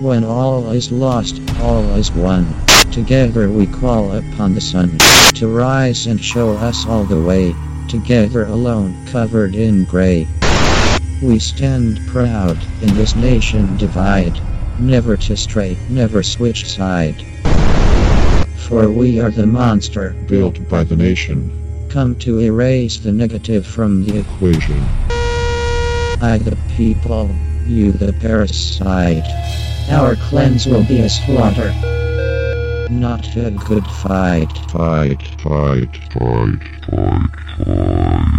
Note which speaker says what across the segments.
Speaker 1: When all is lost, all is won. Together we call upon the sun to rise and show us all the way. Together alone, covered in gray. We stand proud in this nation divide. Never to stray, never switch side. For we are the monster.
Speaker 2: built by the nation
Speaker 1: Come to erase the negative from the
Speaker 2: equation.
Speaker 1: I the people, you the parasite. Our cleanse will be a slaughter, not a good fight.
Speaker 2: Fight, fight, fight, fight, fight.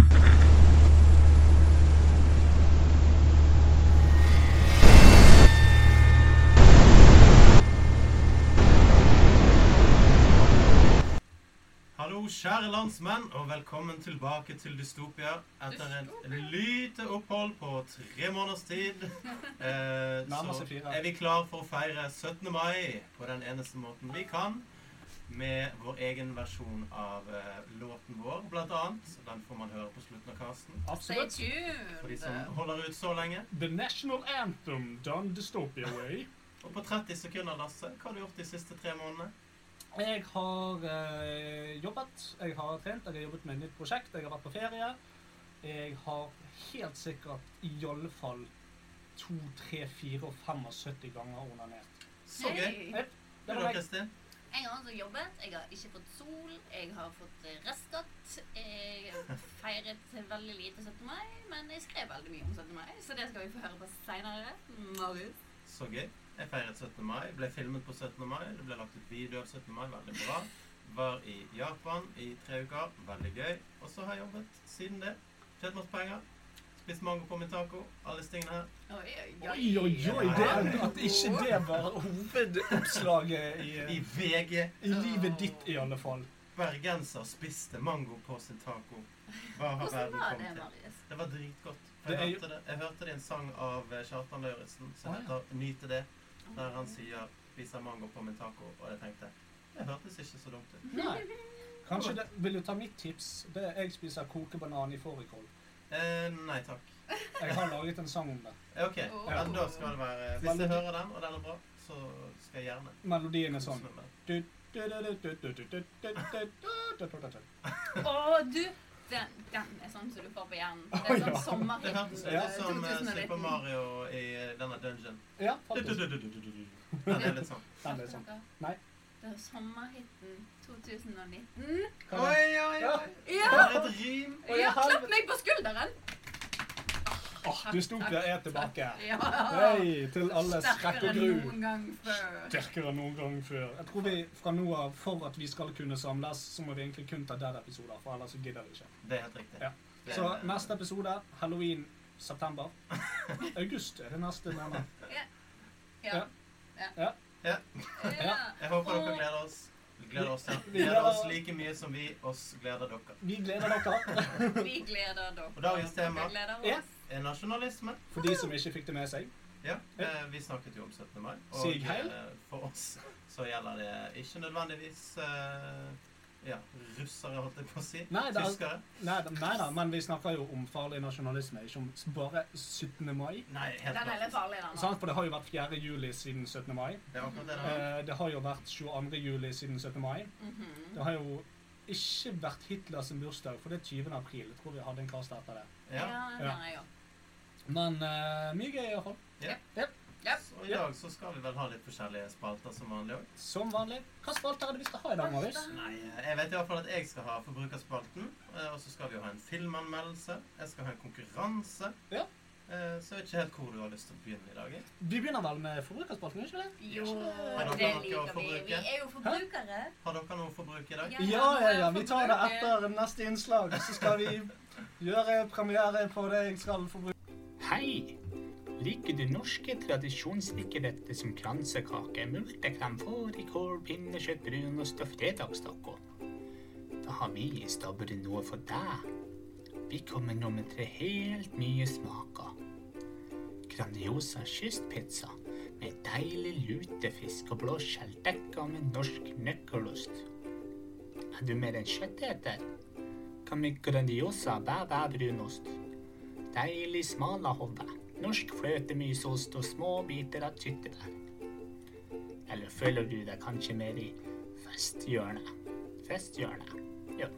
Speaker 3: Hallo, kjære landsmenn, og velkommen tilbake til Dystopia etter et lite opphold på tre måneders tid. Eh,
Speaker 4: Nærmer
Speaker 3: så
Speaker 4: seg fire.
Speaker 3: er vi klar for å feire 17. mai på den eneste måten vi kan, med vår egen versjon av eh, låten vår, blant annet. Den får man høre på slutten av casten,
Speaker 5: Stay
Speaker 4: Absolutt.
Speaker 3: for de som
Speaker 5: tuned.
Speaker 3: holder ut så lenge.
Speaker 4: The National Anthem, Done Dystopia Way.
Speaker 3: Og på 30 sekunder, Lasse, hva har du gjort de siste tre månedene?
Speaker 4: Jeg har eh, jobbet, jeg har trent, jeg har jobbet med et nytt prosjekt, jeg har vært på ferie. Jeg har helt sikkert i alle fall 2, 3, 4 og 75 ganger onanert.
Speaker 3: Så gøy!
Speaker 5: Hey.
Speaker 4: Det
Speaker 3: Du
Speaker 4: var
Speaker 3: da,
Speaker 4: meg.
Speaker 3: Kristin?
Speaker 5: Jeg har altså jobbet, jeg har ikke fått sol, jeg har fått eh, restskatt. Jeg feiret veldig lite 17. mai, men jeg skrev veldig mye om 17. mai, så det skal vi få høre på seinere. Marius.
Speaker 3: Så gøy. Jeg feiret 17. mai. Ble filmet på 17. mai. Det ble lagt ut video av 17. mai. Veldig bra. Var i Japan i tre uker. Veldig gøy. Og så har jeg jobbet siden det. Tjent masse penger. Spist mango på min taco. Alle disse tingene her.
Speaker 5: Oi, oi, oi.
Speaker 4: Oi, oi, oi, det, at ikke det var hovedoppslaget i,
Speaker 3: I
Speaker 4: eh,
Speaker 3: VG.
Speaker 4: i livet ditt i alle fall.
Speaker 3: Bergenser spiste mango på sin taco. Hva har
Speaker 5: Hvordan
Speaker 3: verden
Speaker 5: var det,
Speaker 3: kommet til?
Speaker 5: Marius?
Speaker 3: Det var dritgodt. For
Speaker 4: Det er
Speaker 3: Jeg,
Speaker 4: jo-
Speaker 3: hørte det, jeg hørte det i en sang av eh, Kjartan Lauritzen som
Speaker 4: Å, ja.
Speaker 3: heter 'Nyte det',
Speaker 5: Mm.
Speaker 3: der han sier 'spiser mango på min taco', og jeg tenkte Det hørtes ikke så dumt ut.
Speaker 4: Nei. Kanskje det, vil du ta mitt tips? Det er jeg spiser kokebanan i fårikål.
Speaker 3: Eh, nei takk.
Speaker 4: Jeg har laget en sang om det.
Speaker 3: Ja, Ok,
Speaker 5: Åh.
Speaker 3: men da skal det være Hvis jeg
Speaker 4: Veldig.
Speaker 3: hører den, og den er bra, så skal jeg gjerne
Speaker 4: Melodien er sånn.
Speaker 3: kose meg med den.
Speaker 4: Nei,
Speaker 5: Å, du! Den, den er sånn som du får på hjernen. Det
Speaker 4: Å,
Speaker 5: er
Speaker 4: ja.
Speaker 5: sånn sommerhit.
Speaker 3: Det hørtes litt ut som eh,
Speaker 5: 2019.
Speaker 3: Super Mario i eh, denne dungeon.
Speaker 4: Ja, faktisk.
Speaker 3: Den er litt sånn.
Speaker 4: Den er sånn. Nei.
Speaker 5: Det er sommerhiten 2019.
Speaker 3: Oi, oi, oi! Det
Speaker 5: Ja!
Speaker 3: var et rim!
Speaker 5: ja klapp meg på skulderen!
Speaker 4: Åh, Dystopia er tilbake.
Speaker 5: Ja.
Speaker 4: Hei, til alle skrekk
Speaker 5: Sterkere
Speaker 4: og
Speaker 5: enn
Speaker 4: gru.
Speaker 5: noen gang før.
Speaker 4: Sterkere enn noen gang før. Jeg tror vi fra nå av, for at vi skal kunne samles, så må vi egentlig kun ta Dead-episoder, for ellers så gidder vi ikke.
Speaker 3: Det er helt riktig.
Speaker 4: Ja.
Speaker 3: Det er-
Speaker 4: Så neste episode, halloween, september. August er det neste måned.
Speaker 5: Ja.
Speaker 3: Ja.
Speaker 5: ja.
Speaker 3: Jeg håper dere gleder oss. Gleder oss, ja.
Speaker 4: Vi- vi
Speaker 3: gleder
Speaker 4: gleder-
Speaker 3: oss like mye som vi oss gleder dere.
Speaker 4: Vi gleder dere.
Speaker 5: Vi gleder dere.
Speaker 3: Og dagens tema?
Speaker 5: Dere gleder
Speaker 4: Ja.
Speaker 5: oss.
Speaker 3: Eh, Nasjonalisme.
Speaker 4: For de som ikke fikk det med seg.
Speaker 3: Ja, eh, vi snakket jo om 17. mai.
Speaker 4: Sig heil.
Speaker 3: eh, for oss så gjelder det ikke nødvendigvis eh, ja, russere, holdt jeg på å si.
Speaker 4: Nei, det er-
Speaker 3: Tyskere.
Speaker 4: Nei, da- nei da, men vi snakker jo om farlig nasjonalisme, ikke om s- bare 17. mai.
Speaker 3: Nei, helt
Speaker 5: Den er litt
Speaker 3: klart.
Speaker 5: farlig, den. da.
Speaker 4: Sant? For det har jo vært 4. juli siden 17. mai.
Speaker 3: Det er akkurat det der.
Speaker 4: Eh, Det har jo vært 22. juli siden 17. mai.
Speaker 5: Mhm.
Speaker 4: Det har jo ikke vært Hitlers bursdag, for det er 20. april. Jeg tror vi hadde en kast etter det.
Speaker 3: Ja.
Speaker 5: Ja, den
Speaker 4: Ja.
Speaker 5: er jeg òg.
Speaker 4: Men eh, mye gøy i hvert fall.
Speaker 3: Så i dag så skal vi vel ha litt forskjellige spalter som vanlig òg.
Speaker 4: Som vanlig. Hva spalter er det vi skal ha i dag, Marius?
Speaker 3: Nei, eh, jeg vet i hvert fall at jeg skal ha forbrukerspalten. eh, Og så skal vi jo ha en filmanmeldelse. Jeg skal ha en konkurranse.
Speaker 4: Ja.
Speaker 3: Eh, Så jeg vet ikke helt hvor du har lyst til å begynne i dag. jeg.
Speaker 4: Vi begynner vel med forbrukerspalten, ikke det?
Speaker 5: Jo,
Speaker 3: Men dere
Speaker 5: det
Speaker 3: har ikke
Speaker 5: liker vi. Vi
Speaker 3: forbruket?
Speaker 5: er jo forbrukere.
Speaker 3: Har dere noe forbruk i dag?
Speaker 5: Ja.
Speaker 4: Ja, ja, ja. Vi tar det etter neste innslag, så skal vi gjøre premiere på det jeg skal forbruke.
Speaker 6: Hei! Liker du norske tradisjonsrikkeretter som kransekake, multekrem, fårikål, pinnekjøtt, brun og støff fredagstaco? Da har vi i Stabburet noe for deg. Vi kommer nå med tre helt nye smaker. Grandiosa kystpizza med deilig lutefisk og blåskjell dekka med norsk nøkkelost. Er du mer enn kjøtteter? Kan vi Grandiosa bæ-bæ-brunost? Deilig smalahove, norsk fløtemysost og små biter av tyttebær. Eller føler du deg kanskje mer i festhjørnet? Festhjørnet. Ja.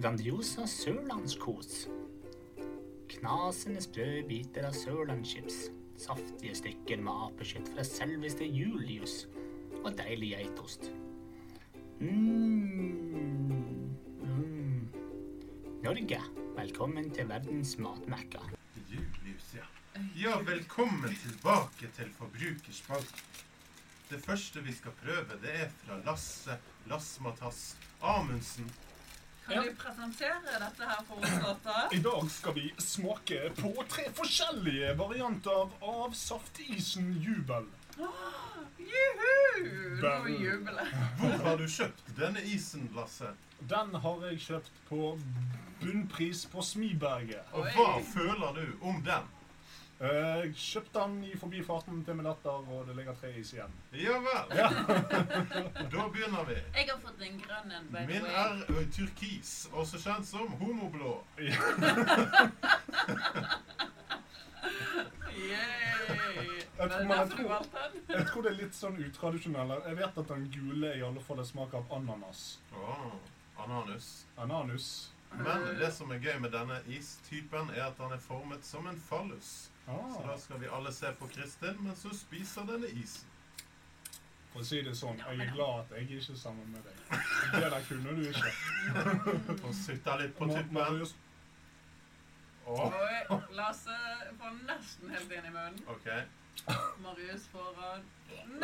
Speaker 6: Grandiosa sørlandskos. Knasende sprø biter av sørlandschips. Saftige stykker med apekjøtt fra selveste Julius. Og deilig geitost. Mm. Mm. Norge, velkommen til verdens matmekker.
Speaker 7: Julius, ja. Ja, velkommen tilbake til Forbrukerspalten. Det første vi skal prøve, det er fra Lasse Lassmatass Amundsen.
Speaker 8: Kan du presentere dette her for oss, Lotta?
Speaker 9: I dag skal vi smake på tre forskjellige varianter av saftisen Jubel.
Speaker 8: Juhu! Nå
Speaker 9: Bam.
Speaker 8: jubler jeg.
Speaker 7: Hvor har du kjøpt denne isen, Lasse?
Speaker 9: Den har jeg kjøpt på bunnpris på Smiberget.
Speaker 7: Og
Speaker 8: Oi.
Speaker 7: hva føler du om den?
Speaker 9: Eh, Jeg kjøpte den i forbifarten til min datter, og det ligger tre is igjen.
Speaker 7: Ja vel. Da begynner vi.
Speaker 10: Jeg har fått en grønn en, by the
Speaker 7: Min
Speaker 10: way.
Speaker 7: er ø, turkis, også kjent som homoblå.
Speaker 8: Yay!
Speaker 9: tror
Speaker 8: Var det
Speaker 9: man-
Speaker 8: derfor du valgte den?
Speaker 9: Jeg tror det er litt sånn utradisjonell. Jeg vet at den gule i alle fall smaker av ananas.
Speaker 7: Åh, Ananus.
Speaker 9: Ananus.
Speaker 7: Men det som er gøy med denne istypen, er at den er formet som en fallus. Så
Speaker 9: Ah,
Speaker 7: da skal vi alle se på Kristin mens hun spiser denne isen.
Speaker 9: for å si det sånn, jeg er glad at jeg er ikke er sammen med deg. Det der kunne du ikke.
Speaker 7: Og sutter litt på
Speaker 9: Ma-
Speaker 7: tuppen.
Speaker 9: Marius,
Speaker 7: Åh,
Speaker 8: Oi, Lasse får eh, nesten helt inn i munnen.
Speaker 7: OK.
Speaker 8: Marius får han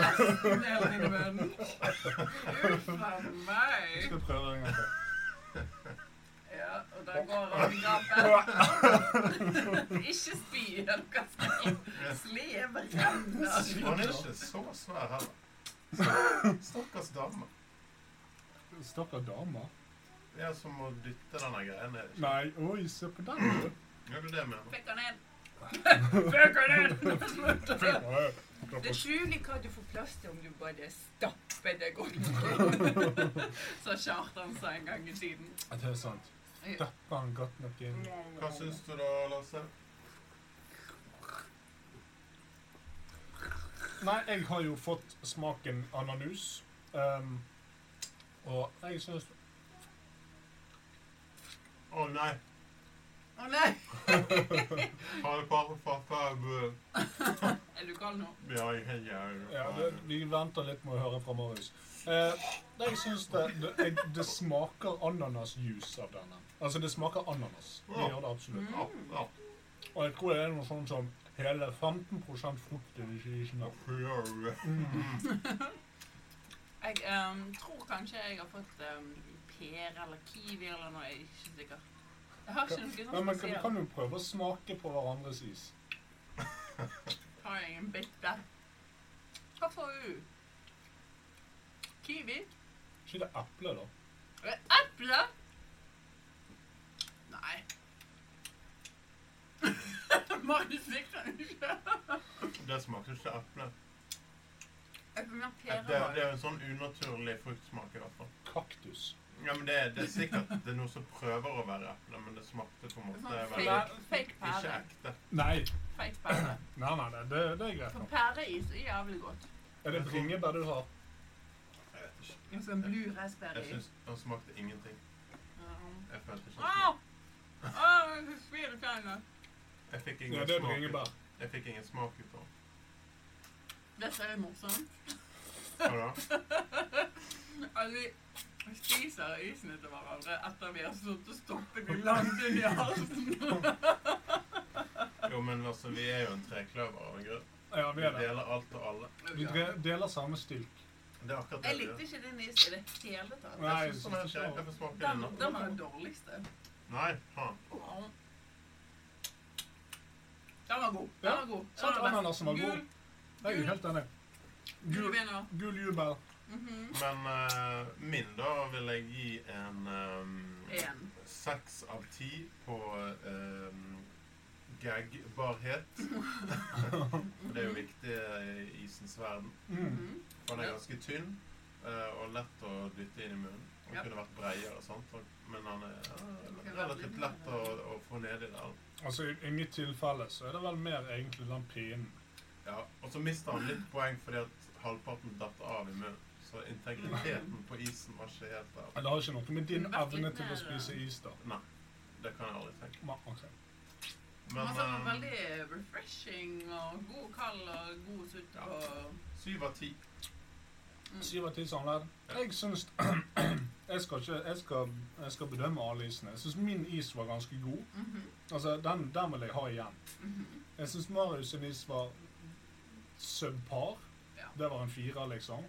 Speaker 8: nesten helt inn i munnen. Uff a
Speaker 9: jeg
Speaker 8: meg.
Speaker 9: skal prøve en gang til.
Speaker 8: Ja, og der går han i gapet. Ikke spy, er du ganske Sleve renner.
Speaker 7: Han er ikke så svær heller. Så, Stakkars dame.
Speaker 9: Stakkar dama.
Speaker 7: Det er som å dytte denne greia ned. ikke?
Speaker 9: Nei, oi, se på den. du.
Speaker 7: Gjør du det, mener
Speaker 10: Fikk han en?
Speaker 8: Fuck it! Slutt.
Speaker 9: Oi, klapp
Speaker 8: Det er
Speaker 9: oss.
Speaker 8: skjulig hva du får plass til om du bare stapper det godt nok. Så Kjartan sa en gang i tiden.
Speaker 9: Det er sant. Dapper han godt nok inn.
Speaker 7: du? Hva syns du da, Lasse?
Speaker 9: Nei, jeg har jo fått smaken ananus. ehm, og jeg syns
Speaker 7: Å nei.
Speaker 8: Å nei!
Speaker 7: Har du bare fått av
Speaker 8: Er du gal nå?
Speaker 7: Ja, jeg gjør
Speaker 9: ja, det, Vi venter litt med å høre fra Marius. Eh, jeg syns det, det, jeg, det smaker ananasjuice av denne. Altså, det smaker ananas. Det gjør det absolutt.
Speaker 7: Ja, ja.
Speaker 9: Og jeg tror det er noe sånn som hele 15 frukt i denne
Speaker 7: Ja, gjør du det?
Speaker 8: Jeg ehm, tror kanskje jeg har fått ehm, pære eller kiwi eller noe. Jeg er ikke sikker. Jeg har ikke
Speaker 9: Men man
Speaker 8: noe sånt
Speaker 9: kan, vi
Speaker 8: spesielt.
Speaker 9: kan jo prøve å smake på hverandres is.
Speaker 8: Har jeg en bit der? Hva får du? Kiwi?
Speaker 9: Ikke det eple, da?
Speaker 8: Er det Eple? Nei. Marius likte den ikke.
Speaker 7: Det smaker ikke eple.
Speaker 8: Jeg kunne ha
Speaker 7: Det,
Speaker 8: pære.
Speaker 7: det er en sånn unaturlig fruktsmak i hvert fall.
Speaker 9: Kaktus.
Speaker 7: Ja, men det, det er sikkert det er noe som prøver å være eple, men det smakte på en
Speaker 8: Det er
Speaker 7: måte
Speaker 8: Sånn
Speaker 7: veldig
Speaker 8: fake, fake
Speaker 7: ikke
Speaker 8: pære.
Speaker 7: ekte.
Speaker 9: Nei.
Speaker 8: Fake pære.
Speaker 9: Nei, nei, det, det, det er greit
Speaker 8: For
Speaker 9: nok.
Speaker 8: pæreis er jævlig godt.
Speaker 9: Er det bringebær du har?
Speaker 7: Jeg vet ikke.
Speaker 8: Og så en blu
Speaker 7: Jeg
Speaker 8: raspberry.
Speaker 7: syns den smakte ingenting. Jeg følte ikke
Speaker 8: Åh!
Speaker 7: smak.
Speaker 8: Åh, jeg fikk spyr i tennene.
Speaker 7: Jeg fikk
Speaker 9: Ja,
Speaker 7: ingen
Speaker 9: det er
Speaker 7: smak. ut-
Speaker 9: bringebær.
Speaker 7: Jeg fikk ingen smak ut av den.
Speaker 8: Det ser litt morsomt.
Speaker 7: Hva da?
Speaker 8: Altså, vi- vi spiser isene til hverandre etter vi har stått og stoppet dem langt inn i halsen.
Speaker 7: Jo, men altså, vi er jo en trekløver av en grunn.
Speaker 9: Ja,
Speaker 7: Vi
Speaker 9: vi er det.
Speaker 7: deler alt og alle.
Speaker 9: Vi dre- deler samme stilk.
Speaker 7: Det er akkurat det
Speaker 8: Jeg
Speaker 7: vi
Speaker 8: likte
Speaker 7: gjør.
Speaker 8: ikke din is i det hele tatt.
Speaker 9: Nei,
Speaker 7: Jeg syns den er kjekk. Jeg får smake
Speaker 8: Den,
Speaker 7: den nå.
Speaker 8: den var den dårligste.
Speaker 7: Nei, faen.
Speaker 8: Åh. Den var god.
Speaker 9: Ja,
Speaker 8: Den var god. Den
Speaker 9: sant,
Speaker 8: best.
Speaker 9: ananasen var god.
Speaker 8: Gul.
Speaker 9: jeg er jo helt enig.
Speaker 8: Du
Speaker 9: Gul,
Speaker 8: vinner.
Speaker 9: gul jubel.
Speaker 8: Mhm.
Speaker 7: Men eh, min, da, vil jeg gi en eh,
Speaker 8: En.
Speaker 7: seks av ti på um, gagbarhet. det er jo viktig i isens verden.
Speaker 9: Mm.
Speaker 8: Mhm.
Speaker 7: For den
Speaker 8: Ja.
Speaker 7: er ganske tynn eh, og lett å dytte inn i munnen. Den
Speaker 8: Ja.
Speaker 7: kunne vært bredere, og sånt, og- men den er eh,
Speaker 8: kunne vært litt
Speaker 7: relativt lett å, å få nedi der.
Speaker 9: Altså, i, I mitt tilfelle så er det vel mer egentlig den pinnen.
Speaker 7: Ja, og så mister han litt poeng fordi at halvparten datt av i munnen. Så integriteten på isen var ikke helt der.
Speaker 9: Men Det har ikke noe med din
Speaker 8: Men hva
Speaker 9: evne
Speaker 8: finner
Speaker 9: til å
Speaker 8: jeg da?
Speaker 9: spise is, da.
Speaker 7: Nei, det kan jeg aldri tenke.
Speaker 9: Ma- ok.
Speaker 7: Men
Speaker 8: altså,
Speaker 7: eh,
Speaker 8: veldig refreshing og god kald og god sutt og
Speaker 7: syv av ti.
Speaker 9: Syv av ti samler. Jeg syns jeg, skal ikke, jeg, skal, jeg skal bedømme alle isene. Jeg syns min is var ganske god.
Speaker 8: Mhm,
Speaker 9: Altså, den, den vil jeg ha igjen.
Speaker 8: mhm.
Speaker 9: Jeg syns Marius sin is var subpar.
Speaker 8: Ja.
Speaker 9: Det var en firer, liksom.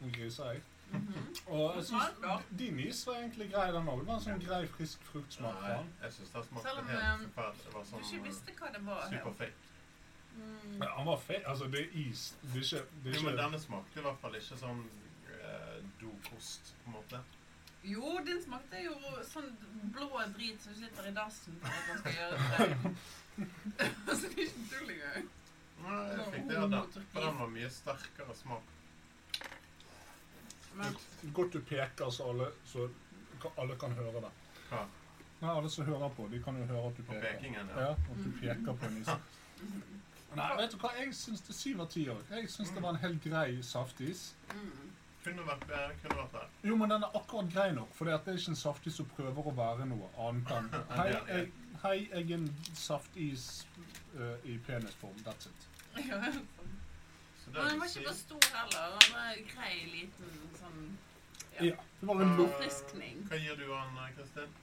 Speaker 9: Nå griser jeg.
Speaker 8: Mhm.
Speaker 9: Og jeg syns
Speaker 8: Smaker.
Speaker 9: din is var egentlig grei, den òg. Det var en sånn grei, frisk fruktsmak på
Speaker 7: Nei,
Speaker 9: den.
Speaker 7: jeg syns det smakte
Speaker 8: Selv om,
Speaker 7: helt
Speaker 8: eh,
Speaker 7: forferdelig. Det var
Speaker 8: Du ikke
Speaker 7: sånn
Speaker 8: visste hva det var. helt.
Speaker 7: superfake.
Speaker 8: Mm.
Speaker 9: Ja, Han var fe... Altså, det er is. Det er ikke, det er
Speaker 7: Jo, men
Speaker 9: ikke
Speaker 7: denne smakte i hvert fall ikke sånn eh, dokost, på en måte.
Speaker 8: Jo, den smakte jo sånn blå drit som sitter i dassen for at man skal gjøre det. altså, det er ikke tull engang.
Speaker 7: Nei, jeg fikk det av den. For den var mye sterkere smak.
Speaker 8: Men
Speaker 9: Godt du peker, så alle, så ka- alle kan høre det.
Speaker 7: Hva?
Speaker 9: Nei, alle som hører på, de kan jo høre at du
Speaker 7: På
Speaker 9: peker.
Speaker 7: pekingen, ja.
Speaker 9: Ja, at du peker på en is. Nei, vet du hva? Jeg syns det er syv av ti òg. Jeg syns det var en helt grei saftis.
Speaker 8: mm.
Speaker 7: Kunne vært bedre, kunne vært der.
Speaker 9: Jo, men den er akkurat grei nok, for det er ikke en saftis som prøver å være noe annet enn Hei, jeg, hei, jeg er en saftis øh, i penisform. That's it.
Speaker 8: ja, sånn.
Speaker 7: Så det
Speaker 8: Men den
Speaker 7: vil
Speaker 8: var ikke
Speaker 7: si-
Speaker 8: for stor heller. Den var grei, liten sånn
Speaker 9: Ja. Det var en lo...
Speaker 8: Forfriskning.
Speaker 7: eh, Hva gir du han, eh, Kristin?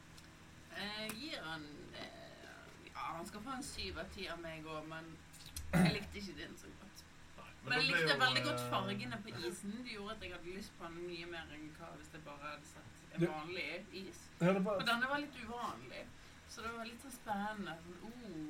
Speaker 8: Jeg gir han eh, Ja, han skal få en syv av ti av meg òg, men jeg likte ikke den så godt.
Speaker 7: Nei, da
Speaker 8: Men jeg
Speaker 7: ble
Speaker 8: likte
Speaker 7: jo,
Speaker 8: veldig godt
Speaker 7: eh,
Speaker 8: fargene på isen. Det gjorde at jeg hadde lyst på den mye mer enn hva hvis jeg bare hadde sett en
Speaker 9: Det-
Speaker 8: vanlig is.
Speaker 9: Ja, det
Speaker 8: For
Speaker 9: var,
Speaker 8: denne var litt uvanlig. Så det var litt sånn spennende. Sånn,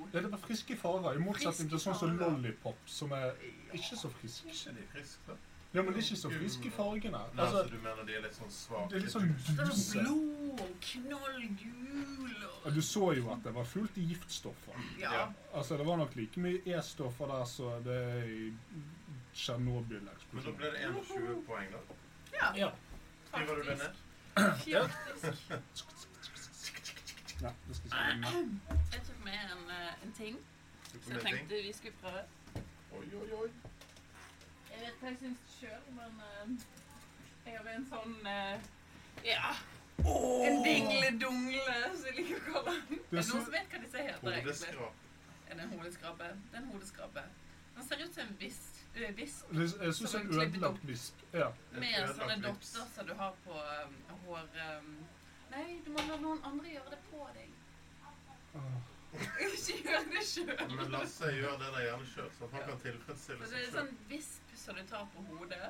Speaker 8: oh.
Speaker 9: ja, det var friske farger, i motsetning til sånn som
Speaker 8: Friske farger.
Speaker 9: Lollipop, som er ikke så frisk.
Speaker 7: Ikke de friske, da?
Speaker 9: Ja, men det er ikke så friske fargene.
Speaker 7: Nei, så
Speaker 9: Altså,
Speaker 7: du mener de er litt sånn svake?
Speaker 9: det er litt sånn
Speaker 8: Det var
Speaker 9: duse.
Speaker 8: blod og knollgul
Speaker 9: Ja,
Speaker 8: og
Speaker 9: Du så jo at det var fullt i giftstoffer.
Speaker 8: Ja.
Speaker 9: Altså, det var nok like mye E-stoffer der som det er i
Speaker 7: Men da
Speaker 9: Tsjernobyl-eksplosjonen.
Speaker 7: ble det 21 poeng, da.
Speaker 9: Ja.
Speaker 7: Skriver du det ned?
Speaker 8: Faktisk.
Speaker 9: Nei, det skal jeg ikke si.
Speaker 8: Jeg tok med en, eh, en ting
Speaker 7: Du får
Speaker 8: som jeg
Speaker 7: med ting.
Speaker 8: tenkte vi skulle prøve.
Speaker 7: Oi, oi, oi.
Speaker 8: Jeg vet hva jeg syns sjøl, men eh, jeg har en sånn eh, Ja. En dingle-dungle, som jeg liker å kalle den. Er
Speaker 9: Det er
Speaker 8: det
Speaker 9: så-
Speaker 8: noen som vet hva disse heter? egentlig?
Speaker 7: Hodeskrap.
Speaker 8: Er det en hodeskrabbe? Det er en hodeskrabbe. Den ser ut som en visp. eh, visp
Speaker 9: Det- Jeg syns
Speaker 8: Som
Speaker 9: en
Speaker 8: en klippet
Speaker 9: ødelagt
Speaker 8: opp.
Speaker 9: visp Ja.
Speaker 7: Et
Speaker 8: Med sånn
Speaker 7: ødelagt
Speaker 8: sånne
Speaker 7: vips.
Speaker 8: dotter som du har på um, hår um, Nei, du må la noen andre gjøre det på deg.
Speaker 9: Åh.
Speaker 8: Ikke gjør det sjøl.
Speaker 7: Men Lasse gjør det der gjerne sjøl, så han kan tilfredsstille
Speaker 8: Så det
Speaker 7: seg
Speaker 8: er
Speaker 7: sjøl.
Speaker 8: sånn visp som du tar på hodet,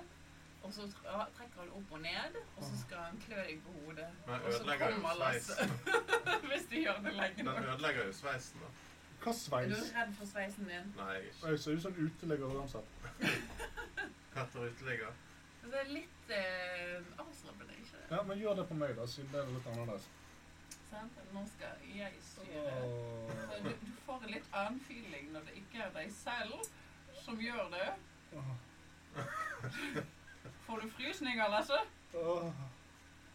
Speaker 8: og så tra- trekker han opp og ned, og så skal han klø deg på hodet.
Speaker 7: Men
Speaker 8: Og så
Speaker 7: ødelegger jo
Speaker 8: kommer Lasse.
Speaker 7: sveisen.
Speaker 8: Hvis du gjør det lenge
Speaker 7: Den
Speaker 8: nok.
Speaker 7: ødelegger jo sveisen, da.
Speaker 9: Hva
Speaker 8: Er du
Speaker 9: sveis?
Speaker 8: redd for sveisen din?
Speaker 7: Nei, jeg er ikke.
Speaker 9: Jeg ser ut som en uteligger uansett.
Speaker 7: Katt og uteligger.
Speaker 8: Så det er litt uh, avslappende, ikke det?
Speaker 9: Ja, men gjør det på meg, da, siden det er litt annerledes.
Speaker 8: Sant? Nå skal jeg styre. Så
Speaker 9: Åh.
Speaker 8: du, du får en litt annen feeling når det ikke er deg selv som gjør det.
Speaker 9: Åh.
Speaker 8: Får du frysninger, Lasse?
Speaker 9: Åh.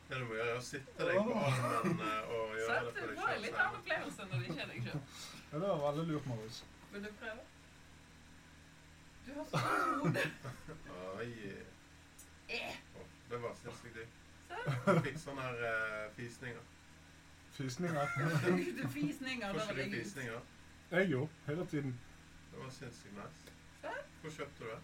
Speaker 7: Det du må gjøre, er å sitte deg på armen eh, og gjøre
Speaker 8: Sant?
Speaker 7: det for
Speaker 8: Du
Speaker 7: deg
Speaker 8: får en litt annen
Speaker 7: sjøl.
Speaker 8: opplevelse når det ikke er deg selv.
Speaker 9: Ja, Det var veldig lurt, Marius.
Speaker 8: Vil du prøve? Du har så god hode.
Speaker 7: Oi.
Speaker 8: Eh.
Speaker 7: Å, Det var sinnssykt digg.
Speaker 8: Sant?
Speaker 7: Jeg fikk sånne her eh, fisninger.
Speaker 9: Fisninger.
Speaker 8: Du fisninger.
Speaker 7: Får
Speaker 8: Da
Speaker 7: ikke
Speaker 8: var
Speaker 7: du
Speaker 8: det
Speaker 7: fisninger?
Speaker 9: Jeg jo, hele tiden.
Speaker 7: Det var sinnssykt nice.
Speaker 8: Sant?
Speaker 7: Hvor kjøpte du det?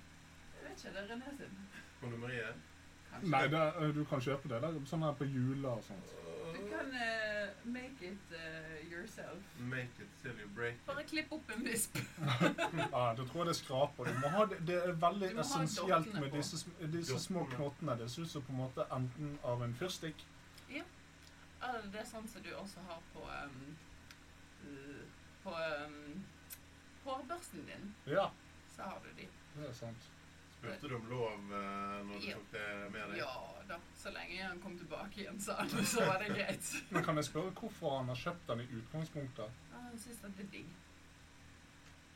Speaker 8: Jeg vet ikke, det er René sin.
Speaker 7: Kondomeriet?
Speaker 8: Kanskje.
Speaker 9: Nei, det, er- du kan kjøpe det. der, Sånn her på jula og sånt.
Speaker 8: Du kan eh, make it eh, yourself.
Speaker 7: Make it till you break it.
Speaker 8: Bare klipp opp en visp.
Speaker 9: Ja, da tror jeg det skraper. Du må ha det, det er veldig
Speaker 8: Du må ha
Speaker 9: essensielt
Speaker 8: dottene
Speaker 9: med
Speaker 8: på.
Speaker 9: disse, sm- disse små
Speaker 7: Dottene.
Speaker 9: knottene. Det ser ut som på en måte enten av en fyrstikk
Speaker 8: Ah, det er sånn som du også har på um, uh, På um, hårbørsten din.
Speaker 9: Ja,
Speaker 8: Så har du de.
Speaker 9: det er sant.
Speaker 7: Spurte du om lov eh, når du
Speaker 8: Ja.
Speaker 7: tok det med deg?
Speaker 8: Ja da. Så lenge han kom tilbake igjen, sa han, så var det greit.
Speaker 9: Men kan jeg spørre hvorfor han har kjøpt den i utgangspunktet?
Speaker 8: Ah, Han syns at det er digg.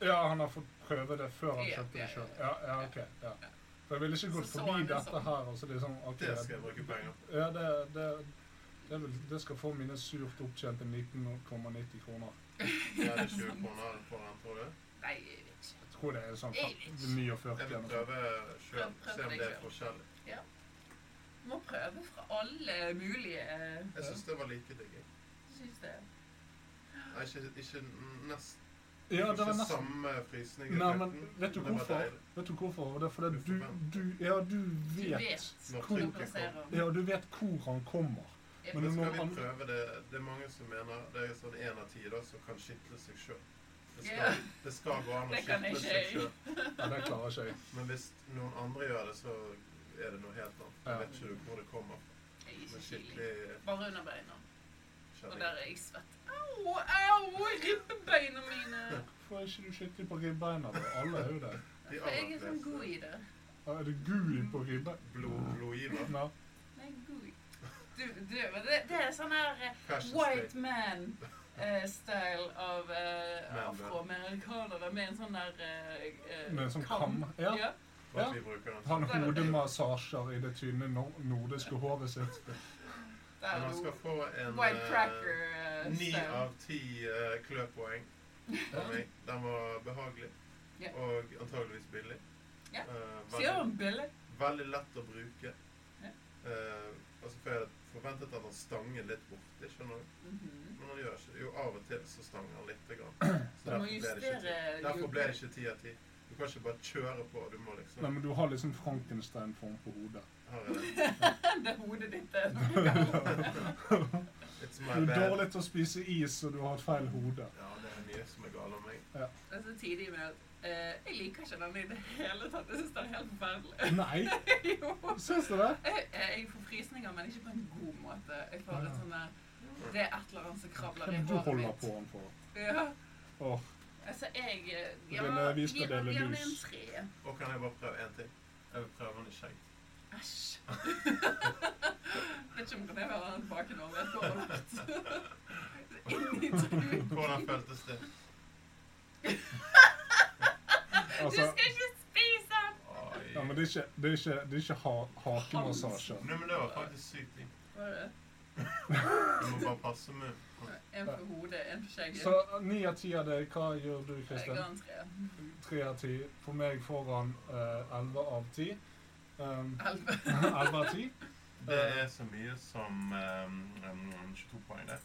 Speaker 9: Ja, han har fått prøve det før han
Speaker 8: Ja,
Speaker 9: kjøpte
Speaker 8: ja,
Speaker 9: det sjøl.
Speaker 8: ja,
Speaker 9: Ja, ja, ok. Ja.
Speaker 8: ja.
Speaker 9: For jeg ville ikke gått
Speaker 8: Så så han
Speaker 9: forbi
Speaker 8: det
Speaker 9: dette
Speaker 8: sånn.
Speaker 9: her. og så liksom, ok,
Speaker 7: Det skal jeg bruke penger på.
Speaker 9: Ja, det, det, det, vil, det skal få mine surt opptjente 19,90 kroner.
Speaker 7: Jeg hadde 20 kroner for den, tror du?
Speaker 8: Nei, jeg vet ikke.
Speaker 9: Jeg tror det er sånn fem-
Speaker 7: Jeg
Speaker 9: 49
Speaker 7: vil
Speaker 9: eller noe sånt.
Speaker 7: prøve sjøl, se om det er forskjell.
Speaker 8: Må prøve fra alle mulige eh,
Speaker 7: Jeg syns det var like digg. jeg.
Speaker 8: synes det.
Speaker 7: Nei, ikke, ikke nest,
Speaker 9: Ja, det var
Speaker 7: ikke
Speaker 9: nesten
Speaker 7: samme frysning. i
Speaker 9: Nei, men
Speaker 7: effekten,
Speaker 9: vet du
Speaker 7: men det var
Speaker 9: hvorfor?
Speaker 7: deilig.
Speaker 9: Vet du hvorfor? Det er fordi
Speaker 7: Du
Speaker 9: du, du Ja, du
Speaker 8: Du
Speaker 9: vet
Speaker 8: vet
Speaker 7: Når
Speaker 8: hvor du
Speaker 7: funken
Speaker 8: plasserer
Speaker 7: kom.
Speaker 9: Ja, du vet hvor han kommer. Men
Speaker 7: Men
Speaker 9: det må
Speaker 7: skal vi
Speaker 9: an-
Speaker 7: prøve det? Det er mange som mener det er sånn en av ti da, som kan skitle seg sjøl. Det,
Speaker 8: Ja.
Speaker 7: skal- det skal gå an å
Speaker 8: Det kan jeg
Speaker 7: skitle seg
Speaker 8: ikke.
Speaker 7: sjøl.
Speaker 9: Ja, det klarer ikke jeg.
Speaker 7: Men hvis noen andre gjør det, så er det noe helt annet.
Speaker 9: Ja.
Speaker 7: Jeg vet ikke du hvor det kommer fra.
Speaker 8: Jeg er ikke
Speaker 7: Men
Speaker 8: skikkelig.
Speaker 7: skikkelig
Speaker 8: Bare under beina. Og der
Speaker 7: kjenning.
Speaker 8: er jeg svett. Au, au, ribbebeina mine.
Speaker 9: Hvorfor er ikke du skikkelig på ribbeina? da? Alle er jo det.
Speaker 7: De
Speaker 8: For jeg
Speaker 7: aller
Speaker 8: er sånn
Speaker 7: fleste.
Speaker 8: god i det.
Speaker 9: Ja, Er det gul på ribbeina?
Speaker 7: Blod, blodgiver.
Speaker 9: Ja.
Speaker 8: Nei, god i du, du, men det, det er sånn her eh,
Speaker 7: Fashion
Speaker 8: white
Speaker 7: state.
Speaker 8: man-style av eh,
Speaker 7: Man, man.
Speaker 8: afroamerikanere med en sånn der eh, eh,
Speaker 9: Med en sånn kam. Ja.
Speaker 8: Ja.
Speaker 7: Bare
Speaker 9: Ja.
Speaker 7: at vi bruker den.
Speaker 9: Han hodemassasjer i det tynne nor- nordiske håret sitt.
Speaker 8: Der
Speaker 7: Men
Speaker 8: er
Speaker 7: han skal
Speaker 8: noe
Speaker 7: få en
Speaker 8: white
Speaker 7: eh,
Speaker 8: eh,
Speaker 7: ni
Speaker 8: cracker-style.
Speaker 7: av ti eh, kløpoeng av meg. Den var behagelig
Speaker 8: Ja.
Speaker 7: og antageligvis billig.
Speaker 8: Ja.
Speaker 7: Eh,
Speaker 8: Sier
Speaker 7: veldig,
Speaker 8: han billig?
Speaker 7: veldig lett å bruke.
Speaker 8: Ja.
Speaker 7: Eh, altså for jeg forventet at han stanget litt borti, skjønner du.
Speaker 8: Mhm.
Speaker 7: Men han gjør ikke det. Jo, av og til så stanger han litt. Grann. Så
Speaker 8: Du må
Speaker 7: derfor ble det ikke ti.
Speaker 8: justere
Speaker 7: Derfor ble det ikke ti av ti. Du kan ikke bare kjøre på. Du må liksom
Speaker 9: Nei, men du har liksom Frankenstein-form på hodet.
Speaker 7: Her er det.
Speaker 8: Det er hodet ditt. det er sånn.
Speaker 7: It's
Speaker 9: Du
Speaker 7: my
Speaker 9: er
Speaker 7: bad.
Speaker 9: dårlig til å spise is, og du har et feil hode.
Speaker 7: Ja, det er mye som er galt om meg.
Speaker 8: Det er så tidlig med at eh, jeg liker ikke den i det hele tatt. Jeg synes den er helt forferdelig.
Speaker 9: Nei,
Speaker 8: Jo.
Speaker 9: syns du det?
Speaker 8: Jeg, Eh, jeg får frysninger, men ikke på en god måte. Jeg får et sånn der Det er et eller annet som
Speaker 9: Hva
Speaker 8: kravler
Speaker 9: er
Speaker 8: i
Speaker 9: det du
Speaker 8: håret
Speaker 9: holder
Speaker 8: mitt.
Speaker 9: på han for?
Speaker 8: Ja.
Speaker 9: Åh,
Speaker 8: Altså, jeg eh,
Speaker 9: Du
Speaker 8: Ja,
Speaker 9: vil, eh, vi skal
Speaker 8: gi meg
Speaker 9: dele
Speaker 8: gjerne en
Speaker 9: lys.
Speaker 8: tre.
Speaker 7: Og kan jeg bare prøve én ting? Jeg vil prøve den i skjegg.
Speaker 8: Æsj. Vet ikke om det var en bakenår. Jeg får overlagt. Inni truen.
Speaker 7: Hvordan føltes det?
Speaker 8: Du
Speaker 9: altså,
Speaker 8: skal ikke spise den!
Speaker 7: Oi.
Speaker 9: ja, men det er ikke, det er ikke, det er ikke ha, hakemassasjer.
Speaker 7: Nei, men det var faktisk sykt digg.
Speaker 8: Hva er det?
Speaker 7: Du må bare passe med.
Speaker 8: En for hodet, en for skjegget.
Speaker 9: Så ni av ti av deg, hva gjør du,
Speaker 8: Jeg ga
Speaker 9: Kristin?
Speaker 8: en tre.
Speaker 9: Tre av ti. For meg får han elleve av ti. Um,
Speaker 8: Elleve.
Speaker 9: Elleve av ti.
Speaker 7: Det er så mye som um, um, 22 poeng, det.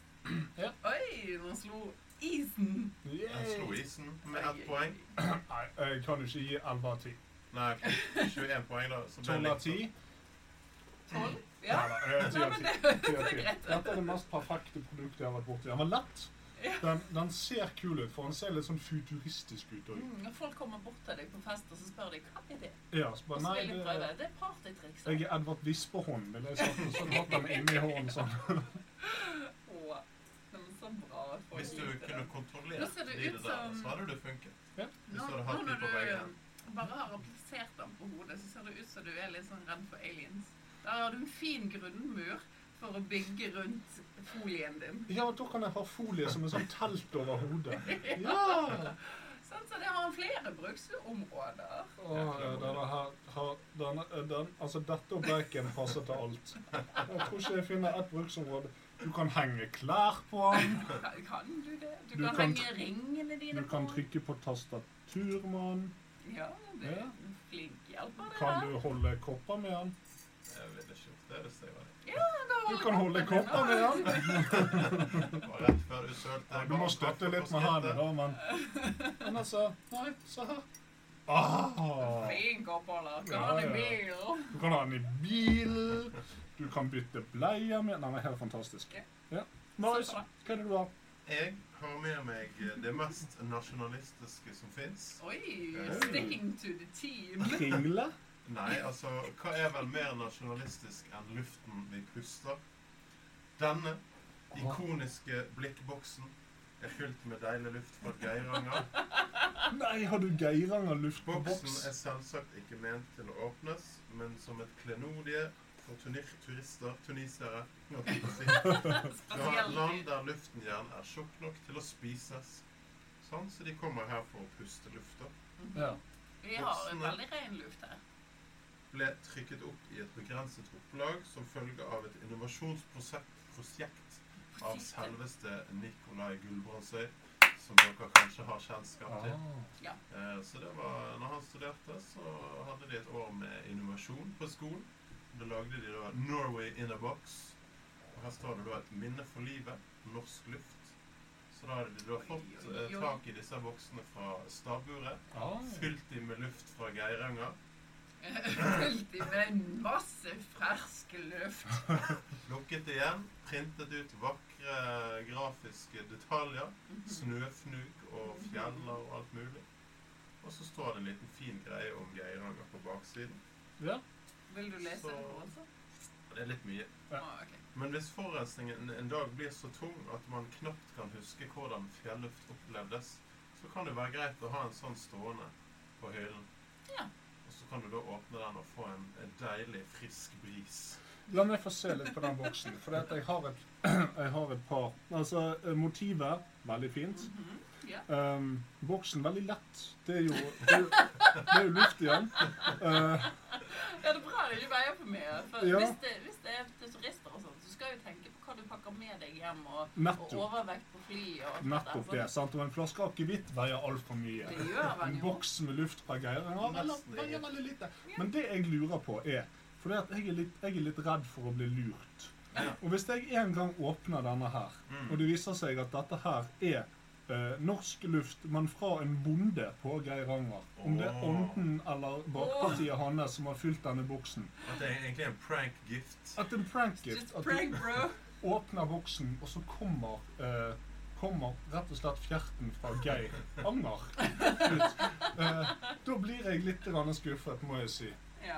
Speaker 8: Oi, nå slo isen.
Speaker 7: Jeg slo
Speaker 9: Yay!
Speaker 7: isen med ett poeng.
Speaker 9: Nei, jeg kan jo ikke gi elleve av ti.
Speaker 7: Nei, ok, 21 poeng, da. Så ble
Speaker 9: Tolv av
Speaker 7: det
Speaker 9: ti.
Speaker 7: likt.
Speaker 8: Tolv?
Speaker 9: Ja,
Speaker 8: Ja.
Speaker 9: da, eh, ti
Speaker 8: Nei,
Speaker 9: av
Speaker 8: men
Speaker 9: ti.
Speaker 8: det,
Speaker 9: Ti
Speaker 8: det
Speaker 9: av
Speaker 8: er
Speaker 9: ti.
Speaker 8: greit.
Speaker 9: Dette er det mest perfekte produktet jeg har vært borti. Den var lett.
Speaker 8: Ja.
Speaker 9: Den, den ser kul ut, for den ser litt sånn futuristisk ut òg.
Speaker 8: Mm, Når folk kommer bort til deg på fest og så spør de hva er det
Speaker 9: Ja, så
Speaker 8: Og
Speaker 9: bare,
Speaker 8: så
Speaker 9: nei,
Speaker 8: vil de prøve.
Speaker 9: det,
Speaker 8: Det er partytriks.
Speaker 9: jeg er Edvard Vispehånd, ville jeg sagt. og Sånn hatt den inni hånden sånn.
Speaker 8: Å, det er så bra at folk
Speaker 7: sånn. Hvis du
Speaker 8: liker
Speaker 7: kunne
Speaker 8: det. Nå
Speaker 7: kontrollert
Speaker 8: ser det
Speaker 7: de
Speaker 8: ut
Speaker 7: det der,
Speaker 8: som-
Speaker 7: så hadde det funket.
Speaker 9: Ja.
Speaker 7: Hvis du
Speaker 8: Nå-
Speaker 7: hadde
Speaker 8: nå
Speaker 7: hatt de
Speaker 8: når
Speaker 7: på
Speaker 8: du,
Speaker 7: veggen.
Speaker 8: eh, bare har plassert den på hodet, så ser det ut som du er litt sånn redd for aliens. Der har du en fin grunnmur for å bygge rundt folien din.
Speaker 9: Ja, da kan jeg ha folie som en sånn telt over hodet. Ja!
Speaker 8: Sånn, så det har flere bruksområder.
Speaker 9: Åh, ja, denne her, har- denne, eh, den, altså dette og bacon passer til alt. Jeg tror ikke jeg finner et bruksområde. Du kan henge klær på den,
Speaker 8: Kan, kan du det? Du,
Speaker 9: Du
Speaker 8: kan,
Speaker 9: kan
Speaker 8: henge ringene dine
Speaker 9: du kan
Speaker 8: på.
Speaker 9: trykke på tastatur med den,
Speaker 8: Ja, du er
Speaker 9: Ja.
Speaker 8: en flink hjelper, det
Speaker 9: kan
Speaker 8: her.
Speaker 9: du holde kopper med den.
Speaker 7: Jeg ville ikke gjort det hvis jeg var det.
Speaker 9: Du kan holde kopper med den.
Speaker 7: Det var rett før du sølte.
Speaker 9: Ja, du må støtte litt med hendene, da, men Men altså Nei, se her. Ah,
Speaker 8: Fin koppaler. Kan
Speaker 9: Ja,
Speaker 8: ha det i
Speaker 9: ja.
Speaker 8: bilen.
Speaker 9: du kan ha den i bilen, du kan bytte bleier med Den er helt fantastisk. Ja. Marius, hva er det du har?
Speaker 7: Jeg har med meg eh, det mest nasjonalistiske som fins.
Speaker 8: Oi,
Speaker 7: Hey.
Speaker 8: sticking to the team.
Speaker 9: Kringle?
Speaker 7: Nei, altså, hva er vel mer nasjonalistisk enn luften vi puster? Denne ikoniske blikkboksen er fylt med deilig luft fra Geiranger.
Speaker 9: Nei, har du Geiranger luft på
Speaker 7: Boksen
Speaker 9: boks?
Speaker 7: er selvsagt ikke ment til å åpnes, men som et klenodie for tunir turister, tunisere holdt jeg på å si. Fra et land
Speaker 8: Spesielt.
Speaker 7: der luften gjerne er tjukk nok til å spises. Sånn, så de kommer her for å puste lufta.
Speaker 9: Ja.
Speaker 8: Vi har en veldig ren luft her.
Speaker 7: ble trykket opp i et begrenset opplag som følge av et innovasjonsprosjekt prosjekt av selveste Nikolai Gulbrandsøy, som dere kanskje har kjennskap til. Eh, Så det var, når han studerte, så hadde de et år med innovasjon på skolen. Da lagde de da 'Norway in a box'. Og her står det da 'Et minne for livet. Norsk luft'. Så da hadde de da fått eh, tak i disse boksene fra stabburet.
Speaker 9: Ah.
Speaker 7: Fylt de med luft fra Geiranger.
Speaker 8: Fylt i med masse fersk luft.
Speaker 7: Lukket igjen, printet ut vakre grafiske detaljer. Snøfnug og fjeller og alt mulig. Og så står det en liten fin greie om Geiranger på baksiden.
Speaker 8: Vil du lese det for oss?
Speaker 7: Og Det er litt mye.
Speaker 8: da?
Speaker 9: Ja.
Speaker 8: Å, ok.
Speaker 7: Men hvis forurensningen en dag blir så tung at man knapt kan huske hvordan fjelluft opplevdes, så kan det være greit å ha en sånn stående på hyllen.
Speaker 8: Ja.
Speaker 7: Og så kan du da åpne den og få en, en deilig, frisk bris.
Speaker 9: La meg få se litt på den boksen. For jeg, har et, jeg har et par. Altså, eh, motivet veldig fint.
Speaker 8: Mhm.
Speaker 9: Um, boksen veldig lett. Det er jo, det er jo, det er jo luft igjen. Eh,
Speaker 8: Ja, det er bra det ikke veier for mye. For
Speaker 9: Ja.
Speaker 8: hvis, det, hvis det er til turister og sånn, så skal du tenke på hva du pakker med deg hjem, og, og
Speaker 9: nettopp.
Speaker 8: overvekt på fly og alt
Speaker 9: Nettopp det.
Speaker 8: der.
Speaker 9: sant? Og en flaske akevitt veier altfor
Speaker 8: Så
Speaker 9: mye.
Speaker 8: Det gjør
Speaker 9: En
Speaker 8: man jo.
Speaker 9: boks med luft fra Geiranger veier
Speaker 7: Nesten
Speaker 9: veier
Speaker 7: ingenting.
Speaker 9: veldig lite. Men det jeg lurer på, er For det at jeg, er litt, jeg er litt redd for å bli lurt.
Speaker 7: Ja.
Speaker 9: Og hvis jeg en gang åpner denne her,
Speaker 7: Mm.
Speaker 9: og det viser seg at dette her er eh, norsk luft, men fra en bonde på Geiranger Om det er
Speaker 7: Åh.
Speaker 9: ånden eller bakpartiet hans som har fylt denne boksen.
Speaker 7: At det er egentlig en prank-gift.
Speaker 9: At en prankgift
Speaker 8: Just
Speaker 9: At du
Speaker 8: prank, bro.
Speaker 9: åpner boksen, og så kommer eh, Kommer rett og slett fjerten fra Geir Anger ut. Eh, da blir jeg litt grann skuffet, må jeg si.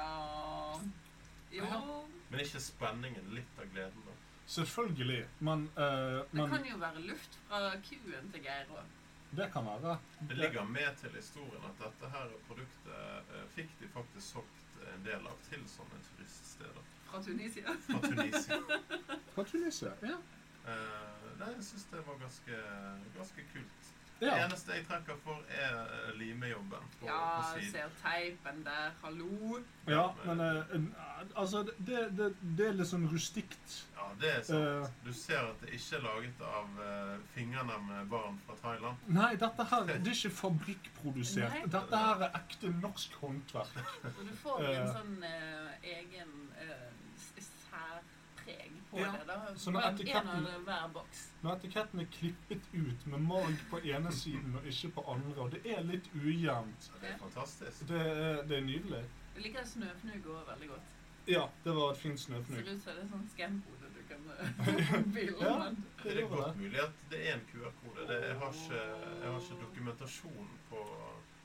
Speaker 8: Ja. Jo.
Speaker 7: Men ikke spenningen, litt av gleden, da.
Speaker 9: Selvfølgelig, men, eh,
Speaker 8: Det kan
Speaker 9: men
Speaker 8: jo være luft fra kuen til Geir òg.
Speaker 9: det kan være.
Speaker 7: Det ligger med til historien at dette her produktet eh, fikk de faktisk solgt en del av til sånne turiststeder
Speaker 8: Fra Tunisia.
Speaker 7: fra Tunisia.
Speaker 9: Fra Tunisia. Ja.
Speaker 7: Eh, Nei, jeg syns det var ganske, ganske kult. Det
Speaker 9: ja.
Speaker 7: eneste jeg trekker for, er eh, limejobben på,
Speaker 8: Ja,
Speaker 7: på siden.
Speaker 8: ser teipen der. Hallo.
Speaker 9: ja men eh, eh, altså, det, det, det er litt sånn rustikt.
Speaker 7: Ja, det er
Speaker 9: Eh.
Speaker 7: sant. Du ser at det ikke er laget av eh, fingrene med barn fra Thailand.
Speaker 9: Nei, dette her det er ikke fabrikkprodusert.
Speaker 8: Nei.
Speaker 9: Dette her er ekte norsk håndverk.
Speaker 8: Og du får jo en
Speaker 9: Eh.
Speaker 8: sånn eh, egen eh, s- særpreg på
Speaker 9: Ja,
Speaker 8: det. da.
Speaker 9: så når
Speaker 8: Bare en
Speaker 9: etiketten-
Speaker 8: av hver boks.
Speaker 9: Når etiketten er klippet ut med mag på ene siden og ikke på andre, og det er litt ujevnt
Speaker 7: Det er fantastisk.
Speaker 9: Det, er- det er nydelig.
Speaker 8: Jeg liker snøfnugg òg veldig godt.
Speaker 9: Ja, det var et fint
Speaker 8: Det ser
Speaker 9: snøfnugg.
Speaker 8: ut som det er sånn skanhode du kan eh, bilde
Speaker 9: Ja.
Speaker 8: med.
Speaker 9: Det
Speaker 7: Det er
Speaker 9: gjør
Speaker 7: godt
Speaker 9: det.
Speaker 7: mulig at det er en QR-kode. Det- Jeg, har ikke- jeg har ikke dokumentasjon på,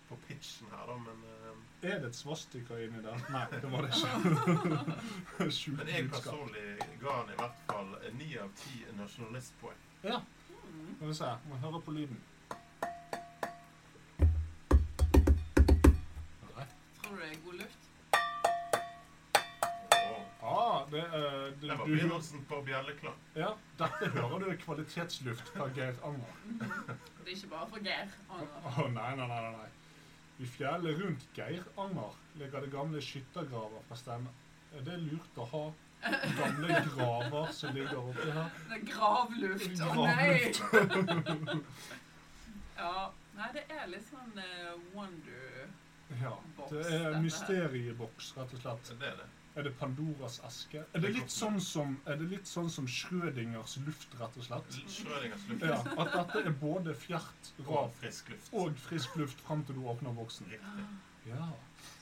Speaker 7: på pitchen her, da, men eh,
Speaker 9: Er det et svastika inni der? Nei, det var det ikke. Skjult
Speaker 7: Men jeg
Speaker 9: budskap.
Speaker 7: personlig ga han i hvert fall ni av ti nasjonalistpoeng.
Speaker 9: Ja,
Speaker 8: Mm.
Speaker 9: skal vi se. Må høre på lyden.
Speaker 8: Tror du det er god luft?
Speaker 7: Og
Speaker 9: Ah, det, eh, du,
Speaker 7: Det var
Speaker 9: du,
Speaker 7: begynnelsen på bjelleklang.
Speaker 9: ja, dette hører du er kvalitetsluft fra Geir Anger.
Speaker 8: Det er ikke bare for Geir.
Speaker 9: Å
Speaker 8: Anger.
Speaker 9: å, nei, nei, nei, nei, nei. I fjellet rundt Geir Anger ligger det gamle skyttergraver fra stemme. Er det lurt å ha gamle graver som ligger oppi her?
Speaker 8: Det er gravluft. Å nei! ja. Nei, det er litt sånn eh, wonder
Speaker 9: Ja, det er mysterieboks, rett og slett.
Speaker 7: Så Det er det.
Speaker 9: Er det Pandoras eske? Er det litt sånn som, er det litt sånn som Schrødingers luft, rett og slett?
Speaker 7: Schrødingers luft
Speaker 9: Ja, At dette er både fjert,
Speaker 7: og
Speaker 9: rav
Speaker 7: frisk luft.
Speaker 9: og frisk luft fram til du åpner boksen.
Speaker 7: Riktig.
Speaker 9: Ja.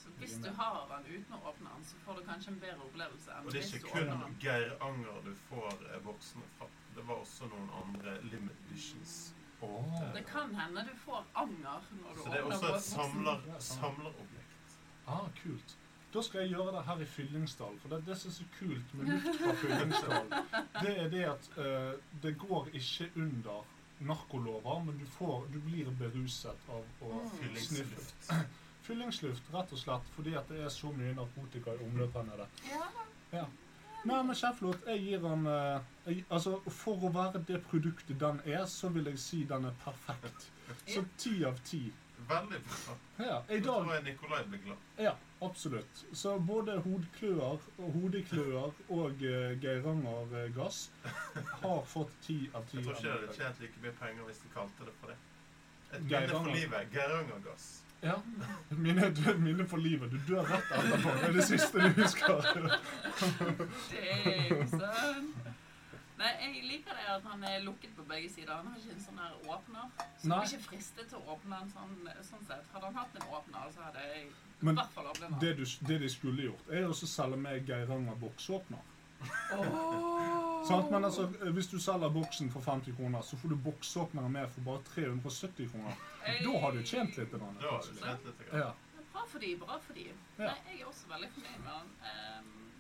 Speaker 8: Så hvis du har den uten å åpne den, så får du kanskje en bedre opplevelse enn
Speaker 7: Og det
Speaker 8: hvis
Speaker 7: er
Speaker 8: du
Speaker 7: ikke
Speaker 8: åpner
Speaker 7: kun
Speaker 8: den.
Speaker 7: Geir Anger du får eh, boksene fra. Det var også noen andre limit editions.
Speaker 9: Åh.
Speaker 8: Det kan hende du får anger når du
Speaker 7: Så det er
Speaker 8: åpner
Speaker 7: også et
Speaker 8: boksen.
Speaker 7: samler, samlerobjekt.
Speaker 9: Ah, kult. Da skal jeg gjøre det her i Fyllingsdal, for det, det som er så kult med luft fra Fyllingsdal, det er det at eh, det går ikke under narkolover, men du, får, du blir beruset av å
Speaker 8: Mm.
Speaker 9: sniffe.
Speaker 7: Fyllingsluft.
Speaker 9: Fyllingsluft, rett og slett, fordi at det er så mye narkotika i omløpet her nede.
Speaker 8: Ja,
Speaker 9: Nei, men kjeftlåt, jeg gir han eh, jeg, Altså, for å være det produktet den er, så vil jeg si den er perfekt. Så ti av ti.
Speaker 7: Veldig bra.
Speaker 9: Ja,
Speaker 7: Da
Speaker 9: i dag
Speaker 7: tror jeg Nikolai blir glad.
Speaker 9: Ja, absolutt. Så både hodklør, hodeklør og eh, Geiranger eh, gass har fått ti av ti.
Speaker 7: Jeg tror ikke det hadde tjent like mye penger hvis de kalte det for det. Et minne for
Speaker 9: Geiranger.
Speaker 7: livet. Geirangergass.
Speaker 9: Ja. Minne, minne for livet. Du dør rett etterpå. Det er det siste du husker.
Speaker 8: Dang, son. Nei, jeg liker det at han er lukket på begge sider. Han har ikke en sånn her åpner. Så jeg
Speaker 9: Nei.
Speaker 8: blir ikke fristet til å åpne en sånn, sånn sett. Hadde han hatt en åpner, så hadde jeg i
Speaker 9: Men
Speaker 8: hvert fall åpnet den.
Speaker 9: det, du, det de skulle gjort, er å selge meg Geiranger boksåpner.
Speaker 8: Åh!
Speaker 9: Sant? Men altså, hvis du selger boksen for 50 kroner, så får du boksåpneren med for bare 370 kroner. Da har du tjent litt. Denne,
Speaker 7: Da har du trent litt. grann.
Speaker 9: Ja.
Speaker 8: Bra for de, bra for de.
Speaker 9: Ja.
Speaker 8: Nei, jeg er også veldig fornøyd med han. Ehm,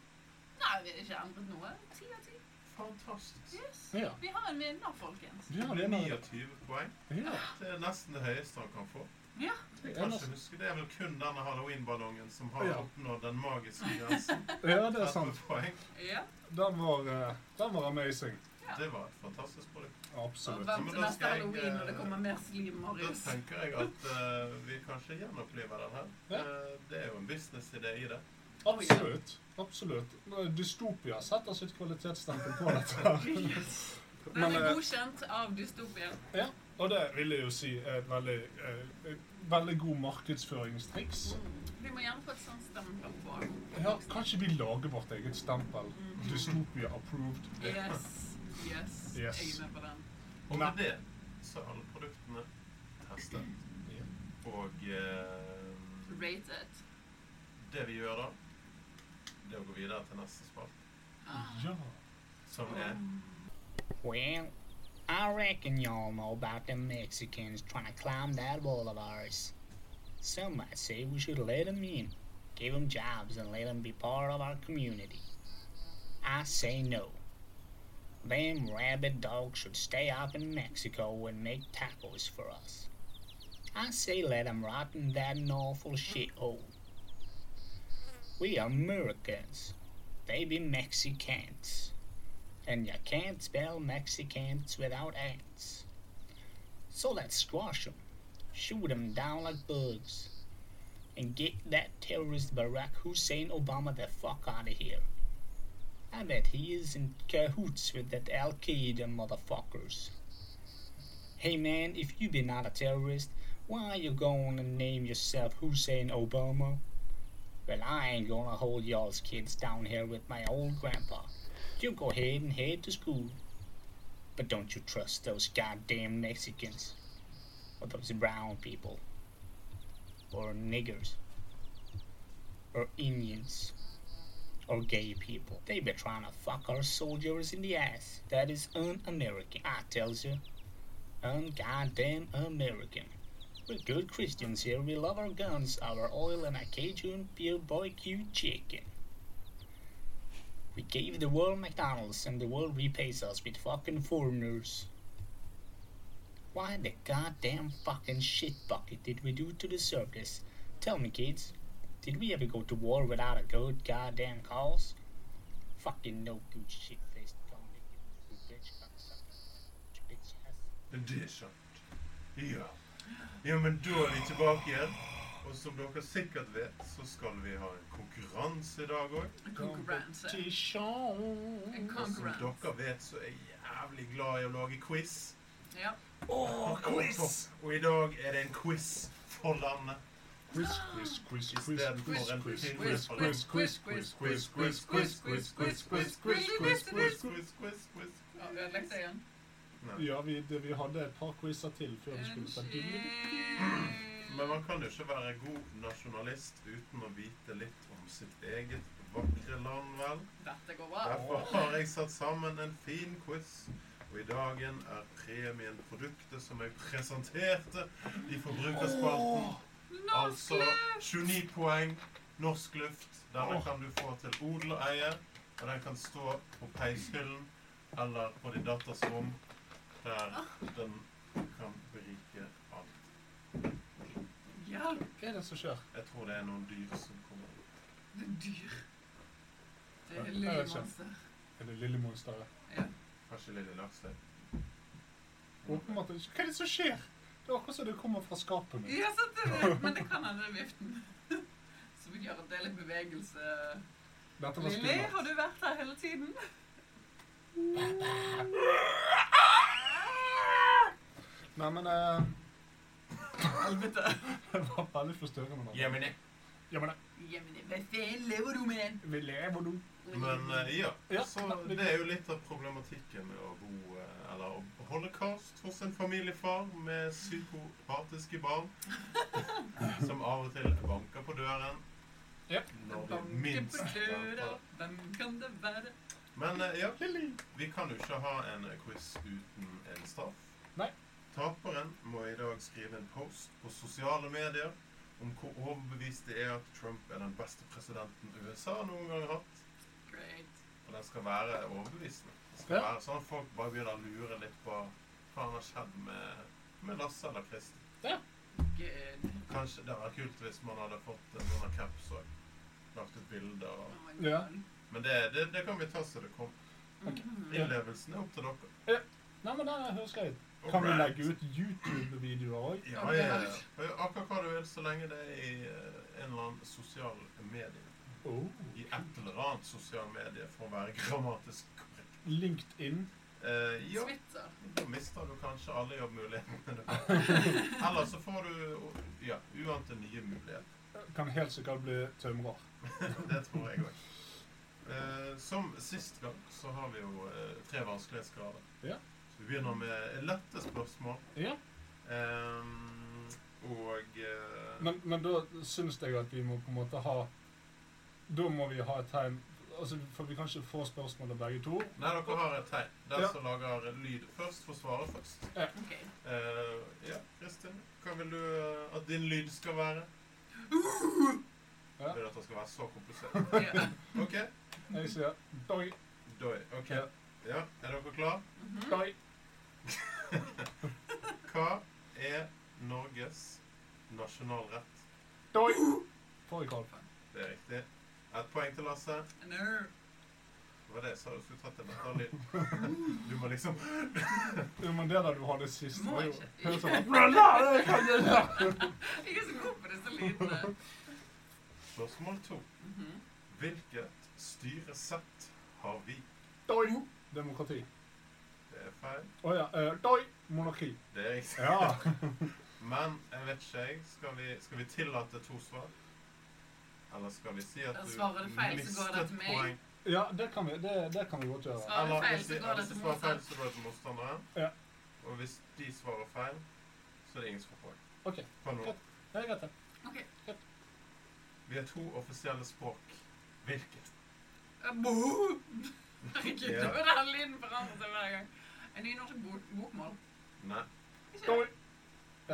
Speaker 8: nei, vi har ikke endret noe. Ti av ti.
Speaker 7: Fantastisk.
Speaker 8: Yes.
Speaker 9: Ja.
Speaker 8: Vi har en vinner, folkens.
Speaker 9: Ja,
Speaker 7: Det er
Speaker 9: det er noe-
Speaker 7: 29 poeng.
Speaker 9: ja.
Speaker 7: Det er nesten det høyeste han kan få.
Speaker 8: Ja.
Speaker 7: Jeg
Speaker 9: Ja,
Speaker 7: kan
Speaker 9: nesten.
Speaker 7: ikke huske, Det er vel kun denne halloweenballongen som har
Speaker 9: Ja.
Speaker 7: oppnådd den magiske grensen.
Speaker 9: ja, det er
Speaker 7: 30
Speaker 9: sant.
Speaker 7: poeng.
Speaker 8: Ja.
Speaker 9: Den var, eh, den var amazing.
Speaker 8: Ja.
Speaker 7: Det var et fantastisk produkt.
Speaker 8: Og
Speaker 9: Absolutt.
Speaker 8: Vent
Speaker 7: Men
Speaker 8: til
Speaker 7: da
Speaker 8: neste
Speaker 7: skal jeg,
Speaker 8: halloween når det
Speaker 7: eh,
Speaker 8: kommer mer slim,
Speaker 7: Da
Speaker 8: Marius.
Speaker 7: tenker jeg at eh, vi kanskje gjenoppliver den her.
Speaker 9: Ja.
Speaker 7: Eh, det er jo en businessidé i det.
Speaker 9: Absolutt. Absolutt. Dystopia setter sitt kvalitetsstempel på dette.
Speaker 8: Yes. Den
Speaker 9: Men,
Speaker 8: er
Speaker 9: eh,
Speaker 8: godkjent av dystopien.
Speaker 9: ja. Og det vil jeg jo si er et veldig, eh, et veldig god markedsføringstriks.
Speaker 8: Vi må gjerne få et sånt stempel på.
Speaker 9: Ja, kanskje vi lager vårt eget stempel. Dystopia approved.
Speaker 8: Yes. Yes.
Speaker 9: Yes.
Speaker 8: Jeg er med på den.
Speaker 7: Og
Speaker 9: Nei.
Speaker 7: med det så er alle produktene testet. Og eh,
Speaker 8: Rated.
Speaker 7: det vi gjør da, det er å gå videre til neste spalt,
Speaker 9: Ja.
Speaker 7: som er
Speaker 6: Well, I reckon y'all know about them Mexicans trying to climb that wall of ours. Some might say we should let 'em in, give 'em jobs, and let 'em be part of our community. I say no. Them rabid dogs should stay up in Mexico and make tacos for us. I say let 'em rot in that awful shithole. We are Americans. They be Mexicans and you can't spell Mexicans without ants. So let's squash 'em, shoot 'em down like bugs, and get that terrorist Barack Hussein Obama the fuck out of here. I bet he is in cahoots with that Al Qaeda motherfuckers. Hey man, if you be not a terrorist, why you gonna name yourself Hussein Obama? Well, I ain't gonna hold y'all's kids down here with my old grandpa. You go ahead and head to school. But don't you trust those goddamn Mexicans. Or those brown people. Or niggers. Or Indians. Or gay people. They be trying to fuck our soldiers in the ass. That is un American, I tells you. Un goddamn American. We're good Christians here. We love our guns, our oil, and our Cajun beer barbecue chicken. We gave the world McDonald's and the world repays us with fucking foreigners. Why the goddamn fucking shit bucket did we do to deserve this? Tell me, kids, did we ever go to war without a good goddamn cause? Fucking no good shit faced comic. You bitch cocksucker. You bitch ass.
Speaker 7: Det er sant. Ja. Ja, men da er vi tilbake igjen. Og som dere sikkert vet, så skal vi ha en konkurranse i dag òg.
Speaker 8: En konkurranse. En
Speaker 7: Og som
Speaker 8: konkurranse.
Speaker 7: dere vet, så er jeg jævlig glad i å lage quiz.
Speaker 8: Ja.
Speaker 7: Og i dag er det en quiz for landet.
Speaker 9: Quiz, quiz, quiz, quiz, quiz,
Speaker 7: Istedenfor en
Speaker 9: quiz,
Speaker 7: film.
Speaker 9: quiz, quiz, quiz, quiz, quiz, quiz, quiz, quiz, quiz, quiz, quiz, quiz,
Speaker 7: Quiz,
Speaker 9: quiz.
Speaker 7: quiz, quiz, quiz.
Speaker 8: Ja, Ødelagte jeg den?
Speaker 9: Ja, vi, det, vi hadde et par quizer til før vi skulle ta de.
Speaker 7: Men
Speaker 8: Unnskyld.
Speaker 7: man kan jo ikke være god nasjonalist uten å vite litt om sitt eget vakre land, vel?
Speaker 8: Dette går bra.
Speaker 7: Derfor har jeg satt sammen en fin quiz. Og i dagen er premien produktet som jeg presenterte i forbrukerspalten. Altså 29 poeng norsk luft. Denne kan du få til odel og eie. Og den kan stå på peishyllen eller på din datters rom, der den kan berike alt.
Speaker 8: Ja,
Speaker 9: Hva er det som skjer?
Speaker 7: Jeg tror det er noen dyr som kommer opp.
Speaker 8: det er dyr. Det
Speaker 9: Ja,
Speaker 8: er
Speaker 9: jeg
Speaker 8: lille
Speaker 9: vet ikke.
Speaker 8: monster.
Speaker 9: Er det lille monsteret?
Speaker 7: Kanskje lille laks der.
Speaker 9: Åpenbart ikke. Hva er det som skjer? Det er akkurat som det kommer fra skapet mitt.
Speaker 8: Ja, sant det er det. Men det kan hende det er viften. Som gjør at det er litt bevegelse.
Speaker 9: Dette var
Speaker 8: Lilly,
Speaker 9: skummelt.
Speaker 8: har du vært her hele tiden?
Speaker 9: Nei, men eh,
Speaker 7: Helvete.
Speaker 9: Det var veldig forstørrende. navn.
Speaker 7: Jemini.
Speaker 9: Ja, men
Speaker 8: Ja, men hva faen lever du med den?
Speaker 9: det- vi lever nå.
Speaker 7: Men eh, ja,
Speaker 9: Ja,
Speaker 7: så
Speaker 9: men-
Speaker 7: det er jo litt av problematikken med å bo eh, eller å holocaust hos en familiefar med psykopatiske barn som av og til banker på døren
Speaker 9: Yep.
Speaker 7: når de
Speaker 8: Banke
Speaker 7: minst
Speaker 8: på
Speaker 7: venter
Speaker 8: døra,
Speaker 7: det.
Speaker 8: hvem kan det være?
Speaker 7: Men eh, ja, vi kan jo ikke ha en eh, quiz uten en straff.
Speaker 9: Nei.
Speaker 7: Taperen må i dag skrive en post på sosiale medier om hvor overbevist det er at Trump er den beste presidenten USA noen gang har hatt.
Speaker 8: Great.
Speaker 7: Og den skal være overbevisende. Den skal
Speaker 9: Ja.
Speaker 7: være sånn at folk bare begynner å lure litt på hva han har skjedd med, med Lasse eller Kristin.
Speaker 8: Good.
Speaker 7: Kanskje det var kult hvis man hadde fått en sånn caps og lagt ut bilder.
Speaker 8: Oh
Speaker 7: Og.
Speaker 8: my god.
Speaker 9: Ja.
Speaker 7: Men det, det, det kan vi ta så det kommer.
Speaker 9: Ok.
Speaker 7: Innlevelsen er opp til dere.
Speaker 9: Nei, men eh, det høres greit Kan vi
Speaker 7: Alright.
Speaker 9: legge ut YouTube-videoer òg?
Speaker 7: Ja, ja, ja. Gjør Akkurat hva du vil, så lenge det er i eh, en eller annen sosial medie.
Speaker 9: Oh.
Speaker 7: I et eller annet sosial medie, for å være grammatisk korrekt.
Speaker 9: LinkedIn.
Speaker 7: Eh, ja.
Speaker 8: Twitter.
Speaker 7: Da mister du kanskje alle jobbmulighetene du har. Eller så får du ja, uante nye muligheter.
Speaker 9: Kan helt sikkert bli tømrer.
Speaker 7: Det tror jeg òg. Eh, som sist gang så har vi jo eh, tre vanskelighetsgrader.
Speaker 9: Ja.
Speaker 7: Så vi begynner med lette spørsmål.
Speaker 9: Ja.
Speaker 7: Ehm, og eh,
Speaker 9: Men, men da syns jeg at vi må på en måte ha Da må vi ha et tegn altså, For vi kan ikke få spørsmålet begge to.
Speaker 7: Nei, dere har et tegn. Den
Speaker 9: Ja.
Speaker 7: som lager lyd først, får svare først.
Speaker 8: Ok.
Speaker 7: Eh, ja, Kristin, hva vil du eh, at din lyd skal være?
Speaker 9: Ja.
Speaker 7: Vil du at det skal være så komplisert?
Speaker 8: Ja.
Speaker 7: OK.
Speaker 9: Jeg sier doi,
Speaker 7: Doi. OK.
Speaker 9: Ja.
Speaker 7: Ja, er dere klar?
Speaker 8: Mhm.
Speaker 9: doi.
Speaker 7: Hva er Norges nasjonalrett?
Speaker 9: Doi! Fårikål.
Speaker 7: Det er riktig. Et poeng til Lasse.
Speaker 8: Nerd.
Speaker 7: Det var det jeg sa du skulle tatt en detalj. Du må liksom
Speaker 9: Ja, men det der du hadde sist
Speaker 8: Må
Speaker 9: var jo
Speaker 8: ikke.
Speaker 9: helt sånn «Blablabla, det kan jeg gjøre!»
Speaker 8: Jeg er så god på disse lydene.
Speaker 7: Spørsmål to.
Speaker 8: Mhm.
Speaker 7: Hvilket styresett har vi?
Speaker 9: Doi! Demokrati.
Speaker 7: Det er feil.
Speaker 9: Å ja. eh, doi! Monarki.
Speaker 7: Det er riktig.
Speaker 9: Ja.
Speaker 7: Men jeg vet ikke, jeg. Skal vi, skal vi tillate to svar? Eller skal vi si at
Speaker 8: Da
Speaker 7: du
Speaker 8: svarer du feil, så
Speaker 7: mistet
Speaker 8: går det til meg.
Speaker 7: poeng?
Speaker 9: ja det, kan vi, det, det kan vi godt gjøre.
Speaker 8: Svarer du
Speaker 7: Eller
Speaker 8: feil,
Speaker 7: hvis
Speaker 8: så
Speaker 7: de,
Speaker 8: går det
Speaker 7: hvis de
Speaker 8: til
Speaker 7: svarer feil,
Speaker 8: motstand.
Speaker 7: så går det til motstanderen.
Speaker 9: Ja.
Speaker 7: Og hvis de svarer feil, så er det ingen som får poeng.
Speaker 9: OK.
Speaker 7: Fra nå.
Speaker 9: Greit. Det er greit, det.
Speaker 8: Ok.
Speaker 7: Vi har to offisielle språk. Hvilket?
Speaker 8: Bo! Herregud,
Speaker 7: Ja.
Speaker 8: da var det all lyden forandret seg hver gang. En ny norsk bok bokmål.
Speaker 7: Nei.
Speaker 8: Ikke
Speaker 9: Doi!
Speaker 8: det?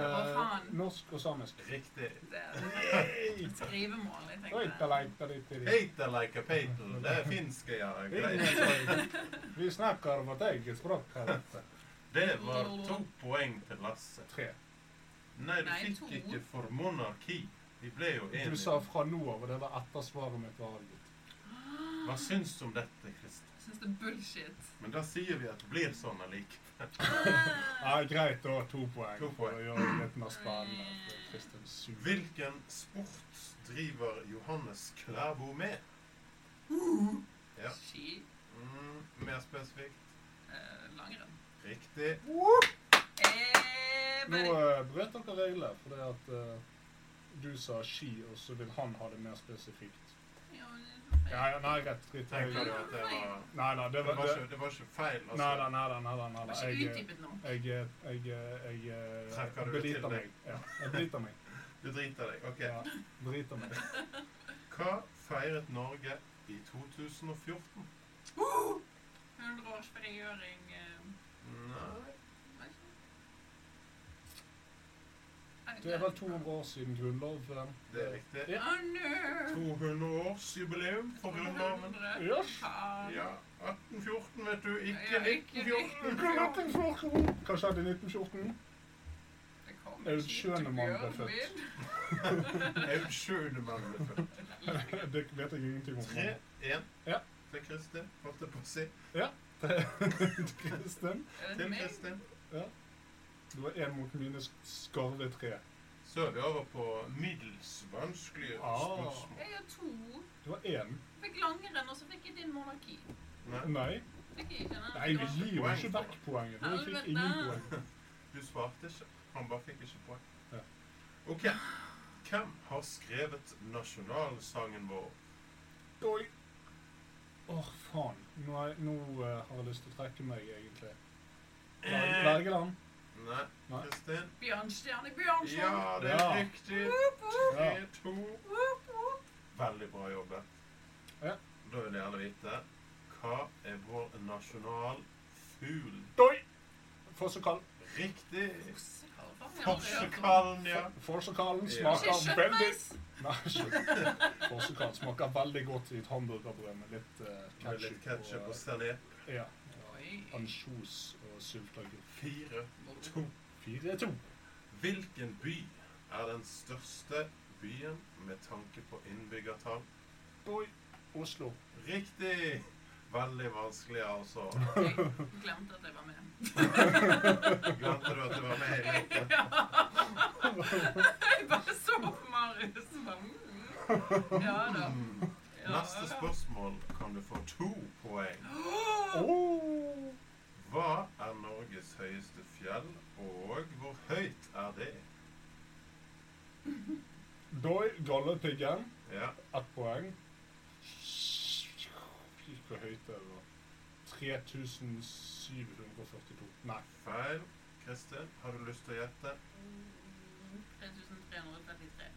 Speaker 8: Å,
Speaker 9: Eh,
Speaker 8: faen.
Speaker 9: norsk og samisk.
Speaker 7: Riktig.
Speaker 8: Det
Speaker 9: Hey!
Speaker 8: er skrivemål, jeg
Speaker 9: Oi, da
Speaker 8: tenkte.
Speaker 9: leiter de til de.
Speaker 7: Peter like a peitel. Det er finsk, ja. Greit.
Speaker 9: Vi snakker vårt eget språk her oppe.
Speaker 7: Det var to poeng til Lasse.
Speaker 9: Tre.
Speaker 7: Nei, du
Speaker 8: Nei, to.
Speaker 7: fikk ikke for monarki. Vi ble jo enige.
Speaker 9: Du sa fra nå av, og det var etter svaret mitt var avgitt.
Speaker 7: Hva syns du om dette, Kristin?
Speaker 8: Synes det er bullshit.
Speaker 7: Men da sier vi at det blir sånn allikevel.
Speaker 9: Ja, greit, da. To poeng.
Speaker 7: To
Speaker 9: For
Speaker 7: poeng.
Speaker 9: å gjøre det litt mer spennende. for Kristin suger.
Speaker 7: Hvilken sport driver Johannes Klæbo med?
Speaker 9: Uh.
Speaker 7: Ja.
Speaker 8: Ski.
Speaker 7: Mm, mer spesifikt.
Speaker 8: eh, Langrenn.
Speaker 7: Riktig.
Speaker 9: Uh.
Speaker 8: Eh,
Speaker 9: Nå
Speaker 8: bare-
Speaker 9: eh, brøt dere reglene, fordi at eh, du sa ski, og så vil han ha det mer spesifikt.
Speaker 8: Ja, men- sånn.
Speaker 9: Ja, ja, nei, greit. Drit i
Speaker 7: Tenk
Speaker 9: det.
Speaker 7: deg at det var
Speaker 9: Nei da, det
Speaker 7: Det
Speaker 9: var
Speaker 7: var
Speaker 9: det.
Speaker 7: ikke, det var ikke feil.
Speaker 9: Nei da,
Speaker 7: Altså.
Speaker 9: nei da. nei da, nei
Speaker 8: Det
Speaker 9: da.
Speaker 8: var ikke
Speaker 9: Jeg,
Speaker 8: utdypet nå.
Speaker 9: eh, jeg, eh, jeg, eh, jeg, eh,
Speaker 7: Trekker du det til deg?
Speaker 9: beliter meg. Ja, jeg beliter meg.
Speaker 7: Du driter deg.
Speaker 9: Ja,
Speaker 7: Ok.
Speaker 9: beliter meg.
Speaker 7: Hva feiret Norge i 2014?
Speaker 8: 100 års frigjøring. eh,
Speaker 7: Nei
Speaker 8: vet ikke. Jeg vet
Speaker 9: Det er
Speaker 8: ikke.
Speaker 9: vel 200 år siden eh. grunnloven.
Speaker 7: Det er riktig.
Speaker 9: Ja.
Speaker 8: Å, nerd.
Speaker 7: 200-årsjubileum for Grunnloven.
Speaker 8: 200.
Speaker 9: Yes.
Speaker 8: Faen.
Speaker 7: Ja. 1814, vet du. Ikke
Speaker 8: Ja, ikke
Speaker 7: 1914.
Speaker 9: Hva skjedde i 1914? Hva skjedde i 1914?
Speaker 8: Det kom
Speaker 9: Det er jo
Speaker 8: skip
Speaker 9: skjønne
Speaker 8: til
Speaker 9: mann ble
Speaker 8: Bjørnvin.
Speaker 9: født.
Speaker 7: Aud Schønemann ble født.
Speaker 9: Det vet jeg ingenting om.
Speaker 7: 3, 1
Speaker 9: Ja.
Speaker 7: til Kristin, holdt jeg på å si.
Speaker 9: Kristin,
Speaker 8: Er det
Speaker 7: Til
Speaker 8: meg?
Speaker 7: Kristin.
Speaker 9: du var én mot mine skarve tre.
Speaker 7: Så er vi over på middels vanskelige
Speaker 9: Ah.
Speaker 7: spørsmål.
Speaker 8: Jeg har to.
Speaker 9: Du var én.
Speaker 8: Fikk langrenn, og så fikk jeg din monarki.
Speaker 7: Nei,
Speaker 9: Nei.
Speaker 8: Fikk jeg ikke den?
Speaker 9: Nei, vi gir jo ikke vekk poenget. Du fikk ingen poeng.
Speaker 7: du svarte ikke. Han bare fikk ikke poeng.
Speaker 9: Ja.
Speaker 7: OK. Hvem har skrevet nasjonalsangen vår?
Speaker 9: Dårlig. Åh, faen. Nå, er, nå eh, har jeg lyst til å trekke meg, egentlig.
Speaker 7: Eh.
Speaker 9: Berg- Bergeland.
Speaker 7: Nei.
Speaker 9: Nei.
Speaker 7: Kristin?
Speaker 8: Bjørnstjerne Bjørnson.
Speaker 7: Ja, det er
Speaker 9: Ja.
Speaker 7: riktig.
Speaker 8: Woop, woop,
Speaker 9: Ja.
Speaker 7: Tre, to.
Speaker 8: woop, woop.
Speaker 7: Veldig bra jobbet.
Speaker 9: Ja.
Speaker 7: Da vil jeg gjerne vite hva er vår nasjonalfugl?
Speaker 9: Doi! Fossekall.
Speaker 7: Riktig!
Speaker 8: Fossekalven, ja, det er jo-
Speaker 7: Forskallen, ja.
Speaker 9: Fossekallen
Speaker 7: Ja.
Speaker 9: smaker
Speaker 8: Ikke
Speaker 9: veldig
Speaker 8: kjøttmeis.
Speaker 9: Nei, ikke- Fossekall smaker veldig godt i et hamburgerbrød med litt eh,
Speaker 7: Med litt ketchup
Speaker 9: ketchup
Speaker 7: og sennep.
Speaker 9: og ja,
Speaker 8: Oi.
Speaker 9: ansjos og sylteagurk.
Speaker 7: Fire, to.
Speaker 9: Fire to.
Speaker 7: Hvilken by er den største byen med tanke på innbyggertall?
Speaker 9: Doi. Oslo.
Speaker 7: Riktig! Veldig vanskelig, altså.
Speaker 8: Jeg glemte at jeg var med.
Speaker 7: Glemte du at du var med i dette?
Speaker 8: Ja. Jeg bare så på Marius og bare mm. Ja da.
Speaker 7: Mm.
Speaker 8: Ja,
Speaker 7: Neste
Speaker 8: ja.
Speaker 7: spørsmål kan du få to poeng.
Speaker 8: Ah.
Speaker 9: Oh.
Speaker 7: Hva er Norges høyeste fjell, og hvor høyt er det?
Speaker 9: Doi. Gallepiggen.
Speaker 7: Ja,
Speaker 9: Ett poeng. Hvor høyt er det da? 3742. Nei.
Speaker 7: feil. Kristin, har du lyst til å gjette?
Speaker 8: 3333.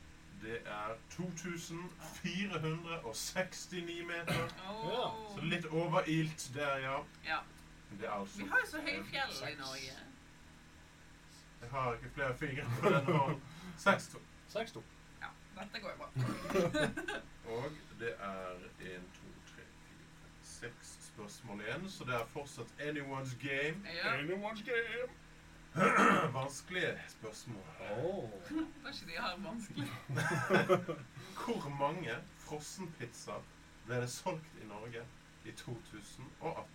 Speaker 7: Det er 2469 meter.
Speaker 8: Åh.
Speaker 7: Så litt overilt der, ja.
Speaker 8: Ja.
Speaker 7: Men Det er altså
Speaker 8: Vi har jo så høye fjell i Norge.
Speaker 7: Jeg har ikke flere fingre på den hånden. 6-2.
Speaker 9: 6-2.
Speaker 8: Ja, dette går jo bra.
Speaker 7: Og det er 1, 2, 3, 4, 6 spørsmål igjen, så det er fortsatt anyone's game.
Speaker 8: Ja,
Speaker 9: Anyone's game.
Speaker 7: Vanskelige spørsmål.
Speaker 9: Oh.
Speaker 8: var ikke de her vanskelig?
Speaker 7: Hvor mange frossenpizzaer ble det solgt i Norge i 2018?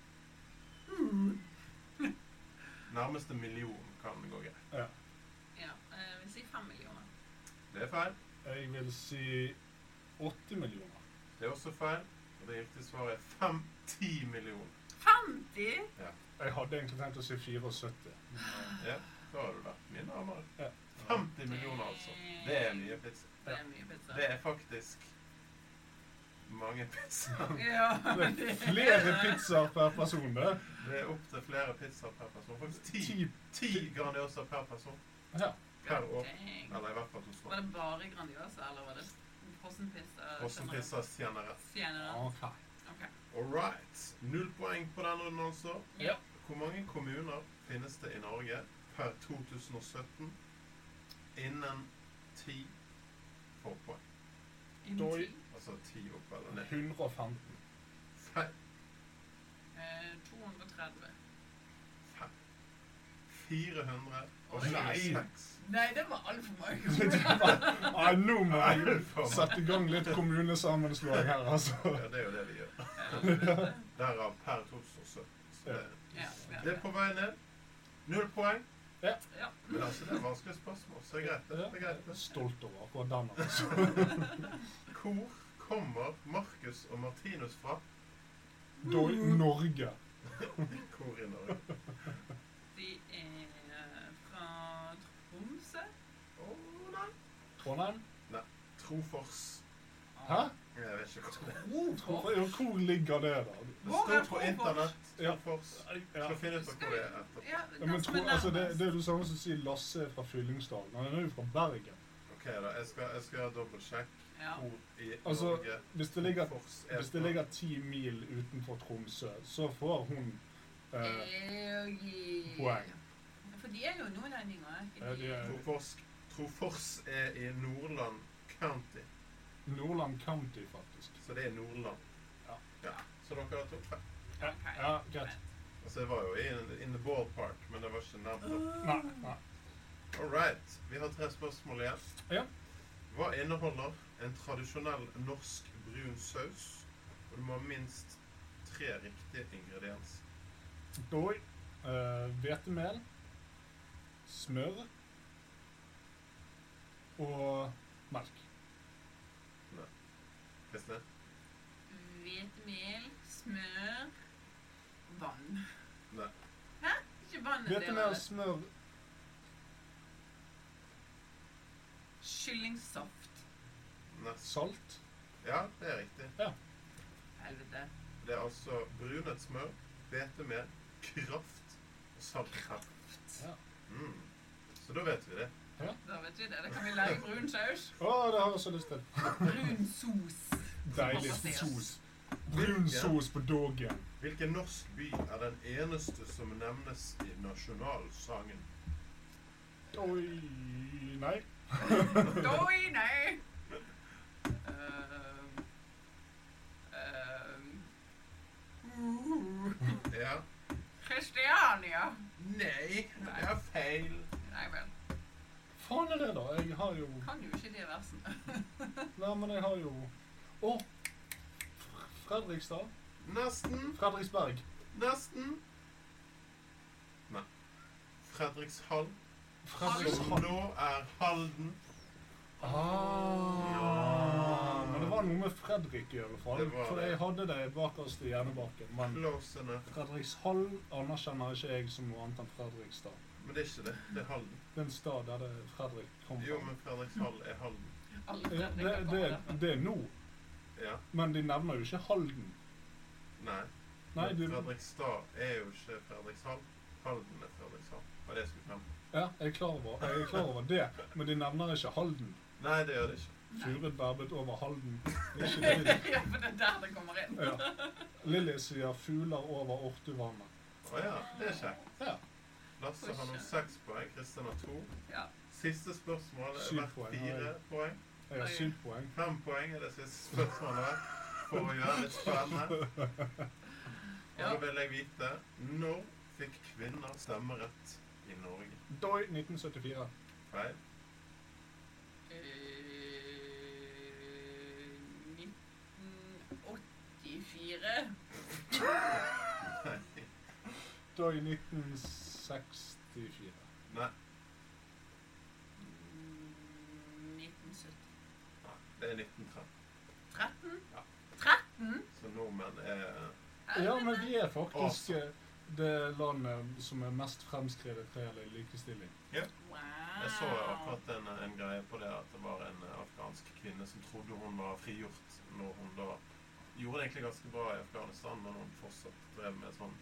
Speaker 8: Mm.
Speaker 7: Nærmeste million kan gå greit.
Speaker 8: Ja, eh, jeg vil si 5 millioner.
Speaker 7: Det er feil.
Speaker 9: Jeg vil si 80 millioner.
Speaker 7: Det er også feil. Og det riktige svaret er 5-10 millioner.
Speaker 8: 50?
Speaker 9: Jeg hadde egentlig tenkt å si 74.
Speaker 7: Ja, da har du vært mye nærmere.
Speaker 9: Ja.
Speaker 7: 50 millioner, altså. Det er mye pizza.
Speaker 8: Det er mye pizza.
Speaker 7: Det er faktisk mange pizzaer.
Speaker 8: Ja,
Speaker 9: Det er flere pizzaer per person, det.
Speaker 7: Det er opptil flere pizzaer per person. Faktisk ti,
Speaker 9: Ti.
Speaker 7: ti Grandiosa per person.
Speaker 9: Ja.
Speaker 7: Per år.
Speaker 8: Dang.
Speaker 7: Eller i hvert fall to
Speaker 8: Var
Speaker 7: små.
Speaker 8: det bare Grandiosa, eller var det frossenpizza?
Speaker 7: Frossenpizza generelt.
Speaker 8: Senere.
Speaker 9: Ok.
Speaker 8: Ok.
Speaker 7: All right. Null poeng på den runden, altså.
Speaker 8: Ja.
Speaker 7: Hvor mange kommuner finnes det i Norge per 2017 innen ti får poeng?
Speaker 8: Innen
Speaker 9: Doi.
Speaker 8: ti.
Speaker 7: Altså ti opp eller ned.
Speaker 9: 115.
Speaker 7: Feil.
Speaker 8: Eh, 230.
Speaker 7: 426.
Speaker 8: Nei, det var altfor mange.
Speaker 9: Nei, nå må vi
Speaker 7: Altfor mange.
Speaker 9: sette i gang litt kommunesammenslåing her, altså.
Speaker 7: Ja, det er jo det vi gjør.
Speaker 8: Helvete.
Speaker 7: Derav per 2017. Så det,
Speaker 8: Ja, ja,
Speaker 7: det er på vei ned. Null poeng.
Speaker 8: ja.
Speaker 7: Men altså, det er vanskelige spørsmål, så det er greit. Det er greit. det.
Speaker 9: Stolt over akkurat den, altså.
Speaker 7: Hvor kommer Markus og Martinus fra?
Speaker 9: Doi Norge.
Speaker 7: Hvor i Norge?
Speaker 8: De er fra Tromsø.
Speaker 7: Å, nei.
Speaker 9: Trondheim?
Speaker 7: Trofors.
Speaker 9: Hæ?
Speaker 7: Jeg vet ikke hvor det er.
Speaker 9: Hvor, ja, hvor ligger det, da?
Speaker 7: Det står på internett.
Speaker 9: Ja.
Speaker 7: Trofors.
Speaker 9: Ja.
Speaker 7: Skal finne ut av hvor det er etterpå.
Speaker 8: Ja,
Speaker 9: Ja, men
Speaker 8: den
Speaker 9: tro,
Speaker 8: som er
Speaker 9: altså, det,
Speaker 8: nærmest.
Speaker 9: det er det samme som å si Lasse er fra Fyllingsdalen. Han er jo fra Bergen.
Speaker 7: Ok, da. Jeg skal, jeg skal dobbeltsjekke
Speaker 8: Ja.
Speaker 7: hvor i
Speaker 9: Altså,
Speaker 7: Norge
Speaker 9: Hvis det ligger,
Speaker 7: Trofors er
Speaker 9: hvis det
Speaker 7: fra.
Speaker 9: ligger ti mil utenfor Tromsø, så får hun eh,
Speaker 8: Eh,
Speaker 9: poeng.
Speaker 8: For de er jo nordlendinger. er ikke
Speaker 9: Ja, de er-
Speaker 7: Trofors, Trofors er i Nordland County.
Speaker 9: Nordland County, faktisk.
Speaker 7: Så det er Nordland.
Speaker 9: Ja.
Speaker 7: Så dere har tok feil.
Speaker 9: Ja, ja greit.
Speaker 7: Altså, jeg var jo in, in the ballpark, men det var ikke nærmt opp.
Speaker 9: Nei, nei.
Speaker 7: All right. Vi har tre spørsmål igjen.
Speaker 9: Ja.
Speaker 7: Hva inneholder en tradisjonell norsk brun saus? Og du må ha minst tre riktige ingredienser.
Speaker 9: Doi. eh, Hvetemel. Smør. Og melk.
Speaker 7: Kristine?
Speaker 8: Hvetemel, smør, vann.
Speaker 7: Nei.
Speaker 8: Hæ? Ikke vann en del
Speaker 9: Hvetemel,
Speaker 8: av det?
Speaker 9: smør
Speaker 8: Kyllingsaft.
Speaker 7: Nei.
Speaker 9: Salt.
Speaker 7: Ja, det er riktig.
Speaker 8: Helvete.
Speaker 7: Det er altså brunet smør, hvetemel, kraft og saltkraft.
Speaker 9: Ja.
Speaker 7: Mm. Så da vet vi det.
Speaker 8: Da vet vi det. Da kan vi lage brun saus.
Speaker 9: Å, det har jeg så lyst til.
Speaker 8: Brun sos.
Speaker 9: Deilig sos. Brun sos på dogen.
Speaker 7: Hvilken norsk by er den eneste som nevnes i nasjonalsangen?
Speaker 9: Oi Nei.
Speaker 8: Doi, nei. Ehm, ehm, uh,
Speaker 7: Ja.
Speaker 8: Kristiania.
Speaker 7: Nei, det er feil.
Speaker 8: Nei vel.
Speaker 9: Faen er det, da? Jeg har jo
Speaker 8: Kan jo ikke de versene.
Speaker 9: Nei, men jeg har jo Å! F- Fredrikstad?
Speaker 7: Nesten,
Speaker 9: Fredriksberg.
Speaker 7: nesten. Nei. Fredrikshall, som
Speaker 9: Fredrikshall.
Speaker 7: nå er Halden.
Speaker 9: Ah. Men det var noe med Fredrik, i alle fall.
Speaker 7: Det var
Speaker 9: For
Speaker 7: det.
Speaker 9: jeg hadde det bakerst i hjernebarken. Men
Speaker 7: Close enough.
Speaker 9: Fredrikshall anerkjenner ikke jeg som noe annet enn Fredrikstad.
Speaker 7: Men det er ikke det. Det er Halden.
Speaker 9: Det er en stad der det Fredrik kom
Speaker 7: Jo,
Speaker 9: fra.
Speaker 7: men Fredrikshall er Halden.
Speaker 8: Alle
Speaker 9: Ja,
Speaker 8: Fredrik
Speaker 9: det,
Speaker 8: har
Speaker 9: det,
Speaker 8: kommet derfra.
Speaker 9: det er nå,
Speaker 7: Ja.
Speaker 9: men de nevner jo ikke Halden.
Speaker 7: Nei.
Speaker 9: Nei,
Speaker 7: Men
Speaker 9: du,
Speaker 7: Fredrikstad er jo ikke Fredrikshall. Halden er Fredrikshall. Var det jeg skulle frem?
Speaker 9: ja, jeg er klar over, jeg er klar over det, men de nevner ikke Halden.
Speaker 7: Nei, det gjør det ikke.
Speaker 9: Furet verbet over Halden. Det er ikke det.
Speaker 8: Ja, for det er der det kommer inn.
Speaker 9: Ja. Lilly sier 'fugler over Ortuvannet'.
Speaker 7: Å ja, det er kjekt.
Speaker 9: Ja.
Speaker 7: Lasse har nå seks poeng, Kristian har to.
Speaker 8: Ja.
Speaker 7: Siste spørsmål er
Speaker 9: Syv
Speaker 7: verdt
Speaker 9: poeng,
Speaker 7: fire
Speaker 9: oi.
Speaker 7: poeng.
Speaker 9: Jeg har
Speaker 8: Oi.
Speaker 9: syv poeng.
Speaker 7: Fem poeng er det siste spørsmålet for å gjøre det litt spennende. Og
Speaker 8: Ja.
Speaker 7: da vil jeg vite når fikk kvinner stemmerett i Norge?
Speaker 9: Doi 1974.
Speaker 7: Feil?
Speaker 8: Eh, 1984.
Speaker 7: Nei.
Speaker 9: Doi 1964.
Speaker 7: Nei.
Speaker 8: Mm, 1913.
Speaker 7: Nei, Det er 1913. Ja.
Speaker 8: 13?
Speaker 7: Så nordmenn er
Speaker 9: Ja, men vi er faktisk
Speaker 7: Awesome.
Speaker 9: eh, det landet som er mest fremskredet når det gjelder likestilling.
Speaker 8: Wow.
Speaker 7: Jeg så akkurat en, en greie på det at det var en eh, afghansk kvinne som trodde hun var frigjort når hun da gjorde det egentlig ganske bra i Afghanistan, men hun fortsatt drev med sånn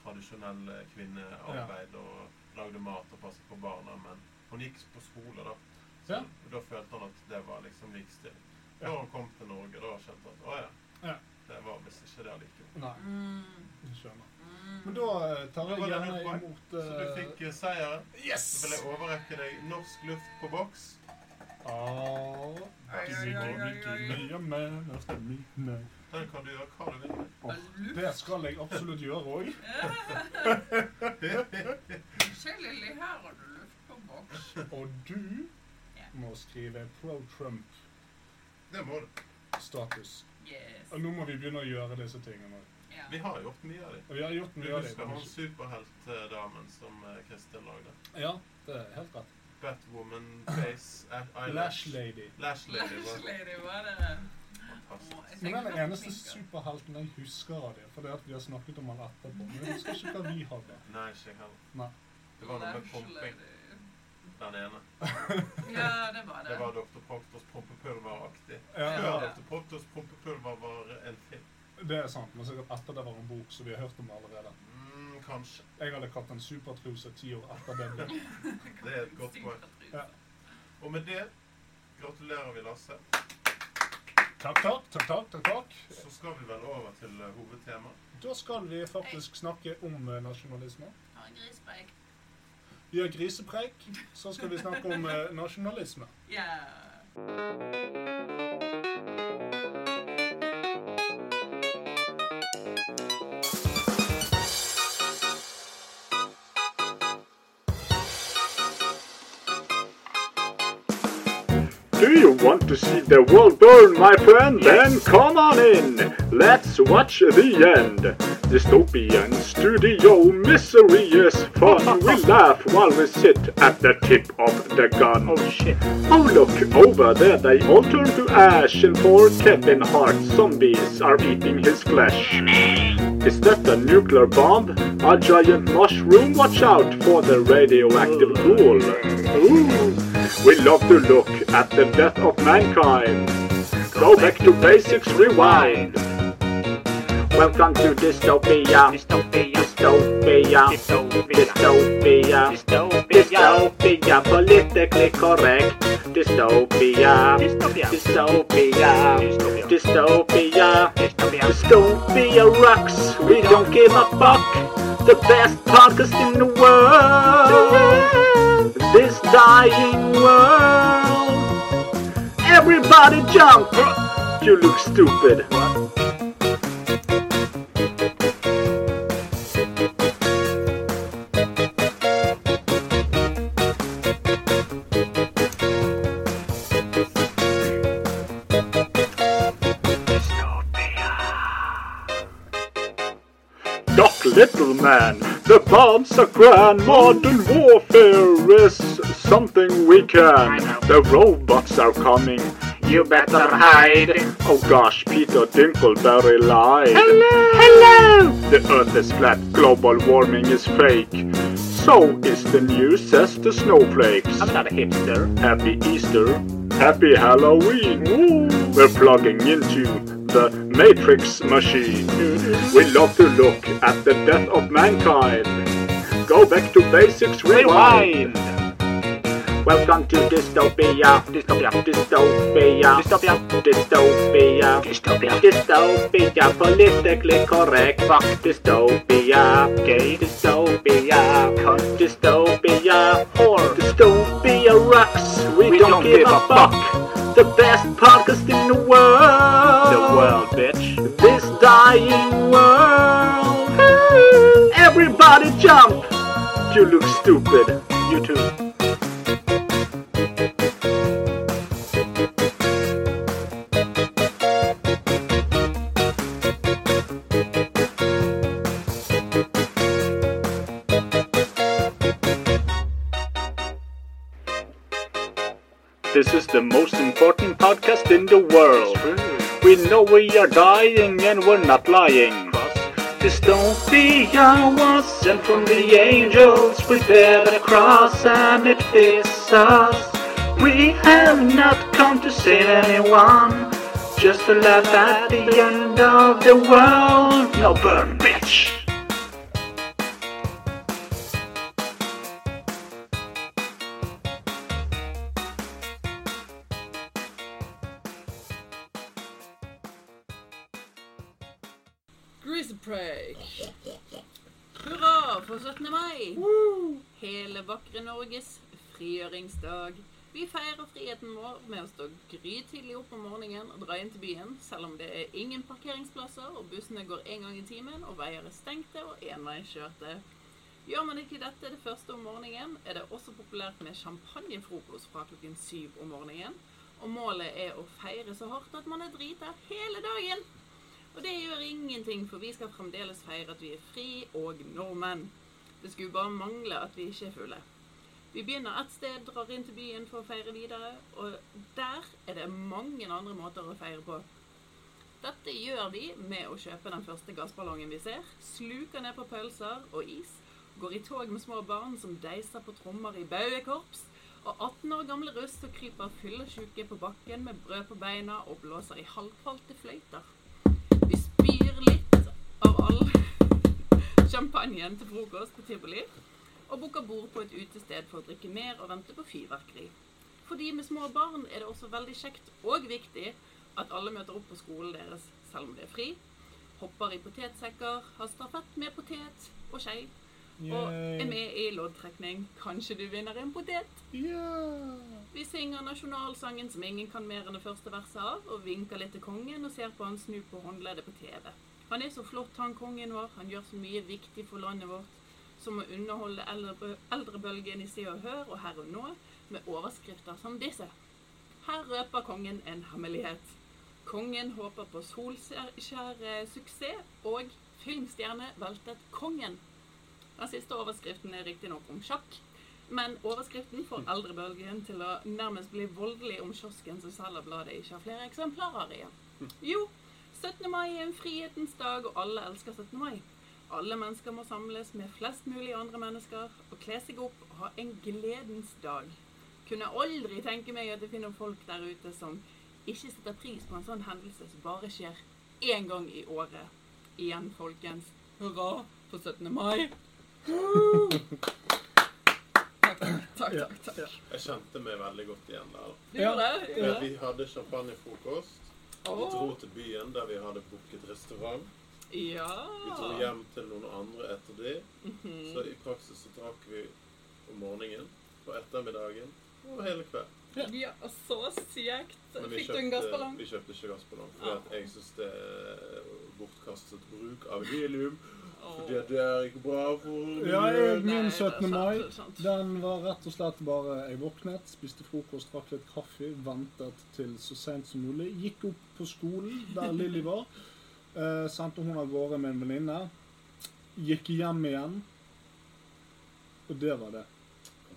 Speaker 7: tradisjonell eh, kvinnearbeid og lagde mat og passet på barna, men hun gikk på skole, da. Så
Speaker 9: Ja.
Speaker 7: da følte han at det var liksom likestilling.
Speaker 9: Ja.
Speaker 7: Da hun kom til Norge, da skjønte han at å ja,
Speaker 9: Ja.
Speaker 7: det var visst ikke det allikevel.
Speaker 9: Nei,
Speaker 8: Mm,
Speaker 9: jeg skjønner.
Speaker 8: mm.
Speaker 9: Men da eh, tar
Speaker 7: Da
Speaker 9: jeg
Speaker 7: var det
Speaker 9: gjerne
Speaker 7: null poeng.
Speaker 9: imot
Speaker 7: Så du fikk eh, seieren.
Speaker 9: Yes!
Speaker 7: Så vil jeg overrekke deg norsk luft på boks.
Speaker 9: Ah,
Speaker 8: Oi, oi, oi, oi, oi.
Speaker 9: Nye menn efter midnatt.
Speaker 7: Den kan du gjøre hva du vil med.
Speaker 9: Åh, Det skal jeg absolutt gjøre òg.
Speaker 8: Se, Lilly, her har du luft på boks.
Speaker 9: Og du
Speaker 8: Ja.
Speaker 9: må skrive pro Trump-status.
Speaker 7: Det må du.
Speaker 8: Yes.
Speaker 9: Og nå må vi begynne å gjøre disse tingene.
Speaker 8: Ja.
Speaker 7: Vi har gjort mye av det.
Speaker 9: Og vi har gjort
Speaker 7: Du
Speaker 9: mye av det.
Speaker 7: husker hun superheltdamen som eh, Kristin lagde?
Speaker 9: Ja, det er helt rett.
Speaker 7: Batwoman, Face, A-
Speaker 9: Lash
Speaker 7: Eyelash
Speaker 9: Lady.
Speaker 7: Lash Lady var
Speaker 8: Lady, var det
Speaker 7: fantastisk.
Speaker 8: Å, jeg
Speaker 9: Hun
Speaker 8: tenker
Speaker 9: er den
Speaker 8: faktisk
Speaker 9: eneste
Speaker 8: ikke.
Speaker 9: superhelten jeg husker av det, fordi at vi har snakket om han etterpå. Men jeg husker ikke hva vi hadde.
Speaker 7: Nei, ikke jeg heller.
Speaker 9: Nei.
Speaker 7: Det var noe med
Speaker 8: Lash
Speaker 7: pumping.
Speaker 8: Lady.
Speaker 7: Den ene.
Speaker 8: Ja, det var
Speaker 7: Det
Speaker 8: det.
Speaker 7: var Dr. Proctors prompepulver-aktig.
Speaker 9: Ja,
Speaker 7: Før
Speaker 9: ja,
Speaker 7: Dr. Proctors prompepulver var en film.
Speaker 9: det er sant, men sikkert etter det var en bok, så vi har hørt om det allerede.
Speaker 7: Mm, kanskje.
Speaker 9: Jeg hadde kalt en supertruse ti år etter det. ble-
Speaker 7: Det er et godt poeng.
Speaker 9: Ja.
Speaker 7: Og med det gratulerer vi Lasse.
Speaker 9: Takk, takk, takk, takk, takk, takk.
Speaker 7: Så skal vi vel over til eh, hovedtema.
Speaker 9: Da skal vi faktisk snakke om eh, nasjonalisme.
Speaker 8: Ha en grispreik.
Speaker 9: Vi har grisepreik, så skal vi snakke om eh, nasjonalisme.
Speaker 8: Ja.
Speaker 11: Do you want to see the world burn, my friend? Then come on in. Let's watch the end. Dystopian studio misery is fun. we laugh while we sit at the tip of the gun. Oh shit. Oh look, over there they all turn to ash and poor Kevin Hart zombies are eating his flesh. Is that a nuclear bomb? A Oh, giant mushroom? Watch out for the radioactive ghoul. Ooh.
Speaker 5: We love to look at the death of mankind. Go back to basics rewind. Welcome to dystopia. Dystopia. Dystopia. Dystopia. Dystopia. Dystopia. Politically correct. Dystopia. Dystopia. Dystopia. Dystopia. Dystopia rocks. We don't give a fuck. The best podcast in the world. This dying world. Everybody jump. You look stupid. Doc Little Man, the bombs are grand. Modern warfare is something we can. The robots are coming. You better hide. Oh gosh, Peter Dinkleberry lied. Hello! Hello! The earth is flat, global warming is fake. So is the news, says the snowflakes. I'm not a hipster. Happy Easter. Happy Halloween. We're plugging into the Matrix machine. We love to look at the death of mankind. Go back to basics, rewind. Welcome to dystopia. Dystopia. Dystopia. Dystopia. Dystopia. Dystopia. Dystopia. Politically correct. Fuck dystopia. Gay dystopia. Cunt dystopia. Whore. Dystopia rocks. We, don't, give, a fuck. The best podcast in the world. The world, bitch. This dying world. Everybody jump. You look stupid. You too. This is the most important podcast in the world. We know we are dying and we're not lying. Dystopia was sent from the angels. We bear the cross and it fits us. We have not come to save anyone, just to laugh at the end of the world. No burn, bitch!
Speaker 8: Greaseprake. Hurra for 17. mai! Hele vakre Norges frigjøringsdag. Vi feirer friheten vår med å stå grytidlig opp om morgenen og dra inn til byen, selv om det er ingen parkeringsplasser, og bussene går én gang i timen, og veier er stengte og enveiskjørte. Gjør man ikke dette det første om morgenen, er det også populært med champagnefrokost fra klokken syv om morgenen, og målet er å feire så hardt at man er drita hele dagen. Og det gjør ingenting, for vi skal fremdeles feire at vi er fri og nordmenn. Det skulle bare mangle at vi ikke er fulle. Vi begynner ett sted, drar inn til byen for å feire videre, og der er det mange andre måter å feire på. Dette gjør vi med å kjøpe den første gassballongen vi ser, sluker ned på pølser og is, går i tog med små barn som deiser på trommer i bauekorps, og 18 år gamle russ som kryper fyllesyke på bakken med brød på beina og blåser i halvfalte fløyter. Vi spyr litt av all champagnen til frokost på tivoli. Og booker bord på et utested for å drikke mer og vente på fyrverkeri. For de med små barn er det også veldig kjekt og viktig at alle møter opp på skolen deres selv om det er fri. Hopper i potetsekker, har stafett med potet og skei. Og er med i loddtrekning. Kanskje du vinner en potet? Vi synger nasjonalsangen som ingen kan mer enn det første verset av, og vinker litt til kongen og ser på han snu på håndleddet på TV. Han er så flott, han kongen vår. Han gjør så mye viktig for landet vårt. Som å underholde eldre, eldrebølgen i Se og Hør og Her og Nå med overskrifter som disse. Her røper kongen en hemmelighet. Kongen håper på solskjær eh, suksess, og filmstjerne veltet kongen. Den siste overskriften er riktignok om sjakk, men overskriften får eldrebølgen til å nærmest bli voldelig om kiosken som selger bladet ikke har flere eksemplarer igjen. Jo, 17. mai er en frihetens dag, og alle elsker 17. mai. Alle mennesker må samles med flest mulig andre mennesker og kle seg opp og ha en gledens dag. Kunne aldri tenke meg at jeg finner folk der ute som ikke setter pris på en sånn hendelse som bare skjer én gang i året. Igjen, folkens. Hurra for 17. mai! Woo! Takk, takk, takk. takk.
Speaker 7: Jeg kjente meg veldig godt igjen der.
Speaker 8: Du gjorde det? Du gjorde
Speaker 7: Vi
Speaker 8: det?
Speaker 7: hadde champagnefrokost. Vi dro
Speaker 8: Åh,
Speaker 7: til byen der vi hadde booket restaurant. Vi dro
Speaker 8: ja.
Speaker 7: hjem til noen andre etter det.
Speaker 8: Mhm.
Speaker 7: Så i praksis så drakk vi om morgenen, på ettermiddagen og hele kvelden.
Speaker 8: ja. Så sykt.
Speaker 7: Men vi
Speaker 8: Fikk du en
Speaker 7: kjøpte-
Speaker 8: gassballong?
Speaker 7: Vi kjøpte ikke gassballong.
Speaker 8: Ah.
Speaker 7: For at jeg syns det er bortkastet bruk av helium. For
Speaker 8: Åh.
Speaker 7: det der er ikke bra for
Speaker 9: Ja, jeg,
Speaker 7: miljøet.
Speaker 9: min
Speaker 8: Nei, det er
Speaker 9: 17.
Speaker 8: sant,
Speaker 9: mai,
Speaker 8: det er sant.
Speaker 9: den var rett og slett bare Jeg våknet, spiste frokost, drakk litt kaffe, ventet til så sent som mulig. Gikk opp på skolen der Lilly var. eh, sendte hun av gårde med en venninne. Gikk hjem igjen. Og det var det.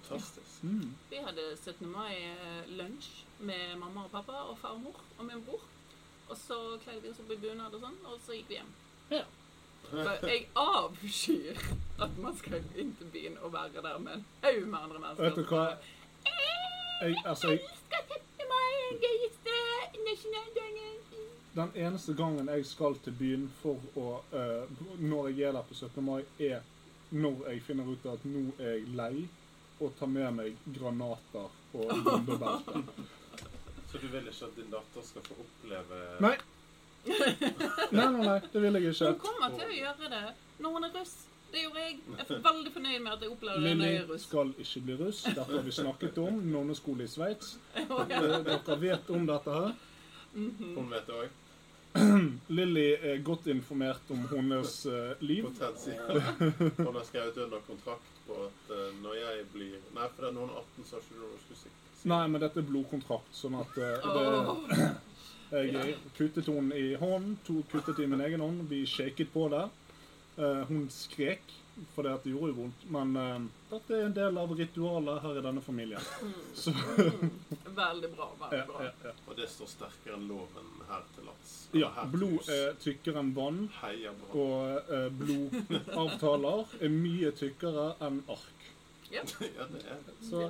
Speaker 7: Fantastisk.
Speaker 9: Mm.
Speaker 8: Vi hadde 17. mai-lunsj med mamma og pappa og farmor og min bror. Og så kledde vi oss opp i bunad og sånn, og så gikk vi hjem.
Speaker 9: Ja.
Speaker 8: For jeg avskyr at man skal inn til byen og være der med en haug med andre mennesker.
Speaker 9: Vet du hva? Jeg, altså, jeg,
Speaker 8: Skal 17. mai, gøyeste nasjonaldagen.
Speaker 9: den eneste gangen jeg skal til byen for å eh, Når jeg er der på 17. mai, er når jeg finner ut at nå er jeg lei, og tar med meg granater og bombebelter.
Speaker 7: Så du vil ikke at din datter skal få oppleve
Speaker 9: Nei. Nei, nei, nei, det vil jeg
Speaker 8: Hun
Speaker 9: ikke.
Speaker 8: kommer til å gjøre det når hun er russ. Det gjorde jeg. Jeg er veldig fornøyd med at jeg opplevde det når
Speaker 9: Lilly
Speaker 8: jeg er russ.
Speaker 9: skal ikke bli russ. Dette har vi snakket om. Nonneskole i Sveits. Eh,
Speaker 8: Og jeg-
Speaker 9: Dere vet om dette her.
Speaker 7: Hun vet det òg.
Speaker 9: Lilly er godt informert om hennes eh, liv.
Speaker 7: Potensielt. Hun har skrevet under kontrakt på at eh, når jeg blir Nei, for det er noen 18 sa ikke du når du skulle si si-
Speaker 9: Nei, men dette er blodkontrakt, sånn at eh,
Speaker 8: Åh.
Speaker 9: det, Jeg kuttet henne i hånden, to kuttet i min egen hånd. Vi shaket på det. Eh, hun skrek, for det, at det gjorde jo vondt. Men eh, dette er en del av ritualet her i denne familien. Eh, Så,
Speaker 8: Veldig bra.
Speaker 9: ja,
Speaker 8: Veldig bra.
Speaker 9: ja, ja.
Speaker 7: Og det står sterkere enn loven her til lands.
Speaker 9: ja,
Speaker 7: Her til hus.
Speaker 9: blod er tykkere enn vann.
Speaker 7: Heia bra.
Speaker 9: Og eh, blodavtaler er mye tykkere enn ark.
Speaker 7: Ja, det er det.
Speaker 9: Så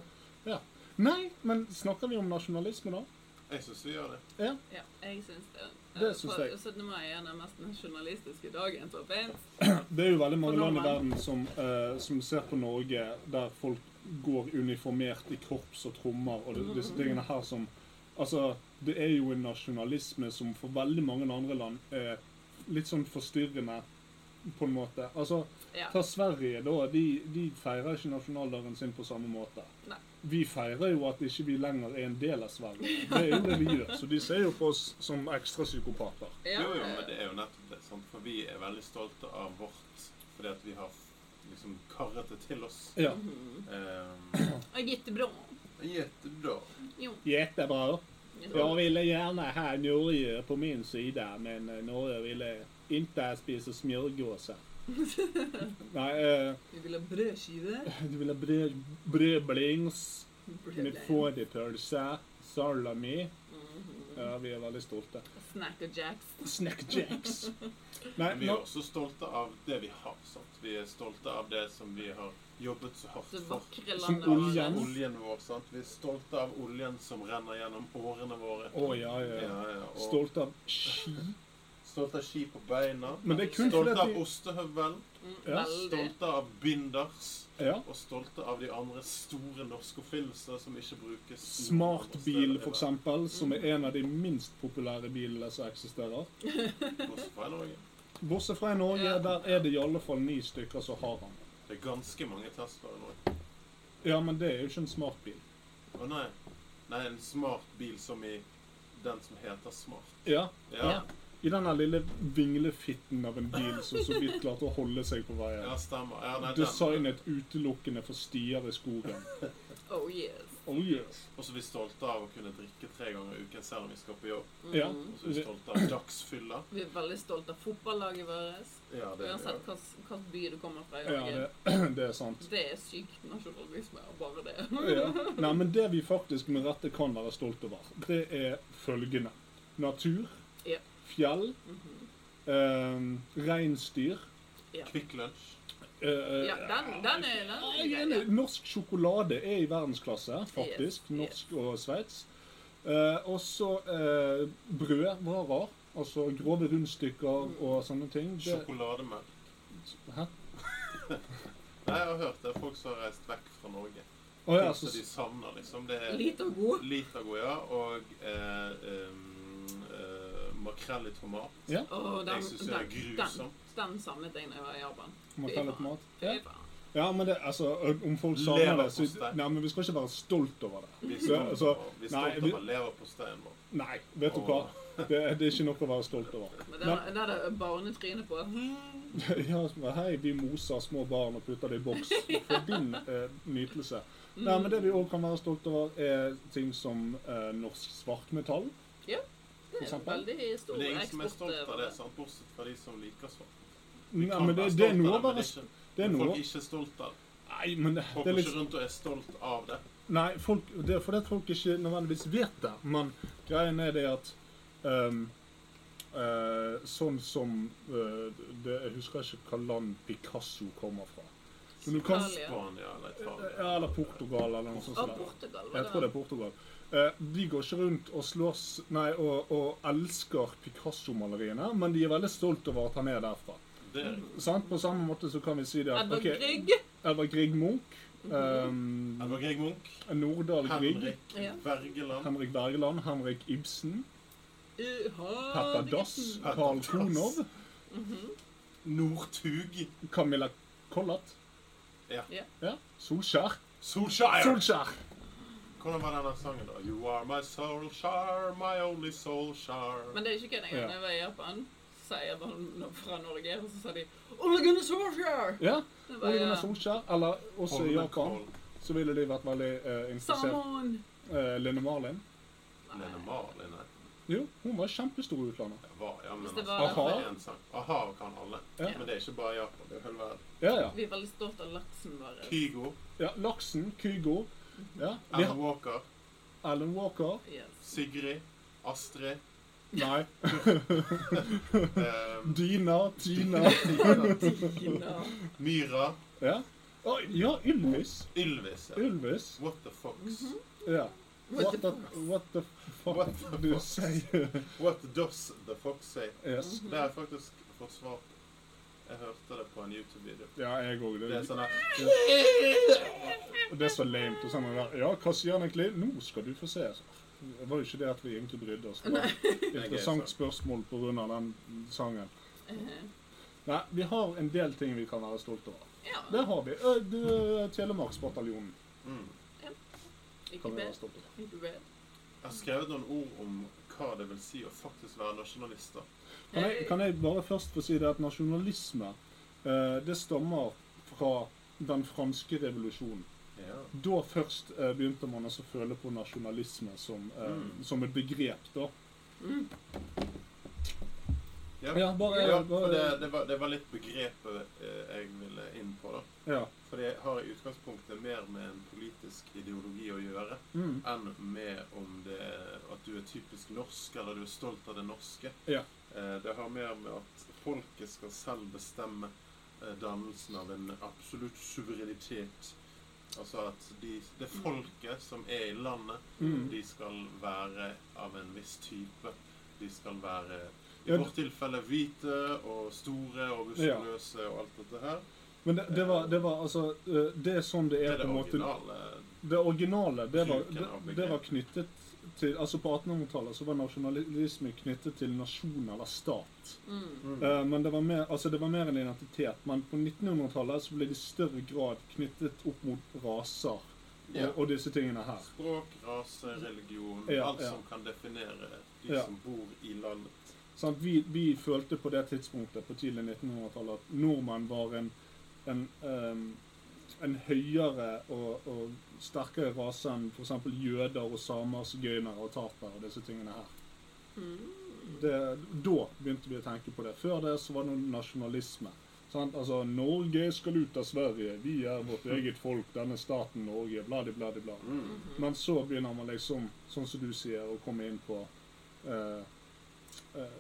Speaker 9: ja. Nei, men snakker vi om nasjonalisme, da?
Speaker 7: Jeg syns vi gjør det.
Speaker 8: Ja, jeg syns det.
Speaker 9: Det syns
Speaker 8: For
Speaker 9: jeg.
Speaker 8: 17. mai er den mest nasjonalistiske dagen som fins.
Speaker 9: Det er jo veldig mange
Speaker 8: For
Speaker 9: land i
Speaker 8: nordmenn.
Speaker 9: verden som, eh, som ser på Norge der folk går uniformert i korps og trommer og det- disse tingene her som Altså, det er jo en nasjonalisme som for veldig mange andre land er litt sånn forstyrrende, på en måte. Altså,
Speaker 8: Ja.
Speaker 9: Ta Sverige, da. De, de feirer ikke nasjonaldagen sin på samme måte.
Speaker 8: Nei.
Speaker 9: Vi feirer jo at ikke vi lenger er en del av Sverige. Det er jo det vi gjør. Så de ser jo på oss som ekstra psykopater.
Speaker 8: Ja,
Speaker 7: Jo, jo, men
Speaker 8: eh,
Speaker 7: det er jo nettopp det. Sant? For vi er veldig stolte av vårt fordi at vi har liksom karret det til oss.
Speaker 9: Ja.
Speaker 8: mhm.
Speaker 7: Um,
Speaker 8: Og Jättebra.
Speaker 7: Jättebra.
Speaker 8: Jo.
Speaker 9: Jättebra.
Speaker 8: Ja.
Speaker 9: ville gjerne ha Norge på min side, men Norge ville ikke spise smørgåser. Nei, eh,
Speaker 8: Vi vil ha brødskive.
Speaker 9: du ville brød, brødblings med
Speaker 8: Brødlein.
Speaker 9: fårikpølse, salami.
Speaker 8: Mhm.
Speaker 9: Ja, vi er veldig stolte.
Speaker 8: Snacker jacks.
Speaker 9: Snack jacks. Nei,
Speaker 7: Men vi er
Speaker 9: nå-
Speaker 7: også stolte av det vi har. Sant? Vi er stolte av det som vi har jobbet så hardt
Speaker 8: Det
Speaker 7: for.
Speaker 8: vakre
Speaker 9: Som
Speaker 8: landet
Speaker 9: oljen.
Speaker 8: vårt.
Speaker 7: Oljen vår. sant? Vi er stolte av oljen som renner gjennom årene våre.
Speaker 9: Å ja, ja. ja.
Speaker 7: Ja, ja. Og
Speaker 9: Stolt av ski.
Speaker 7: stolte av ski på beina.
Speaker 9: Men det er kun fordi
Speaker 7: Stolte
Speaker 9: at
Speaker 7: av
Speaker 9: vi
Speaker 7: ostehøvel.
Speaker 8: Mm,
Speaker 9: Ja,
Speaker 8: Veldig.
Speaker 7: Stolte av binders.
Speaker 9: ja.
Speaker 7: Og stolte av de andre store norske oppfinnelser som ikke brukes. noen andre
Speaker 9: Smartbil,
Speaker 7: steder i
Speaker 9: for eksempel, som er en av de minst populære bilene som eksisterer.
Speaker 7: verden, bortsett fra i Norge.
Speaker 9: Bortsett fra i Norge,
Speaker 8: Ja.
Speaker 9: der er det i alle fall ni stykker som har den.
Speaker 7: Det er ganske mange Teslaer i Norge.
Speaker 9: Ja, men det er jo ikke en smartbil.
Speaker 7: Å nei. Nei, en smart bil som i den som heter smart.
Speaker 9: Ja.
Speaker 7: Ja, ja.
Speaker 9: I denne lille vinglefitten av en bil som så vidt klarte å holde seg på veien.
Speaker 7: stemmer. Ja, nei, den.
Speaker 9: Designet utelukkende for stier i skogen.
Speaker 8: Oh yes.
Speaker 9: Oh yes.
Speaker 7: Og så er vi stolte av å kunne drikke tre ganger i uken selv om vi skal på jobb.
Speaker 8: Mhm.
Speaker 9: Ja.
Speaker 7: Og så er vi stolte av dagsfylla.
Speaker 8: Vi er veldig stolte av fotballaget vårt.
Speaker 7: Ja, det er
Speaker 8: Uansett hvilken by du kommer fra i
Speaker 9: Ja,
Speaker 8: Norge.
Speaker 9: det, det er sant.
Speaker 8: Det er sykt nasjonalisme, og bare det.
Speaker 9: Ja. Nei, men det vi faktisk med rette kan være stolt over, det er følgende. Natur,
Speaker 8: Ja. Mhm.
Speaker 9: fjell, eh, reinsdyr,
Speaker 7: Kvikk lunsj.
Speaker 9: eh,
Speaker 8: Ja, den, den er den.
Speaker 9: Ja,
Speaker 8: er
Speaker 9: jeg er
Speaker 8: grei, ja.
Speaker 9: enig. Norsk sjokolade er i verdensklasse, faktisk.
Speaker 8: Yes, yes.
Speaker 9: Norsk og Sveits. Eh, også eh, brødvarer. Altså grove rundstykker
Speaker 8: Mm.
Speaker 9: og sånne ting. Det,
Speaker 7: Sjokolademelk.
Speaker 9: hæ?
Speaker 7: Nei, jeg har hørt det. er Folk som har reist vekk fra Norge.
Speaker 9: Å ja,
Speaker 7: Ting
Speaker 9: så,
Speaker 7: som de savner, liksom. Det er
Speaker 8: Lite og god.
Speaker 7: Litagoya og eh, um, eh, makrell i tomat.
Speaker 9: Ja.
Speaker 8: Åh, den,
Speaker 7: Jeg synes det er
Speaker 8: den, den,
Speaker 7: grusomt.
Speaker 8: den savnet jeg da jeg var i Japan.
Speaker 9: må ta litt mat. Ja.
Speaker 8: Fy faen.
Speaker 9: ja, men det, altså, om folk savner det, så
Speaker 7: Leverpostei.
Speaker 9: Nei, men vi skal ikke være stolt over det.
Speaker 7: Vi er
Speaker 9: Ja,
Speaker 7: stolt
Speaker 9: altså,
Speaker 7: over- vi er
Speaker 9: nei,
Speaker 7: stolt
Speaker 9: vi-
Speaker 7: over leverposteien vår.
Speaker 9: Nei, vet du hva. Det, det er ikke noe å være stolt over.
Speaker 8: Men den, den er det barnetrynet på.
Speaker 9: Ja, som er, hei, vi moser små barn og putter det i boks for din eh, nytelse. Nei, men det vi òg kan være stolt over, er ting som eh, norsk svartmetall.
Speaker 8: Det er en
Speaker 9: eksempel.
Speaker 8: veldig
Speaker 7: Men
Speaker 8: stor
Speaker 7: det er ingen som er
Speaker 8: eksport.
Speaker 7: stolt av det,
Speaker 8: eh,
Speaker 7: sant? bortsett fra de som liker svart.
Speaker 9: Nei,
Speaker 7: Kan
Speaker 9: men det,
Speaker 7: være
Speaker 9: det er
Speaker 7: stolt
Speaker 9: noe å
Speaker 7: av
Speaker 9: være
Speaker 7: det, men det er ikke-
Speaker 9: det er
Speaker 7: men
Speaker 9: noe-
Speaker 7: Folk er ikke stolt av det.
Speaker 9: Nei, men det
Speaker 7: Folk
Speaker 9: det er
Speaker 7: går
Speaker 9: litt
Speaker 7: ikke rundt og er stolt av det.
Speaker 9: Nei, folk, det er fordi at folk ikke nødvendigvis vet det. Men greien er det at ehm, eh, Sånn som eh, det, Jeg husker ikke hva land Picasso kommer fra. Men du kan
Speaker 8: Italia.
Speaker 7: Spania eller Italia.
Speaker 9: Ja, eller Portugal eller noe sånt.
Speaker 8: Å,
Speaker 9: som det.
Speaker 8: Portugal,
Speaker 9: Jeg tror det er Portugal. Eh, De går ikke rundt og slåss Nei, og, og elsker Picasso-maleriene, men de er veldig stolt over at han er derfra.
Speaker 7: Det er
Speaker 9: Sant? På samme måte så kan vi si det at
Speaker 8: Edvard
Speaker 9: ok,
Speaker 8: Grieg.
Speaker 9: Edvard Grieg Munch, ehm,
Speaker 7: Edvard Grieg Munch,
Speaker 9: Nordahl Grieg,
Speaker 7: Henrik
Speaker 8: Ja.
Speaker 7: Wergeland,
Speaker 9: Henrik Wergeland, Henrik Ibsen,
Speaker 8: Uha,
Speaker 9: Petter
Speaker 8: det er
Speaker 9: Dass,
Speaker 8: gutten.
Speaker 7: Petter
Speaker 9: Carl
Speaker 7: Dass.
Speaker 9: Konow,
Speaker 7: Northug,
Speaker 9: Camilla Collett.
Speaker 7: Ja.
Speaker 8: Ja.
Speaker 9: ja. Solskjær.
Speaker 7: Solskjær!
Speaker 9: Solskjær!
Speaker 7: Hvordan var denne sangen, da? You are my Solskjær, my only Solskjær.
Speaker 8: Men det er ikke kødd engang.
Speaker 9: Ja.
Speaker 8: Når jeg var i Japan, så er jeg bare no- fra Norge, og så sa de "Oh Ole Gunnar Solskjær!
Speaker 9: Ja.
Speaker 8: Det var
Speaker 9: Ole Gunnar
Speaker 8: jeg,
Speaker 9: Solskjær. Eller også i
Speaker 7: Holmen
Speaker 9: Japan
Speaker 7: Kohl,
Speaker 9: så ville de vært veldig eh, interessert.
Speaker 8: Salmon!
Speaker 9: Eh, Lene Marlin.
Speaker 7: Lene Marlin, nei.
Speaker 9: Jo, hun var kjempestor i utlandet.
Speaker 7: Jeg var, ja, men
Speaker 8: Hvis det
Speaker 7: altså,
Speaker 8: var-
Speaker 7: det
Speaker 9: Aha.
Speaker 7: er en sang. Aha kan alle.
Speaker 9: Ja.
Speaker 7: Men det er ikke bare Japan, det er hele verden.
Speaker 9: Ja, ja.
Speaker 8: Vi er veldig stolt av laksen vår.
Speaker 7: Kygo,
Speaker 9: ja Laksen, Kygo, ja. Vi
Speaker 7: Alan
Speaker 9: har
Speaker 7: Walker,
Speaker 9: Alan Walker.
Speaker 8: Yes.
Speaker 7: Sigrid, Astrid,
Speaker 9: Nei.
Speaker 7: eh,
Speaker 9: Dina, Tina.
Speaker 8: Tina.
Speaker 7: Myra,
Speaker 9: Ja. Oi, ja, Ylvis.
Speaker 7: Ylvis. Ja.
Speaker 9: Ylvis.
Speaker 7: What the fox?
Speaker 9: Ja.
Speaker 8: What
Speaker 9: What
Speaker 8: the
Speaker 9: the, what the fuck
Speaker 7: What the
Speaker 9: du
Speaker 7: fuck?
Speaker 9: sier?
Speaker 7: What does the fox say?
Speaker 9: Yes.
Speaker 7: Det har jeg faktisk fått svar på. Jeg hørte det på en YouTube-video.
Speaker 9: Ja, jeg òg.
Speaker 7: Det er sånn her
Speaker 9: Det er så lamet. Og sånn, der, ja, hva sier han egentlig? Nå skal du få se. altså. Det var jo ikke det at vi egentlig brydde oss. Det var et interessant spørsmål pga. den sangen.
Speaker 7: Uh-huh.
Speaker 9: Nei, vi har en del ting vi kan være stolt over.
Speaker 8: Ja,
Speaker 9: Det har vi. Ø, du, Telemarksbataljonen
Speaker 7: mm.
Speaker 8: ikke
Speaker 9: kan vi være
Speaker 8: bed.
Speaker 9: stolt over.
Speaker 8: Ikke bed.
Speaker 7: Jeg har skrevet noen ord om hva det vil si å faktisk være nasjonalister.
Speaker 9: Kan jeg, kan jeg bare først få si det at nasjonalisme eh, det stammer fra den franske revolusjonen.
Speaker 7: Ja.
Speaker 9: Da først eh, begynte man også å føle på nasjonalisme som, eh,
Speaker 7: Mm.
Speaker 9: som et begrep. da.
Speaker 7: Ja.
Speaker 9: Ja, bare,
Speaker 7: Ja, for
Speaker 9: bare
Speaker 7: det, det, var, det var litt begrepet eh, jeg ville inn på, da.
Speaker 9: ja.
Speaker 7: For det har i utgangspunktet mer med en politisk ideologi å gjøre
Speaker 9: Mm.
Speaker 7: enn med om det, at du er typisk norsk, eller du er stolt av det norske.
Speaker 9: Ja.
Speaker 7: Eh, Det har mer med at folket skal selv bestemme eh, dannelsen av en absolutt suverenitet. Altså at de, det folket som er i landet,
Speaker 9: Mm.
Speaker 7: de skal være av en viss type. De skal være i
Speaker 9: Ja,
Speaker 7: vårt tilfelle hvite og store og
Speaker 9: Ja.
Speaker 7: muskuløse og alt dette her.
Speaker 9: Men det, det, var, det var altså eh, Det er sånn det
Speaker 7: Det
Speaker 9: er,
Speaker 7: er det
Speaker 9: på en måte.
Speaker 7: originale.
Speaker 9: Det originale, det var,
Speaker 7: Bruken av
Speaker 9: det, det var knyttet til Altså på 1800-tallet så var nasjonalisme knyttet til nasjon eller stat.
Speaker 8: Mm.
Speaker 9: Eh, men det var, mer, altså det var mer en identitet. Men på 1900-tallet så ble det i større grad knyttet opp mot raser
Speaker 7: Ja.
Speaker 9: og, og disse tingene her.
Speaker 7: Språk, rase, religion,
Speaker 9: Ja,
Speaker 7: alt
Speaker 9: ja.
Speaker 7: som kan definere de
Speaker 9: Ja.
Speaker 7: som bor i landet.
Speaker 9: Sant? vi, vi følte på det tidspunktet på tidlig 1900-tallet at nordmenn var en, en, ehm, en høyere og, og sterkere rase enn f.eks. jøder og samer, sigøynere og tatere og disse tingene her. Det, da begynte vi å tenke på det. Før det så var det noe nasjonalisme. Sant? Altså, Norge skal ut av Sverige, vi er vårt eget folk, denne staten Norge, bla, di, bla, di, bla.
Speaker 7: Mm.
Speaker 9: Men så begynner man liksom, sånn som du sier, å komme inn på eh, eh,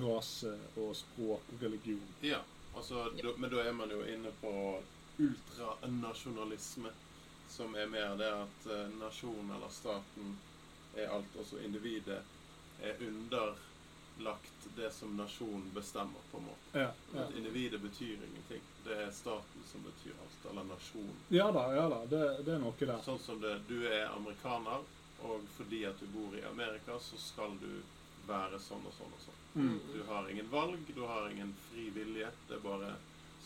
Speaker 9: rase og eh, språk og religion.
Speaker 7: Ja. Altså, da, men da er man jo inne på ultranasjonalisme, som er mer det at eh, nasjonen eller staten er alt, altså individet er underlagt det som nasjonen bestemmer, på en måte.
Speaker 9: Ja,
Speaker 7: Men
Speaker 9: ja.
Speaker 7: At individet betyr ingenting. Det er staten som betyr alt, eller nasjonen.
Speaker 9: ja da, ja da. Det, det er noe der.
Speaker 7: Sånn som det, du er amerikaner, og fordi at du bor i Amerika, så skal du være sånn og sånn og sånn.
Speaker 9: Mm.
Speaker 7: Du har ingen valg, du har ingen fri vilje. Det er bare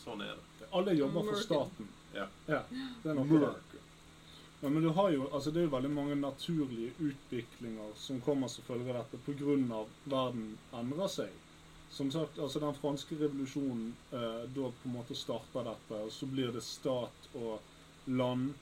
Speaker 7: sånn er det.
Speaker 9: Alle jobber for
Speaker 8: American.
Speaker 9: staten.
Speaker 7: Ja.
Speaker 9: Det er noe der. Ja, men du har jo, altså Det er jo veldig mange naturlige utviklinger som kommer som følge av dette pga. verden endrer seg. Som sagt, altså Den franske revolusjonen eh, da på en måte starter dette, og så blir det stat og land.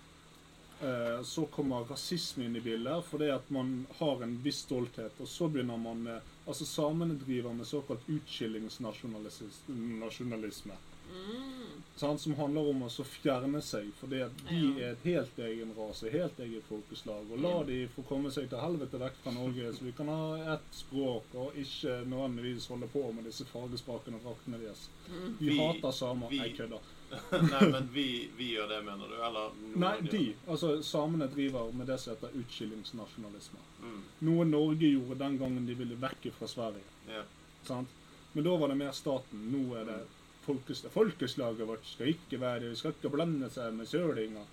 Speaker 9: Eh, så kommer rasisme inn i bildet, fordi at man har en viss stolthet. Og så begynner man med Altså, samene driver med såkalt utskillingsnasjonalisme
Speaker 8: Mm.
Speaker 9: sant, som handler om å så fjerne seg, fordi at de
Speaker 8: Ja.
Speaker 9: er et helt egen rase, helt eget folkeslag. Og la de få komme seg til helvete vekk fra Norge, så vi kan ha ett språk og ikke nødvendigvis holde på med disse fargesprakene og draktene deres. Vi
Speaker 8: Mm.
Speaker 7: Vi-
Speaker 9: hater samer.
Speaker 7: vi-
Speaker 9: Jeg kødder.
Speaker 7: Nei, men vi, vi gjør det, mener du? Eller noen
Speaker 9: Nei,
Speaker 7: gjør
Speaker 9: de.
Speaker 7: det.
Speaker 9: Altså, samene driver med det som heter utskillingsnasjonalisme.
Speaker 7: Mm,
Speaker 9: Noe Norge gjorde den gangen de ville vekk fra Sverige.
Speaker 7: ja.
Speaker 9: Sant? Men da var det mer staten. Nå er det folkes folkeslaget vårt skal ikke være Vi skal ikke blande seg med sølinger.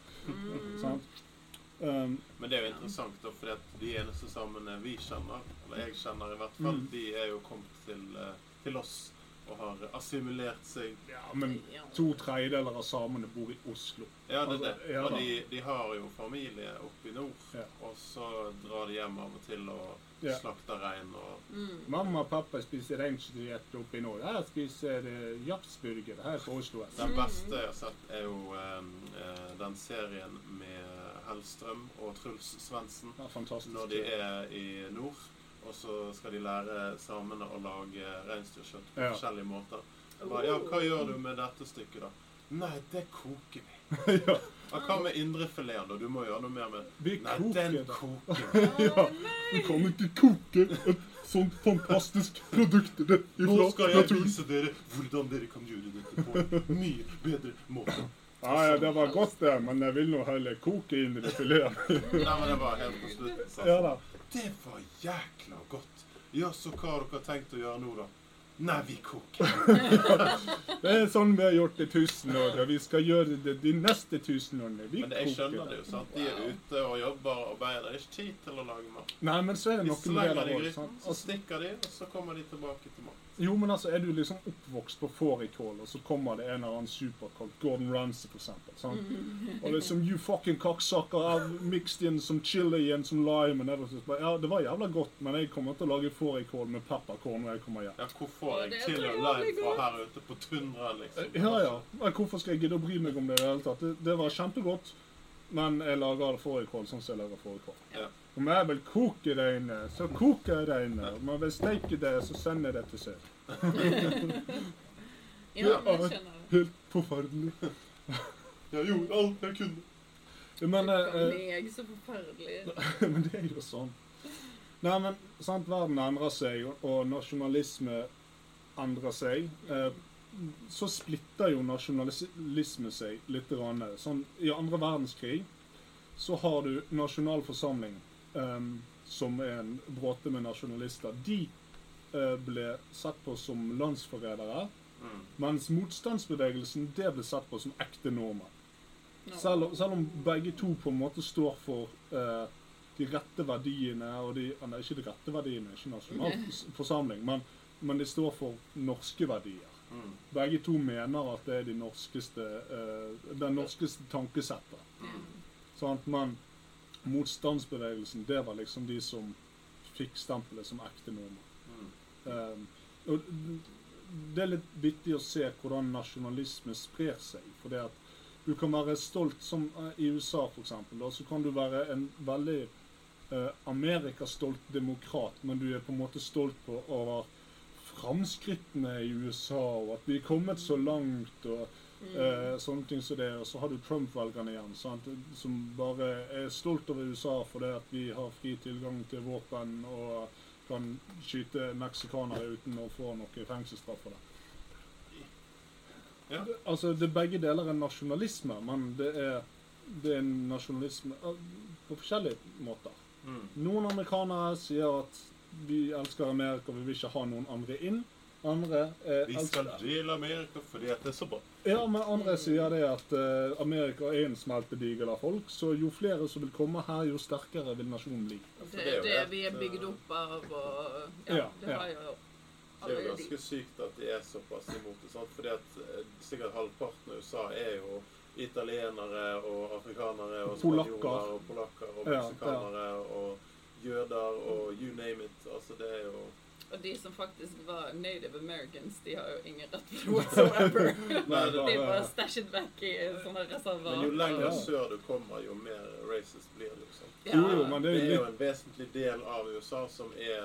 Speaker 9: Sant? Um,
Speaker 7: Men det er jo interessant, da, fordi at de eneste samene vi kjenner, eller jeg kjenner i hvert fall,
Speaker 9: Mm.
Speaker 7: de er jo kommet til, eh, til oss og har assimilert seg.
Speaker 9: ja, men
Speaker 8: Ja.
Speaker 9: to tredjedeler av samene bor i Oslo.
Speaker 7: Ja, det er det.
Speaker 9: Ja,
Speaker 7: Og
Speaker 9: da.
Speaker 7: de, de har jo familie oppe i nord,
Speaker 9: Ja.
Speaker 7: og så drar de hjem av og til og
Speaker 9: Ja.
Speaker 7: slakter rein og
Speaker 8: Mm.
Speaker 9: Mamma og pappa spiser reinsdyrdiett oppe i nord. Jeg spiser uh, japsburger her på Oslo S.
Speaker 7: Den beste jeg har sett, er jo eh, eh, den serien med Hellstrøm og Truls Svendsen.
Speaker 9: Ja, fantastisk.
Speaker 7: Når de er i nord, og så skal de lære samene å lage reinsdyrkjøtt på
Speaker 9: Ja.
Speaker 7: forskjellige måter. Bare, ja, hva gjør du med dette stykket, da? Nei, det koker vi.
Speaker 9: ja,
Speaker 7: Ja, hva med indrefileten, da? Du må gjøre noe mer med
Speaker 9: vi
Speaker 7: Nei,
Speaker 9: koker
Speaker 7: den
Speaker 9: det.
Speaker 7: koker vi.
Speaker 9: Ja, vi kan ikke koke et sånt fantastisk produkt det
Speaker 7: Nå
Speaker 9: ifra
Speaker 7: skal jeg
Speaker 9: naturen.
Speaker 7: vise dere hvordan dere kan gjøre dette på en mye bedre måte.
Speaker 9: Ja, ja, det var godt, det, men jeg vil nå heller koke inn i det filet.
Speaker 7: Nei, men det var helt på slutten. altså. sant?
Speaker 9: Ja da.
Speaker 7: Det var jækla godt. Ja, så hva har dere tenkt å gjøre nå, da? Nei, vi koker.
Speaker 9: Det er sånn vi har gjort i tusen år, og vi skal gjøre det de neste tusen årene. Vi
Speaker 7: Men det- jeg
Speaker 9: koker.
Speaker 7: skjønner det jo, sant. De er ute og jobber og arbeider. Det er ikke tid til å lage mat.
Speaker 9: Nei, men så er det
Speaker 7: De
Speaker 9: noe med
Speaker 7: slenger
Speaker 9: det
Speaker 7: det i
Speaker 9: også,
Speaker 7: gryten,
Speaker 9: sant?
Speaker 7: så
Speaker 9: Altså,
Speaker 7: stikker de, og så kommer de tilbake til mat.
Speaker 9: jo, men altså, er du liksom oppvokst på fårikål, og så kommer det en eller annen superkokk, Gordon Ramsay for eksempel, sant? Og liksom, you fucking cocksucker, I've mixed in some chili and some lime and everything. Bare, Ja, det var jævla godt, men jeg kommer til å lage fårikål med pepperkorn når jeg kommer hjem.
Speaker 7: Ja, hvor får jeg
Speaker 8: det
Speaker 7: til
Speaker 8: tror
Speaker 7: og
Speaker 8: jeg
Speaker 7: lime
Speaker 8: aldri
Speaker 7: fra
Speaker 8: går.
Speaker 7: her ute på tundraen, liksom?
Speaker 9: Eh, Ja, ja. Men hvorfor skal jeg gidde å bry meg om det i det hele tatt? Det, det var kjempegodt, men jeg lager det fårikål sånn som jeg lager fårikål.
Speaker 7: Ja.
Speaker 9: Om jeg vil koke det inne, så koker jeg det inne. Om jeg vil steke det, så sender jeg det til seg.
Speaker 8: Ja, men jeg skjønner det.
Speaker 9: Helt forferdelig.
Speaker 7: Jeg gjorde alt jeg kunne.
Speaker 9: Men, eh, eh,
Speaker 8: Jeg er så forferdelig.
Speaker 9: men det er jo sånn. Nei, men sant, verden endrer seg, og- og nasjonalisme endrer seg. Eh, så splitter jo nasjonalisme seg litt. Grann. Sånn, I andre verdenskrig så har du nasjonal forsamling, em, som er en bråte med nasjonalister. De eh, ble sett på som landsforrædere,
Speaker 7: Mm.
Speaker 9: mens motstandsbevegelsen det ble sett på som ekte nordmenn.
Speaker 8: Nå.
Speaker 9: Selv, om- selv om begge to på en måte står for eh, de rette verdiene og de eh, Nei, ikke de rette verdiene, ikke nasjonal fors- forsamling, men, men de står for norske verdier.
Speaker 7: Mm.
Speaker 9: Begge to mener at det er de norskeste, eh, den norskeste tankesettet. Sant? Men motstandsbevegelsen, det var liksom de som fikk stempelet som ekte nordmenn.
Speaker 7: Mm.
Speaker 9: Um, og det er litt vittig å se hvordan nasjonalisme sprer seg. For det at du kan være stolt, som eh, i USA f.eks., så kan du være en veldig eh, amerikastolt demokrat, men du er på en måte stolt på over framskrittene i USA, og at vi er kommet så langt, og eh, sånne ting som det. Og så har du Trump-velgerne igjen, sant? som bare er stolt over USA fordi at vi har fri tilgang til våpen og kan skyte meksikanere uten å få noe fengselsstraff for det. Ja. Altså, det begge deler er nasjonalisme, men det er, det er nasjonalisme eh, på forskjellige måter.
Speaker 3: Mm.
Speaker 9: Noen amerikanere sier at vi elsker Amerika, vi vil ikke ha noen andre inn. Andre eh,
Speaker 7: Vi skal
Speaker 9: elsker
Speaker 7: dele Amerika fordi at det er så bra.
Speaker 9: Ja, men andre sier det at eh, Amerika er en smeltedigel av folk, så jo flere som vil komme her, jo sterkere vil nasjonen bli.
Speaker 7: For
Speaker 8: Det
Speaker 7: det er
Speaker 8: er
Speaker 7: jo
Speaker 8: det
Speaker 7: helt,
Speaker 8: vi er bygd
Speaker 7: eh,
Speaker 8: opp av, og ja,
Speaker 9: Ja,
Speaker 8: det har
Speaker 9: ja.
Speaker 8: jo
Speaker 7: Det er jo
Speaker 8: alle de.
Speaker 7: ganske sykt at de er såpass imot det. sant? Fordi at eh, sikkert halvparten av USA er jo italienere og afrikanere og
Speaker 9: Polakker.
Speaker 7: spanjoler og polakker og
Speaker 9: Ja, ja.
Speaker 7: meksikanere og jøder og you name it. Altså, det er jo
Speaker 8: Og de som faktisk var native americans, de har jo ingen rett til whatsoever.
Speaker 7: Nei,
Speaker 9: det-
Speaker 8: De er bare stæsjet vekk i sånne reserver.
Speaker 7: Men jo lenger
Speaker 9: Ja.
Speaker 7: sør du kommer, jo mer racist blir det. liksom.
Speaker 9: Jo, jo, men det
Speaker 7: Det
Speaker 9: er
Speaker 7: er
Speaker 9: jo
Speaker 7: jo
Speaker 9: litt
Speaker 7: en vesentlig del av USA som er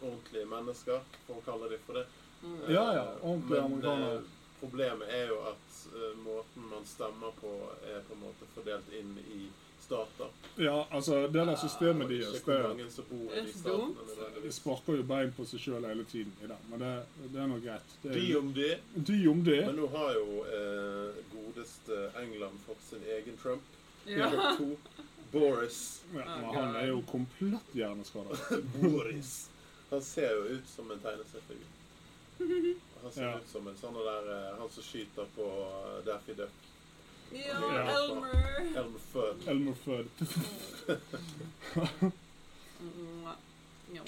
Speaker 7: ordentlige mennesker, for å kalle dem for det.
Speaker 8: Mm.
Speaker 9: Ja, ja, ordentlige
Speaker 7: Men, eh,
Speaker 9: amerikanere.
Speaker 7: Problemet er jo at eh, måten man stemmer på, er på en måte fordelt inn i stater.
Speaker 9: Ja, altså, det der systemet
Speaker 7: Og ikke
Speaker 9: deres,
Speaker 7: hvor
Speaker 9: det
Speaker 7: mange som bor
Speaker 8: Det
Speaker 7: i
Speaker 8: er
Speaker 7: de
Speaker 8: så dumt.
Speaker 7: statene.
Speaker 9: de
Speaker 7: nødvendigvis.
Speaker 9: sparker jo bein på seg sjøl hele tiden i det, men det, det er nå greit. Det er,
Speaker 7: De om de.
Speaker 9: de om det.
Speaker 7: Men nå har jo eh, godeste England fått sin egen Trump.
Speaker 8: Ja.
Speaker 7: Nummer to, Boris.
Speaker 9: Ja, men han er jo komplett hjerneskada.
Speaker 7: Boris. Han ser jo ut som en tegneseriefigur. Han ser
Speaker 9: Ja.
Speaker 7: ut som en sånn der eh, Han som skyter på eh, Daffy Duck.
Speaker 8: Ja,
Speaker 7: Ja.
Speaker 8: Elmer.
Speaker 7: Elmer Fudd.
Speaker 9: Elmer Fudd.
Speaker 8: Mm. Jo.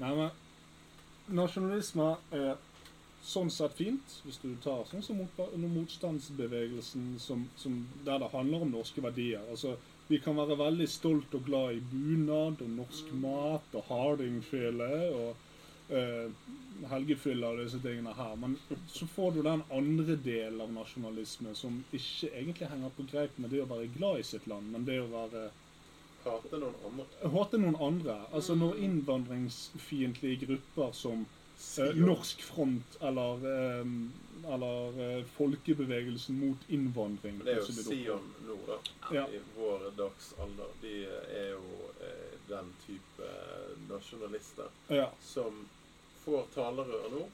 Speaker 9: Nei, men nasjonalisme er sånn sett fint, hvis du tar sånn som motba- under motstandsbevegelsen, som, som, der det handler om norske verdier. Altså, vi kan være veldig stolt og glad i bunad og norsk mat og hardingfele og eh, helgefylle og disse tingene her. Men så får du den andre delen av nasjonalisme som ikke egentlig henger på greip med det å være glad i sitt land, men det å være eh,
Speaker 7: Hater noen andre.
Speaker 9: hate noen andre. Altså
Speaker 7: Mm.
Speaker 9: når innvandringsfiendtlige grupper som eh,
Speaker 7: Sier-
Speaker 9: Norsk Front eller, eh, eller eh, Folkebevegelsen mot innvandring.
Speaker 7: Men Det er jo
Speaker 9: plutselig dukker opp.
Speaker 7: Sion nå, da.
Speaker 9: Ja.
Speaker 7: I vår dagsalder. De er jo eh, den type eh, nasjonalister
Speaker 9: Ja.
Speaker 7: som får talerør nå.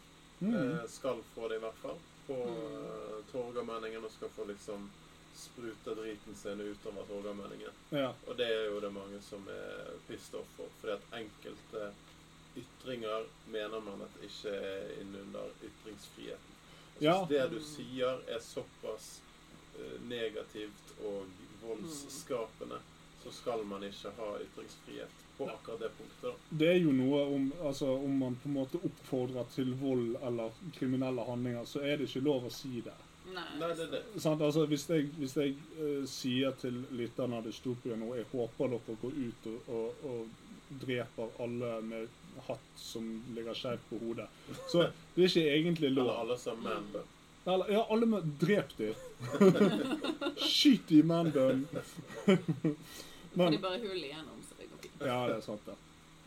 Speaker 9: Mm.
Speaker 7: Eh, skal få det, i hvert fall. På eh, Torgallmenningen og skal få liksom sprute driten sin utover Torgallmenningen.
Speaker 9: ja.
Speaker 7: Og det er jo det mange som er pissed off for. Fordi at enkelte ytringer mener man at ikke er innunder ytringsfriheten. Jeg
Speaker 9: Ja.
Speaker 7: synes Det du sier er såpass eh, negativt og voldsskapende, så skal man ikke ha ytringsfrihet på akkurat det punktet. da.
Speaker 9: Det er jo noe om altså, om man på en måte oppfordrer til vold eller kriminelle handlinger, så er det ikke lov å si det.
Speaker 8: Nei.
Speaker 7: Nei, det er det.
Speaker 9: Sant? Altså, hvis jeg, hvis jeg eh, sier til lytterne av Dystopia nå jeg håper dere går ut og, og, og dreper alle med hatt som ligger skjevt på hodet Så det er ikke egentlig lov.
Speaker 7: Eller alle som er
Speaker 8: Mm.
Speaker 7: menn.
Speaker 9: Eller, ja, alle med Drep de. Skyt de i mandelen.
Speaker 8: Får de
Speaker 9: Men
Speaker 8: bare hull igjennom, så det går fint.
Speaker 9: Ja, det er sant, det.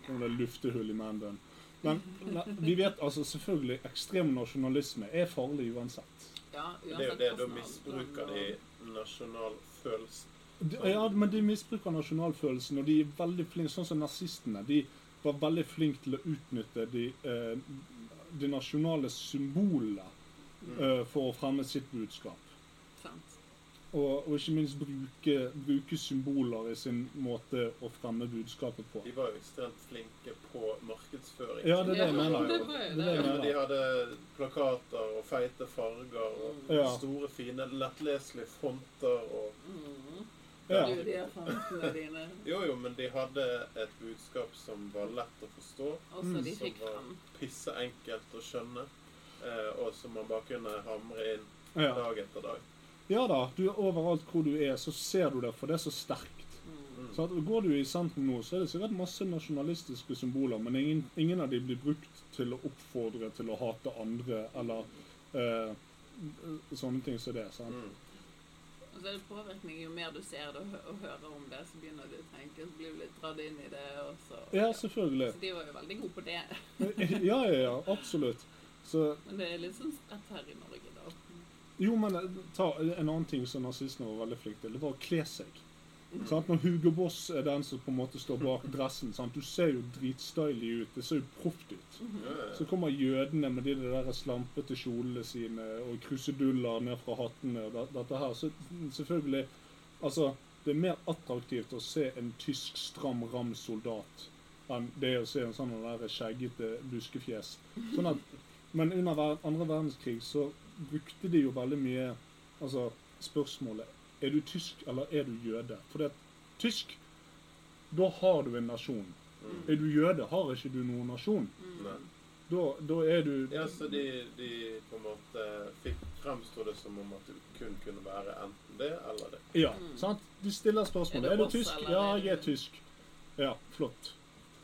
Speaker 9: Om det er luftehull i mandelen. Men nei, vi vet altså selvfølgelig ekstrem nasjonalisme er farlig uansett.
Speaker 8: Ja,
Speaker 7: Det er jo
Speaker 8: uansett
Speaker 7: det, da
Speaker 8: hvordan
Speaker 7: misbruker de
Speaker 8: alt-
Speaker 7: nasjonalfølelsen.
Speaker 9: De, ja, men de misbruker nasjonalfølelsen, og de er veldig flinke, sånn som nazistene. De var veldig flinke til å utnytte de, eh, de nasjonale symbolene eh, for å fremme sitt budskap.
Speaker 8: Sant.
Speaker 9: Og, og ikke minst bruke, bruke symboler i sin måte å fremme budskapet på.
Speaker 7: De var jo ekstremt flinke på markedsføring.
Speaker 9: Ja, det er det jeg
Speaker 8: Ja,
Speaker 9: mener.
Speaker 8: det
Speaker 7: Ja,
Speaker 9: Det er det
Speaker 8: var jo
Speaker 9: jeg
Speaker 7: men de
Speaker 9: mener.
Speaker 7: hadde plakater og feite farger og
Speaker 9: Ja.
Speaker 7: store, fine, lettleselige fonter og
Speaker 8: Mm.
Speaker 9: Ja.
Speaker 8: Du, de er fantene dine.
Speaker 7: Jo, jo, men de hadde et budskap som var lett å forstå,
Speaker 8: Også de
Speaker 7: som
Speaker 8: fikk
Speaker 7: var
Speaker 8: fram.
Speaker 7: pisse enkelt å skjønne, eh, og som man bare kunne hamre inn
Speaker 9: Ja.
Speaker 7: dag etter dag.
Speaker 9: ja da, du er overalt hvor du er, så ser du det, for det er så sterkt.
Speaker 8: Mm.
Speaker 9: Så at, går du i sentrum nå, så er det sikkert masse nasjonalistiske symboler, men ingen, ingen av de blir brukt til å oppfordre til å hate andre, eller eh, sånne ting som det. Sant?
Speaker 7: Mm.
Speaker 8: Og så er det påvirkning. Jo mer du ser det og, hø- og hører om det, så begynner du å tenke, så blir du litt dratt inn i det, og så
Speaker 9: Ja, selvfølgelig.
Speaker 8: Så de var jo veldig gode på det.
Speaker 9: Ja, ja, ja, absolutt. Så
Speaker 8: Men det er litt sånn spredt her i Norge, da.
Speaker 9: Jo, men eh, ta en annen ting som nazistene var veldig flinke til. Det var å kle seg. Sant? Når Hugo Boss er den som på en måte står bak dressen, sant? du ser jo dritstylig ut. Det ser jo proft ut. Så kommer jødene med de der slampete kjolene sine og kruseduller ned fra hattene og det- dette her. Så selvfølgelig Altså, det er mer attraktivt å se en tysk stram ram soldat enn det å se en sånn der skjeggete buskefjes. Sånn at, men under ver- andre verdenskrig så brukte de jo veldig mye altså, spørsmålet er du tysk eller er du jøde? For det, at tysk, da har du en nasjon. Er du jøde, har ikke du noen nasjon.
Speaker 8: Mm.
Speaker 7: Nei.
Speaker 9: Da, da er du
Speaker 7: Ja, så de, de på en måte fikk fremstå det som om at du kun kunne være enten det eller det.
Speaker 9: Ja, sant? De stiller spørsmålet.
Speaker 8: Mm. Er
Speaker 9: Er
Speaker 8: du
Speaker 9: du
Speaker 8: oss,
Speaker 9: tysk?
Speaker 8: eller
Speaker 9: Ja,
Speaker 8: er
Speaker 9: jeg er
Speaker 8: du-
Speaker 9: tysk. Ja, flott.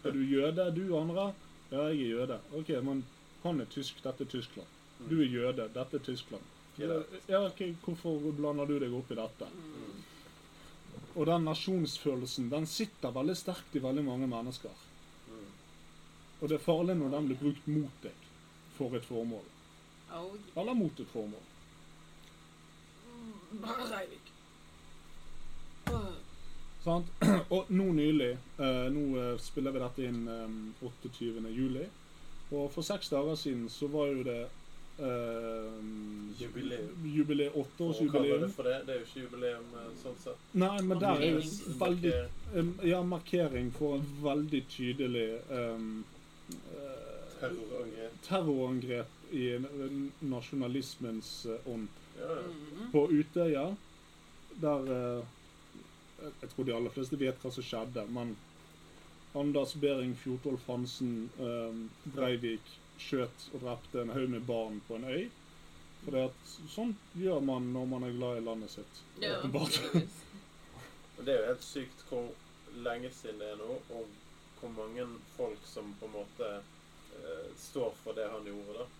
Speaker 9: Er du jøde, du andre? Ja, jeg er jøde. OK, men han er tysk, dette er Tyskland.
Speaker 8: Mm.
Speaker 9: Du er jøde, dette er Tyskland.
Speaker 7: Ja.
Speaker 9: Ja, ok, hvorfor blander du deg opp i dette?
Speaker 8: Mm.
Speaker 9: Og den nasjonsfølelsen, den sitter veldig sterkt i veldig mange mennesker.
Speaker 8: Mm.
Speaker 9: Og det er farlig når den blir brukt mot deg for et formål.
Speaker 8: Oh,
Speaker 9: Eller mot et formål.
Speaker 8: Bare Reivik. Åh,
Speaker 9: Sant? Og nå nylig eh, Nå eh, spiller vi dette inn eh, 28. juli. Og for seks dager siden så var jo det eh,
Speaker 7: Jubileum.
Speaker 9: jubileum
Speaker 7: Og kaller
Speaker 9: Åtteårsjubileum.
Speaker 7: det for det. Det er jo ikke jubileum eh, sånn sett.
Speaker 9: Nei, men der er jo
Speaker 8: Markering.
Speaker 9: veldig
Speaker 7: Marker-
Speaker 9: eh, Ja, markering for en veldig tydelig eh, eh,
Speaker 7: Terrorangrep.
Speaker 9: terrorangrep i n- nasjonalismens eh, ånd.
Speaker 7: Ja, ja.
Speaker 8: mhm.
Speaker 9: På Utøya, der eh, jeg- Jeg tror de aller fleste vet hva som skjedde, men Anders Behring Fjortolf Hansen eh, Breivik skjøt og drepte en haug med barn på en øy. For det at sånt gjør man når man er glad i landet sitt.
Speaker 8: Ja,
Speaker 9: Åpenbart.
Speaker 8: tydeligvis.
Speaker 7: Og det er jo helt sykt hvor lenge siden det er nå, og hvor mange folk som på en måte eh, står for det han gjorde. da.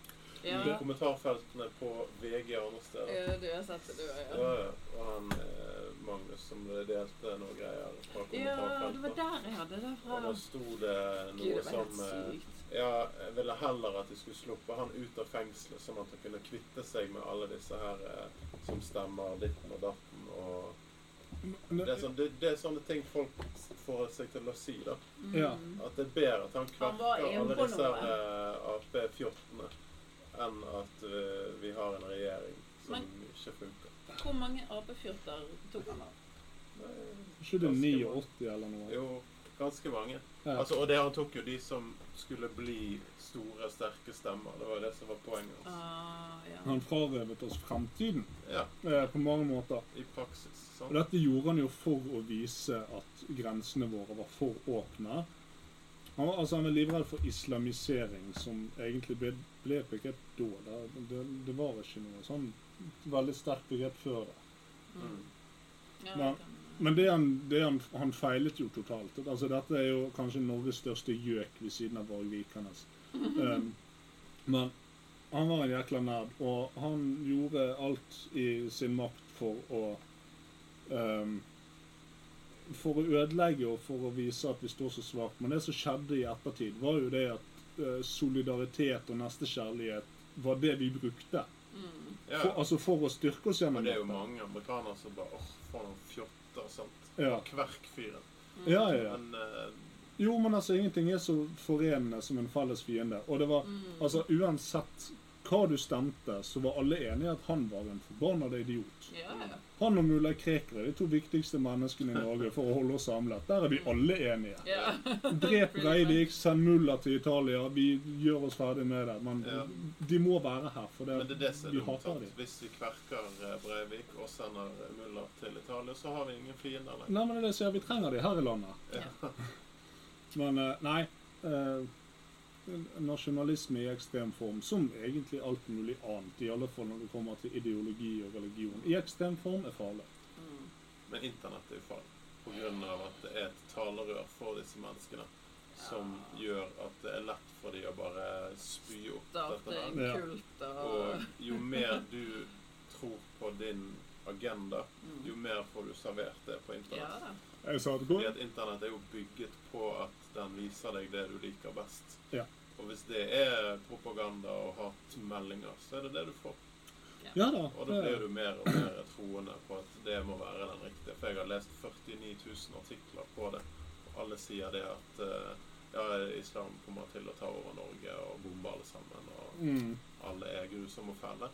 Speaker 8: Ja,
Speaker 7: I kommentarfeltene på VG og andre steder.
Speaker 8: ja, du har sett det, du
Speaker 7: Ja,
Speaker 8: òg.
Speaker 7: ja. Og han eh, Magnus som delte noen greier fra
Speaker 8: Ja, det var
Speaker 7: kommentarfeltet.
Speaker 8: der jeg hadde det fra.
Speaker 7: og da sto det
Speaker 8: Gud,
Speaker 7: noe
Speaker 8: det var helt
Speaker 7: som eh,
Speaker 8: sykt.
Speaker 7: Ja, jeg ville heller at de skulle sluppe han ut av fengselet, sånn at han kunne kvitte seg med alle disse her eh, som stemmer ditten og datten og
Speaker 9: Men- eh,
Speaker 7: Det er, sånn, det, det er sånne ting folk får seg til å si, da.
Speaker 8: Mhm.
Speaker 9: Ja.
Speaker 7: At det er bedre at han
Speaker 8: Han var
Speaker 7: kverker alle
Speaker 8: en på
Speaker 7: disse her, eh, Ap-fjottene enn at eh, vi har en regjering som
Speaker 8: Men-
Speaker 7: ikke funker.
Speaker 8: Hvor mange apefjorter tok han av?
Speaker 9: Ikke det 89 eller noe?
Speaker 7: Jo, ganske mange.
Speaker 9: Ja.
Speaker 7: Altså, og det han tok jo de som skulle bli store, sterke stemmer. Det var jo det som var poenget hans.
Speaker 8: Ah, ja.
Speaker 9: Han frarøvet oss fremtiden
Speaker 7: Ja,
Speaker 9: eh, på mange måter.
Speaker 7: i praksis.
Speaker 9: Og
Speaker 7: Sant?
Speaker 9: dette gjorde han jo for å vise at grensene våre var for åpne. Han var, altså, han var livredd for islamisering, som egentlig ble, ble et begrep da. Det, det, det var ikke noe sånn veldig sterkt begrep før det.
Speaker 7: Mm.
Speaker 8: ja
Speaker 9: Men-
Speaker 8: kan-
Speaker 9: Men det han, det han, han feilet jo totalt. Altså, dette er jo kanskje Norges største gjøk ved siden av Borg Vikernes. Um, men han var en jækla nerd, og han gjorde alt i sin makt for å um, For å ødelegge og for å vise at vi står så svakt. Men det som skjedde i ettertid, var jo det at eh, solidaritet og nestekjærlighet var det vi brukte.
Speaker 8: Mm.
Speaker 7: Ja.
Speaker 9: For, altså for å styrke oss
Speaker 7: Og
Speaker 9: gjennom
Speaker 7: det er jo
Speaker 9: dette.
Speaker 7: mange amerikanere som bare åh, for noen fjotter, sant.
Speaker 9: Ja.
Speaker 7: Kverkfyren.
Speaker 9: Ja, ja, ja.
Speaker 7: Men eh,
Speaker 9: Jo, men altså, ingenting er så forenende som en felles fiende. Og det var
Speaker 8: Mm.
Speaker 9: altså uansett hva du stemte, så var alle enige i at han var en forbanna idiot.
Speaker 8: Ja, ja.
Speaker 9: Han og mulla Krekre er de to viktigste menneskene i Norge for å holde oss samlet. Der er vi alle enige.
Speaker 8: ja.
Speaker 9: Drep Breivik, send mulla til Italia. Vi gjør oss ferdig med det. Men
Speaker 7: Ja.
Speaker 9: de må være her, for
Speaker 7: Men det
Speaker 9: det,
Speaker 7: er det som er
Speaker 9: vi
Speaker 7: dumt.
Speaker 9: hater
Speaker 7: sant?
Speaker 9: dem.
Speaker 7: Hvis vi kverker eh, Breivik og sender eh, Mulla til Italia, så har vi ingen fiender lenger.
Speaker 9: Nei, men det er det som gjør at vi trenger de her i landet. Men eh, nei eh, Nasjonalisme i ekstrem form, som egentlig alt mulig annet, i alle fall når det kommer til ideologi og religion, i ekstrem form er farlig.
Speaker 7: Men internett er jo farlig. På grunn av at det er et talerør for disse menneskene. Som gjør at det er lett for dem å bare spy opp dette
Speaker 8: Starte en
Speaker 7: her.
Speaker 9: Ja.
Speaker 8: kult og
Speaker 7: Og jo mer du tror på din agenda,
Speaker 8: Mm.
Speaker 7: jo mer får du servert det på
Speaker 8: Ja
Speaker 7: internett.
Speaker 8: da.
Speaker 9: Jeg sa det
Speaker 7: Fordi
Speaker 9: godt.
Speaker 7: at internett er jo bygget på at den viser deg det du liker best.
Speaker 9: Ja.
Speaker 7: Og hvis det er propaganda og hatmeldinger, så er det det du får.
Speaker 4: Ja da.
Speaker 7: Og da
Speaker 4: det-
Speaker 7: blir du mer og mer troende på at det må være den riktige. For jeg har lest 49 000 artikler på det, og alle sier det at eh, ja, islam kommer til å ta over Norge og bombe alle sammen, og
Speaker 9: Mm.
Speaker 7: alle er grusomme og fæle,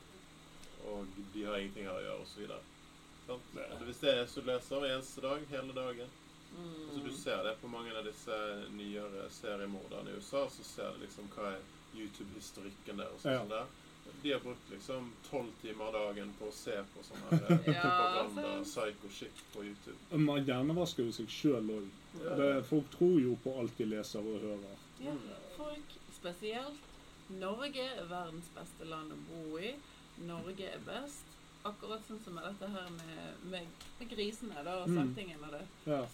Speaker 7: og de har ingenting her å gjøre, og så videre. Sant? Og Hvis det er det du leser hver eneste dag, hele dagen
Speaker 8: Mm.
Speaker 7: altså, Du ser det på mange av disse nyere seriemorderne i USA, så ser du liksom hva er YouTube-historikken der og sånn
Speaker 9: Ja.
Speaker 7: som det er. De har brukt liksom tolv timer dagen på å se på sånn her eh,
Speaker 8: Ja,
Speaker 7: propaganda,
Speaker 8: sant.
Speaker 7: psycho shit på YouTube.
Speaker 9: Man hjernevasker jo seg sjøl òg.
Speaker 7: Ja.
Speaker 9: Folk tror jo på alt de leser og hører.
Speaker 8: Ja, folk spesielt. Norge er verdens beste land å bo i. Norge er best. Akkurat sånn som med dette her med, med, med grisene da, og
Speaker 9: Mm.
Speaker 8: saltingen og det. Ah,
Speaker 9: Ja.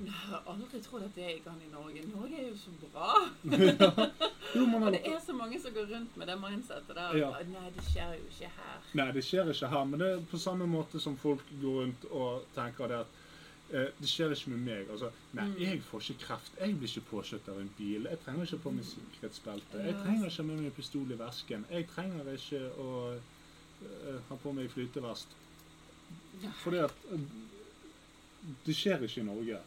Speaker 8: Nei, jeg har aldri trodd at det gikk an i Norge. Norge er jo så bra.
Speaker 9: Jo, man
Speaker 8: Og
Speaker 9: har,
Speaker 8: det er så mange som går rundt med det mindsetet der.
Speaker 9: Ja.
Speaker 8: Nei, det skjer jo ikke her.
Speaker 9: nei, det skjer ikke her, men det er på samme måte som folk går rundt og tenker det at eh, det skjer ikke med meg. Altså, nei,
Speaker 8: Mm.
Speaker 9: jeg får ikke kreft. Jeg blir ikke påkjørt av en bil. Jeg trenger ikke på meg
Speaker 8: Mm.
Speaker 9: sikkerhetsbelte. Jeg
Speaker 8: Ja.
Speaker 9: trenger ikke ha med meg pistol i vesken. Jeg trenger ikke å eh, ha på meg flytevest.
Speaker 8: Nei.
Speaker 9: Fordi at eh, det skjer ikke i Norge.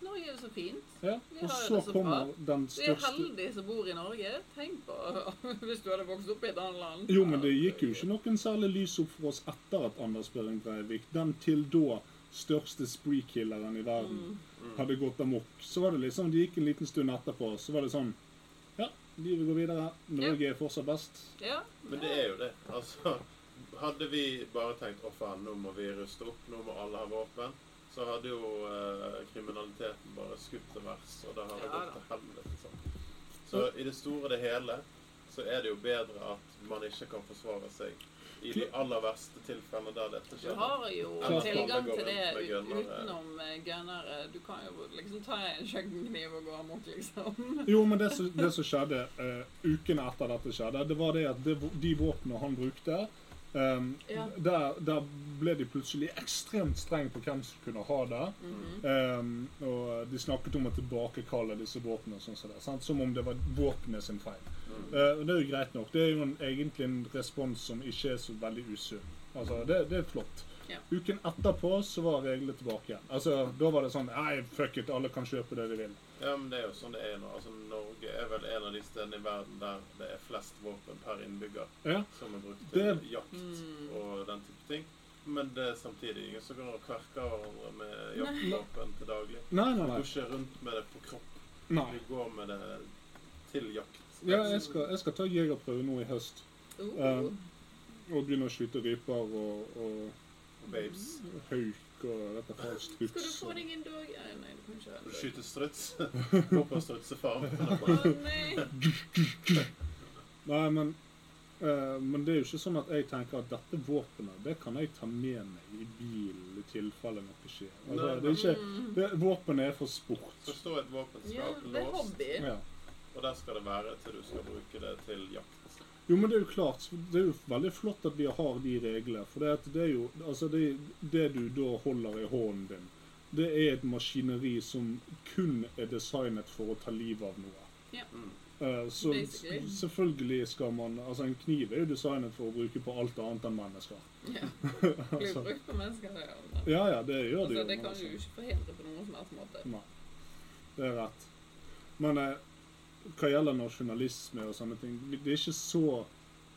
Speaker 8: Norge er jo så fint.
Speaker 9: Ja?
Speaker 8: Vi
Speaker 9: Og
Speaker 8: har det
Speaker 9: så
Speaker 8: så
Speaker 9: kommer den
Speaker 8: Vi er
Speaker 9: største
Speaker 8: heldige som bor i Norge. Tenk på hvis du hadde vokst opp i et annet land.
Speaker 9: Jo, men det gikk jo ikke noen særlig lys opp for oss etter at Anders Behring Breivik, den til da største spree-killeren i verden, hadde gått amok. Så var det liksom, det gikk en liten stund etterpå, så var det sånn Ja, livet går videre. Norge er fortsatt best.
Speaker 8: Ja.
Speaker 7: Men det er jo det. Altså, hadde vi bare tenkt å faen, nå må vi ruste opp, nå må alle ha våpen, så hadde jo eh, kriminaliteten bare skutt til vers, og det hadde
Speaker 8: Ja
Speaker 7: gått
Speaker 8: da.
Speaker 7: til helvete. sant? Så i det store og det hele så er det jo bedre at man ikke kan forsvare seg i de aller verste tilfellene der dette
Speaker 8: Du
Speaker 7: skjer.
Speaker 8: har jo
Speaker 7: Eller
Speaker 8: tilgang
Speaker 7: bare gå
Speaker 8: til det
Speaker 7: rundt med
Speaker 8: ut-
Speaker 7: gunnere.
Speaker 8: utenom eh, gunnere. Du kan jo liksom ta en kjøkkenkniv og gå amok, liksom.
Speaker 9: Jo, men det som, det som skjedde eh, ukene etter dette skjedde, det var det at det, vå- de våpnene han brukte ehm,
Speaker 8: Ja.
Speaker 9: der, der ble de plutselig ekstremt strenge på hvem som kunne ha det. Ehm, og de snakket om å tilbakekalle disse våpnene, og sånn som det, sant? som om det var våpenet sin feil. Eh, og det er jo greit nok. Det er jo en, egentlig en respons som ikke er så veldig usunn. Altså, det, det er flott.
Speaker 8: Ja.
Speaker 9: Uken etterpå så var reglene tilbake igjen. Altså, Da var det sånn Nei, fuck it, alle kan kjøpe det de vil.
Speaker 7: Ja, men det er jo sånn det er nå. Altså, Norge er vel en av de stedene i verden der det er flest våpen per innbygger.
Speaker 9: Ja.
Speaker 7: som er brukt til
Speaker 9: Det-
Speaker 7: jakt
Speaker 8: Mm.
Speaker 7: og den type ting. Men det er samtidig ingen som går og kverker hverandre med jaktvåpen til daglig.
Speaker 9: Nei, nei,
Speaker 7: Du går
Speaker 9: nei.
Speaker 7: ikke rundt med det på kropp.
Speaker 9: nei.
Speaker 7: Du går med det til jakt.
Speaker 9: Ja, jeg skal, jeg skal ta jegerprøve nå i høst. Eh,
Speaker 8: Uh,
Speaker 9: Og begynne å skyte ryper og, og
Speaker 7: Og Babes.
Speaker 8: Mm.
Speaker 9: hauk og dette
Speaker 8: skal du
Speaker 9: falstruts.
Speaker 8: få deg en dag Ja, Nei, du kan ikke ha
Speaker 7: Du
Speaker 8: det.
Speaker 7: skyter struts. Gå på strutsefarm.
Speaker 8: Å nei!
Speaker 9: Nei, men, eh, men det er jo ikke sånn at jeg tenker at dette våpenet det kan jeg ta med meg i bilen i tilfelle noe skjer. Altså,
Speaker 7: Nei,
Speaker 9: det er ikke, det, våpenet er for sport.
Speaker 7: Så står et våpen som
Speaker 8: Ja,
Speaker 7: er
Speaker 8: det er
Speaker 7: låst,
Speaker 8: hobby.
Speaker 9: Ja.
Speaker 7: og der skal det være til du skal bruke det til jakt.
Speaker 9: Jo, men det er jo klart, det er jo veldig flott at vi har de reglene. For det, at det er jo Altså, det, det du da holder i hånden din, det er et maskineri som kun er designet for å ta livet av noe.
Speaker 8: Ja.
Speaker 9: Eh, så
Speaker 8: Basically.
Speaker 9: s- selvfølgelig skal man Altså, en kniv er jo designet for å bruke på alt annet enn mennesker.
Speaker 8: Ja. Blir jo
Speaker 9: altså,
Speaker 8: brukt på mennesker, det. ja, men-
Speaker 9: ja ja, det gjør det
Speaker 8: Altså,
Speaker 9: jo.
Speaker 8: det
Speaker 9: men
Speaker 8: kan du
Speaker 9: altså,
Speaker 8: jo ikke forhindre på noen som helst måte.
Speaker 9: Nei. Det er rett. Men eh, hva gjelder nasjonalisme og sånne ting, det er ikke så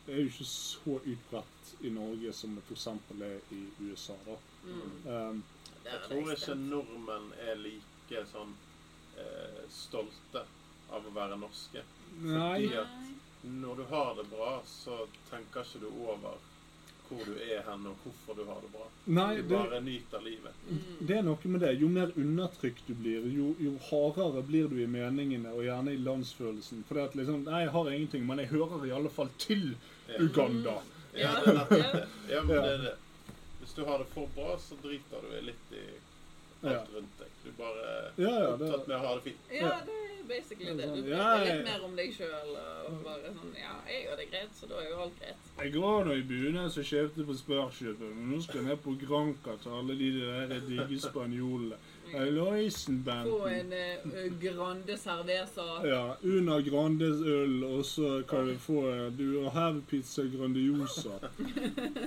Speaker 9: det er jo ikke så utbredt i Norge som det f.eks. er i USA. da.
Speaker 8: Mm.
Speaker 9: Um,
Speaker 8: Det
Speaker 7: Jeg
Speaker 8: er
Speaker 7: tror
Speaker 8: det
Speaker 7: ikke
Speaker 8: ekstremt.
Speaker 7: nordmenn er like sånn eh, stolte av å være norske.
Speaker 9: nei,
Speaker 7: Fordi at Når du har det bra, så tenker ikke du over hvor du er hen og hvorfor du har det bra.
Speaker 9: nei
Speaker 7: Du
Speaker 9: det,
Speaker 7: bare nyter livet.
Speaker 9: det er noe med det. Jo mer undertrykt du blir, jo, jo hardere blir du i meningene og gjerne i landsfølelsen. For det at liksom, nei, jeg har ingenting, men jeg hører i alle fall til
Speaker 7: Ja.
Speaker 9: Uganda.
Speaker 7: Ja,
Speaker 8: Ja.
Speaker 7: det er nettopp det. Ja, men
Speaker 9: Ja.
Speaker 7: det er det. Hvis du har det for bra, så driter du litt i
Speaker 9: Ja.
Speaker 7: alt rundt deg. Du bare er
Speaker 9: Ja, ja, det,
Speaker 7: opptatt med å ha det fint.
Speaker 8: Ja, det er basically det. Du
Speaker 9: Ja, sånn, ja,
Speaker 8: vet
Speaker 9: ja. Mm.
Speaker 8: litt mer om deg sjøl og bare sånn Ja, jeg gjør det greit, så da er jo alt greit.
Speaker 9: Jeg går nå i bunad og kjøpte på Sparkjøpet, men nå skal jeg ned på Granca til alle de der digge spanjolene. Aloisen-band.
Speaker 8: Få en eh, Grande Cerveza.
Speaker 9: Ja, Una Grandes øl, og så kan vi få eh, Du har her pizza Grandiosa.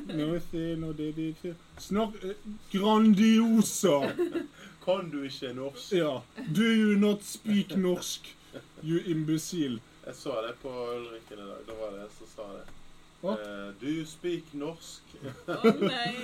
Speaker 9: Nothing, no, det, det, det. Snakk eh, Grandiosa!
Speaker 7: Kan du ikke norsk?
Speaker 9: Ja. Do you not speak norsk, you imbecile?
Speaker 7: Jeg så det på Ulrikken i dag. Da var det en som sa det.
Speaker 9: Hva?
Speaker 7: Eh, do you speak norsk?
Speaker 8: Å nei!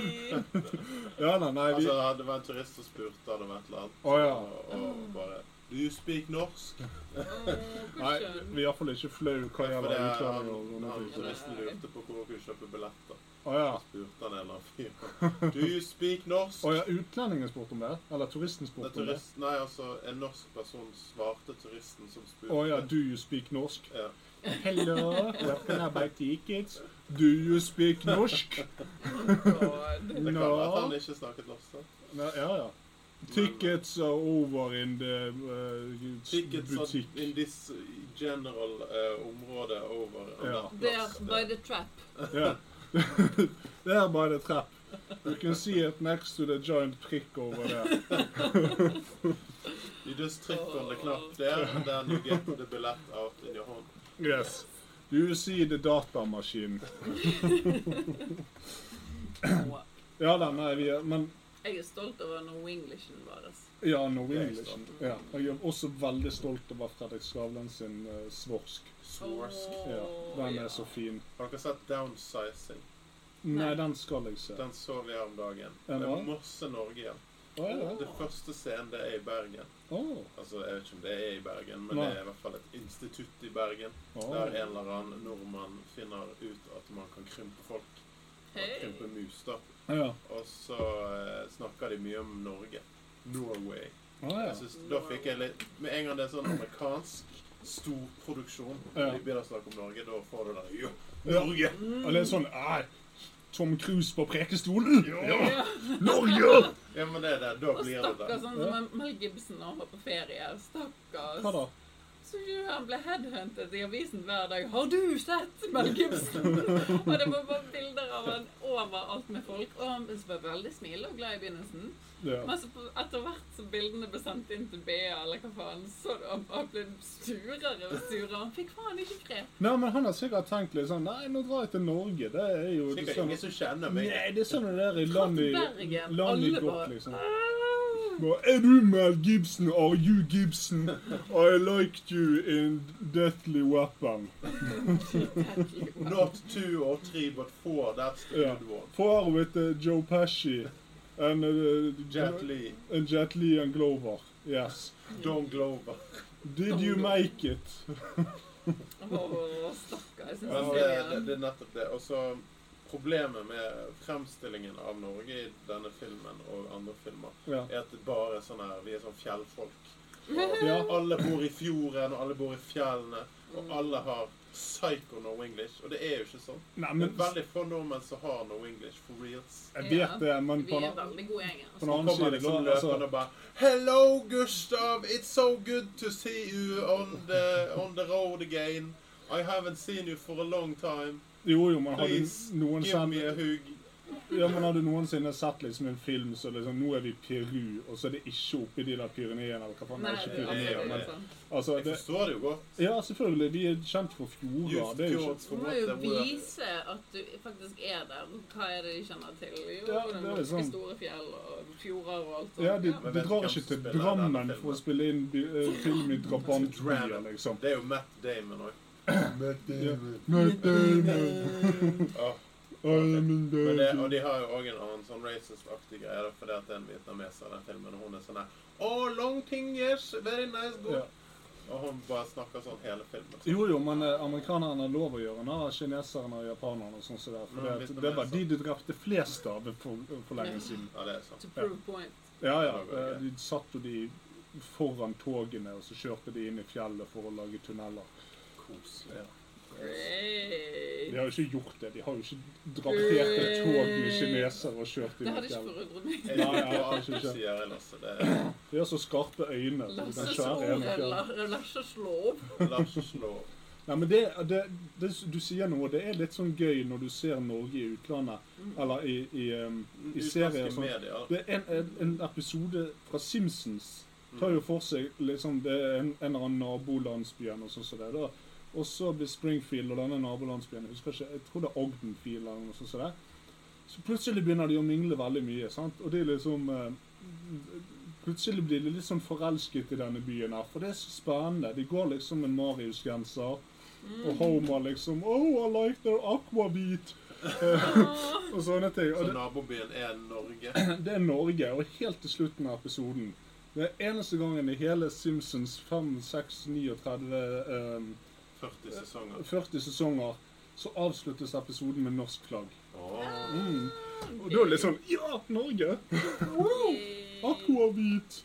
Speaker 9: Ja da, nei, vi
Speaker 7: Altså, hadde det vært en turist som spurte, hadde det vært et eller annet.
Speaker 9: Å, ja.
Speaker 7: og, og bare Do you speak norsk?
Speaker 8: Å,
Speaker 9: Nei,
Speaker 8: hvor skjønn.
Speaker 9: vi er iallfall ikke flau hva
Speaker 7: For
Speaker 9: gjelder
Speaker 7: det er han,
Speaker 9: utlendinger.
Speaker 7: han
Speaker 9: og sånne ting.
Speaker 7: turisten lurte på hvor man kunne kjøpe billetter.
Speaker 9: Å ja.
Speaker 7: Spurte han en eller annen fyr. Do you speak norsk?
Speaker 9: Å ja, utlendingen spurte om det? Eller
Speaker 7: Det
Speaker 9: turisten
Speaker 7: er
Speaker 9: spurte om det?
Speaker 7: turist, nei, altså, en norsk person svarte turisten som spurte.
Speaker 9: Å ja, do you speak norsk?
Speaker 7: Ja.
Speaker 9: Hello, what can I buy tickets? Do you speak norsk?
Speaker 8: God.
Speaker 7: Det kan være at han
Speaker 9: No.
Speaker 7: ikke snakket norsk. da.
Speaker 9: Ja, ja. Tickets are over in the uh,
Speaker 7: Tickets are
Speaker 9: butikk.
Speaker 7: in this eh, general eh, område over en
Speaker 9: Ja.
Speaker 8: Der,
Speaker 7: plass.
Speaker 8: by the trap.
Speaker 9: Yeah. there by the trap. You can see it next to the giant prick over there.
Speaker 7: You just trick on the knapp there, and then you get the billet out in your hand.
Speaker 9: Yes. You see the datamaskin.
Speaker 8: Å,
Speaker 9: Ja da, nei, vi er, men
Speaker 8: Jeg er stolt over når Winglishen var der.
Speaker 9: Ja, no English. Ja. Jeg er også veldig stolt over Fredrik Skavlan sin eh, svorsk.
Speaker 7: Svorsk.
Speaker 9: Ja, den er så fin.
Speaker 7: Har dere sett Downsizing?
Speaker 9: Nei, den skal jeg se.
Speaker 7: Den så vi her om dagen.
Speaker 9: Ja,
Speaker 7: Det
Speaker 9: hva?
Speaker 7: er masse Norge igjen.
Speaker 9: Å ja.
Speaker 7: Det første scenen det er i Bergen.
Speaker 9: Å,
Speaker 7: Altså, Jeg vet ikke om det er i Bergen, men
Speaker 9: Nei.
Speaker 7: det er i hvert fall et institutt i Bergen. Der
Speaker 9: å.
Speaker 7: en eller annen nordmann finner ut at man kan krympe folk.
Speaker 8: Hei.
Speaker 7: Krympe mus, da.
Speaker 9: Ja.
Speaker 7: Og så eh, snakker de mye om Norge. Norway.
Speaker 9: Å ja.
Speaker 7: Jeg synes, da fikk jeg litt Med en gang det er sånn amerikansk storproduksjon,
Speaker 9: Ja.
Speaker 7: vi begynner å snakke om Norge, da får du den. Jo,
Speaker 9: Ja.
Speaker 7: Norge!
Speaker 9: Og det er sånn eh, Tom Cruise på Prekestolen? Ja!
Speaker 8: Ja.
Speaker 9: Norge!
Speaker 7: Ja, men det er det. Da
Speaker 8: Og
Speaker 7: blir det
Speaker 8: stakkar
Speaker 7: det.
Speaker 8: sånn som Mel Gibson når han var på ferie.
Speaker 9: Hva da?
Speaker 8: Stakkars. Så gjør han ble headhuntet i avisen hver dag. 'Har du sett Mel Gibson?' og det var bare bilder av han overalt med folk. Og han var veldig smilende og glad i begynnelsen.
Speaker 9: Ja.
Speaker 8: Men så på- etter hvert som bildene ble sendt inn til BA, eller hva faen, så hadde han bare ble surere og surere. Han fikk faen ikke grep.
Speaker 9: Nei, men han har sikkert tenkt litt sånn Nei, nå drar jeg til Norge. Det er jo det er
Speaker 7: Sikkert
Speaker 9: sånn,
Speaker 7: ingen som kjenner meg.
Speaker 9: Nei, det er sånn det er i land i,
Speaker 8: Bergen,
Speaker 9: land i
Speaker 8: alle
Speaker 9: godt,
Speaker 8: bare-
Speaker 9: liksom. Bare, Er du Mel Gibson? Are you Gibson? I liked you in Deathly Weapon.
Speaker 7: Not two or three, but four. That's the
Speaker 9: Ja.
Speaker 7: good one.
Speaker 9: Far with uh, Joe Pesci and, uh,
Speaker 7: Jet Li,
Speaker 9: and Jet Li and Glover. Yes.
Speaker 7: Don Glover.
Speaker 9: Did you make it?
Speaker 8: Åh, stakkar. Jeg syns
Speaker 7: Men
Speaker 8: han
Speaker 7: det,
Speaker 8: ser
Speaker 7: det,
Speaker 8: igjen.
Speaker 7: det er nettopp det. Og så problemet med fremstillingen av Norge i denne filmen og andre filmer,
Speaker 9: Ja.
Speaker 7: er at det bare er sånn her Vi er sånn fjellfolk.
Speaker 9: Ja.
Speaker 7: Og alle bor i fjorden, og alle bor i fjellene, og alle har psycho no English. Og det er jo ikke sånn.
Speaker 9: Nei,
Speaker 7: Det
Speaker 9: men
Speaker 7: er veldig få nordmenn som har no English for reals.
Speaker 9: Jeg vet det, men
Speaker 8: Vi
Speaker 9: på en
Speaker 8: er
Speaker 9: annen-
Speaker 8: veldig altså. gode gjenger.
Speaker 9: på en
Speaker 7: Så
Speaker 9: annen
Speaker 7: kommer
Speaker 9: side
Speaker 7: liksom
Speaker 9: da,
Speaker 7: løpende
Speaker 9: altså,
Speaker 7: og bare Hello, Gustav! It's so good to see you on the, on the road again. I haven't seen you for a long time.
Speaker 9: Jo, jo, men har du
Speaker 7: Please,
Speaker 9: noen
Speaker 7: Give me a
Speaker 9: sendt
Speaker 7: hug.
Speaker 9: Ja, men har du noensinne sett liksom en film så liksom, nå er vi i Peru, og så er det ikke oppe i de der Pyreneene eller hva faen
Speaker 8: Nei,
Speaker 9: det er ikke
Speaker 8: det er
Speaker 7: det, det.
Speaker 9: Pyreneene,
Speaker 8: absolutt
Speaker 9: men
Speaker 8: sant.
Speaker 9: altså
Speaker 7: Jeg
Speaker 9: det,
Speaker 7: forstår det jo godt.
Speaker 9: Ja, selvfølgelig. Vi er kjent for fjorder.
Speaker 7: Used
Speaker 9: Det er jo
Speaker 7: fjords
Speaker 9: ikke
Speaker 8: Du
Speaker 7: for
Speaker 8: må
Speaker 7: what
Speaker 8: jo
Speaker 7: they're worth.
Speaker 8: vise at du faktisk er der. Hva er det de kjenner til? Jo,
Speaker 9: Ja,
Speaker 8: det
Speaker 9: det er liksom-
Speaker 8: norske
Speaker 9: sant.
Speaker 8: store fjell og fjorder og alt sånt.
Speaker 9: ja, de,
Speaker 8: Ja.
Speaker 7: Men
Speaker 9: de
Speaker 7: vet du
Speaker 9: drar
Speaker 7: hvem
Speaker 9: ikke
Speaker 7: som
Speaker 9: til
Speaker 7: spiller denne
Speaker 9: Drammen
Speaker 7: filmen?
Speaker 9: for å spille inn bi- eh, film i Drabantbyer,
Speaker 7: Drammen.
Speaker 9: liksom.
Speaker 7: Det er jo Matt Damon òg.
Speaker 9: Ja. Møt Damon, I'm in
Speaker 7: Men det, og
Speaker 9: Damon.
Speaker 7: de har jo òg en annen sånn racist-aktig greie, da, fordi at det er en vietnameser i den filmen, og hun er sånn her Oh, long thing, yes, very nice, good.
Speaker 9: Ja.
Speaker 7: Og hun bare snakker sånn hele filmen.
Speaker 9: Jo jo, men eh, amerikanerne har lov å gjøre narr av kineserne og japanerne og sånn som det.
Speaker 7: Men
Speaker 9: For det,
Speaker 7: hvis de
Speaker 9: det
Speaker 7: er
Speaker 9: var
Speaker 7: sånn.
Speaker 9: de du drepte flest av for, for lenge siden.
Speaker 7: Ja, det er sånn. sant.
Speaker 8: To prove point.
Speaker 9: Ja ja. eh, De satt jo de foran togene, og så kjørte de inn i fjellet for å lage tunneler.
Speaker 7: Koselig.
Speaker 9: De
Speaker 8: Great.
Speaker 9: har jo ikke gjort det. De har jo ikke drapert et tog med kinesere og kjørt
Speaker 8: Det
Speaker 9: inn i
Speaker 8: hadde ikke
Speaker 9: fjellet.
Speaker 8: forundret meg.
Speaker 7: Jeg
Speaker 9: Nei, jeg
Speaker 7: liker
Speaker 9: har
Speaker 7: alt du
Speaker 9: ikke skjønt.
Speaker 7: sier, Lasse. Det er
Speaker 9: De har så skarpe øyne. så du kan
Speaker 8: Lasses
Speaker 9: skjære
Speaker 8: ord
Speaker 9: gjennom fjellet.
Speaker 8: lar seg slå opp.
Speaker 7: Lars slår.
Speaker 9: Nei, men det, det, det, Du sier noe. Det er litt sånn gøy når du ser Norge i utlandet,
Speaker 8: Mm.
Speaker 9: eller i, i, um, i
Speaker 7: Utenlandske
Speaker 9: serier. og sånt.
Speaker 7: medier.
Speaker 9: Det er en, en, en episode fra Simpsons tar jo for seg liksom, det er en, en eller annen nabolandsby eller noe sånt. som det er da. Og så blir Springfield og denne nabolandsbyen Jeg husker ikke, jeg tror det er Ogdenfield eller noe sånt. som det er. Så plutselig begynner de å mingle veldig mye. sant? Og de liksom eh, Plutselig blir de litt sånn forelsket i denne byen her, for det er så spennende. De går liksom med Marius-genser. Og Homer liksom Oh, I like their aquabeat! Eh, og sånne ting. Og
Speaker 7: Så
Speaker 9: det,
Speaker 7: nabobyen er Norge.
Speaker 9: det er Norge, og helt til slutten av episoden Det er eneste gangen i hele Simpsons 5, 6, 39 ehm,
Speaker 7: 40 sesonger.
Speaker 9: 40 sesonger så avsluttes episoden med norsk flagg.
Speaker 7: Åh.
Speaker 9: Mm. Og da er det litt sånn Ja, Norge! Wow! Aquavit!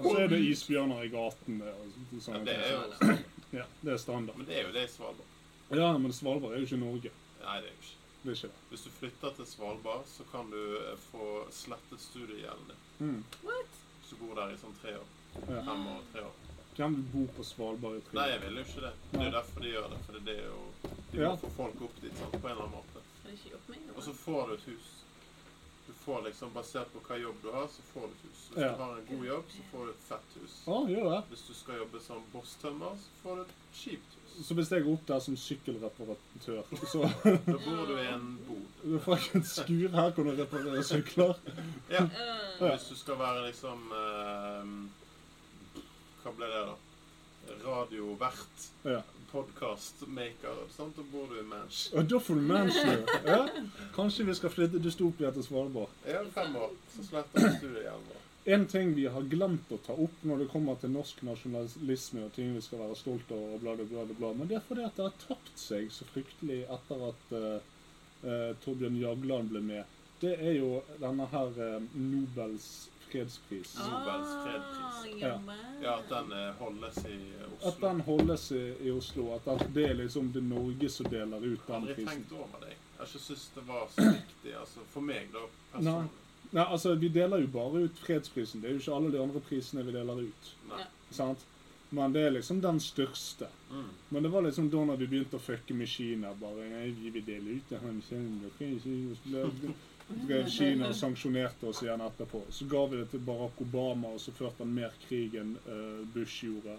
Speaker 9: Og så er det isbjørner i gatene. og
Speaker 7: Ja,
Speaker 9: sånne
Speaker 7: det er
Speaker 9: ting.
Speaker 7: jo standard.
Speaker 9: Ja, det er standard.
Speaker 7: Men det er jo det i Svalbard.
Speaker 9: Ja, men Svalbard er jo ikke Norge.
Speaker 7: Nei, det er jo ikke
Speaker 9: Det er ikke det.
Speaker 7: Hvis du flytter til Svalbard, så kan du eh, få slettet studiegjelden din.
Speaker 9: Mm.
Speaker 7: Hvis du bor der i sånn tre år.
Speaker 9: Ja.
Speaker 7: Fem år, tre år.
Speaker 9: Hvem bor på Svalbard i tre
Speaker 7: Nei,
Speaker 9: år?
Speaker 7: jeg vil jo ikke det. Det er jo derfor de gjør det. For det er jo De må
Speaker 9: Ja.
Speaker 7: få folk opp dit sant, på en eller annen måte.
Speaker 8: Har de ikke gjort meg
Speaker 7: Og
Speaker 8: noe?
Speaker 7: så får du et hus. Du får liksom, Basert på hva jobb du har, så får du et hus. Hvis
Speaker 9: Ja.
Speaker 7: du har en god jobb, så får du et fett hus.
Speaker 9: Ja, Ah, gjør det.
Speaker 7: Hvis du skal jobbe som bosstømmer, så får du et kjipt hus.
Speaker 9: Så hvis jeg går opp der som sykkelreparatør, så
Speaker 7: Da bor du i en bod.
Speaker 9: Du får ikke et skur her hvor du reparerer sykler.
Speaker 7: Ja.
Speaker 12: Øh,
Speaker 7: Hvis du skal være liksom eh, Hva ble det, da? Radiovert.
Speaker 9: Ja.
Speaker 7: Podkastmaker. Da bor du i Manch.
Speaker 9: Og da får du mansion. Ja. Kanskje vi skal flytte dystopia til Svalbard.
Speaker 7: Ja, fem år, så sletter du studiehjelmen.
Speaker 9: En ting vi har glemt å ta opp når det kommer til norsk nasjonalisme og ting vi skal være stolt av, og bla, bla, bla, bla, bla. men det er fordi at det har tapt seg så fryktelig etter at eh, eh, Torbjørn Jagland ble med. Det er jo denne her eh, Nobels fredspris.
Speaker 7: Nobels
Speaker 8: Ah,
Speaker 7: fredspris.
Speaker 8: jammen.
Speaker 7: Ja, at den eh, holdes i Oslo.
Speaker 9: At den holdes i, i Oslo. At, at det er liksom det er Norge som deler ut
Speaker 7: Jeg har
Speaker 9: den
Speaker 7: aldri
Speaker 9: prisen.
Speaker 7: tenkt over det. Jeg har ikke syntes det var så viktig. Altså, for meg, da, personlig.
Speaker 9: Nei, altså, vi deler jo bare ut fredsprisen. Det er jo ikke alle de andre prisene vi deler ut.
Speaker 7: Nei.
Speaker 9: Sant? Men det er liksom den største.
Speaker 7: Mm.
Speaker 9: Men det var liksom da når vi begynte å fucke med Kina. bare, nei, vi vil dele ut det her, men Kina, ok, Kina, så ble- drev Kina og sanksjonerte oss igjen etterpå. Så ga vi det til Barack Obama, og så førte han mer krig enn eh, Bush gjorde.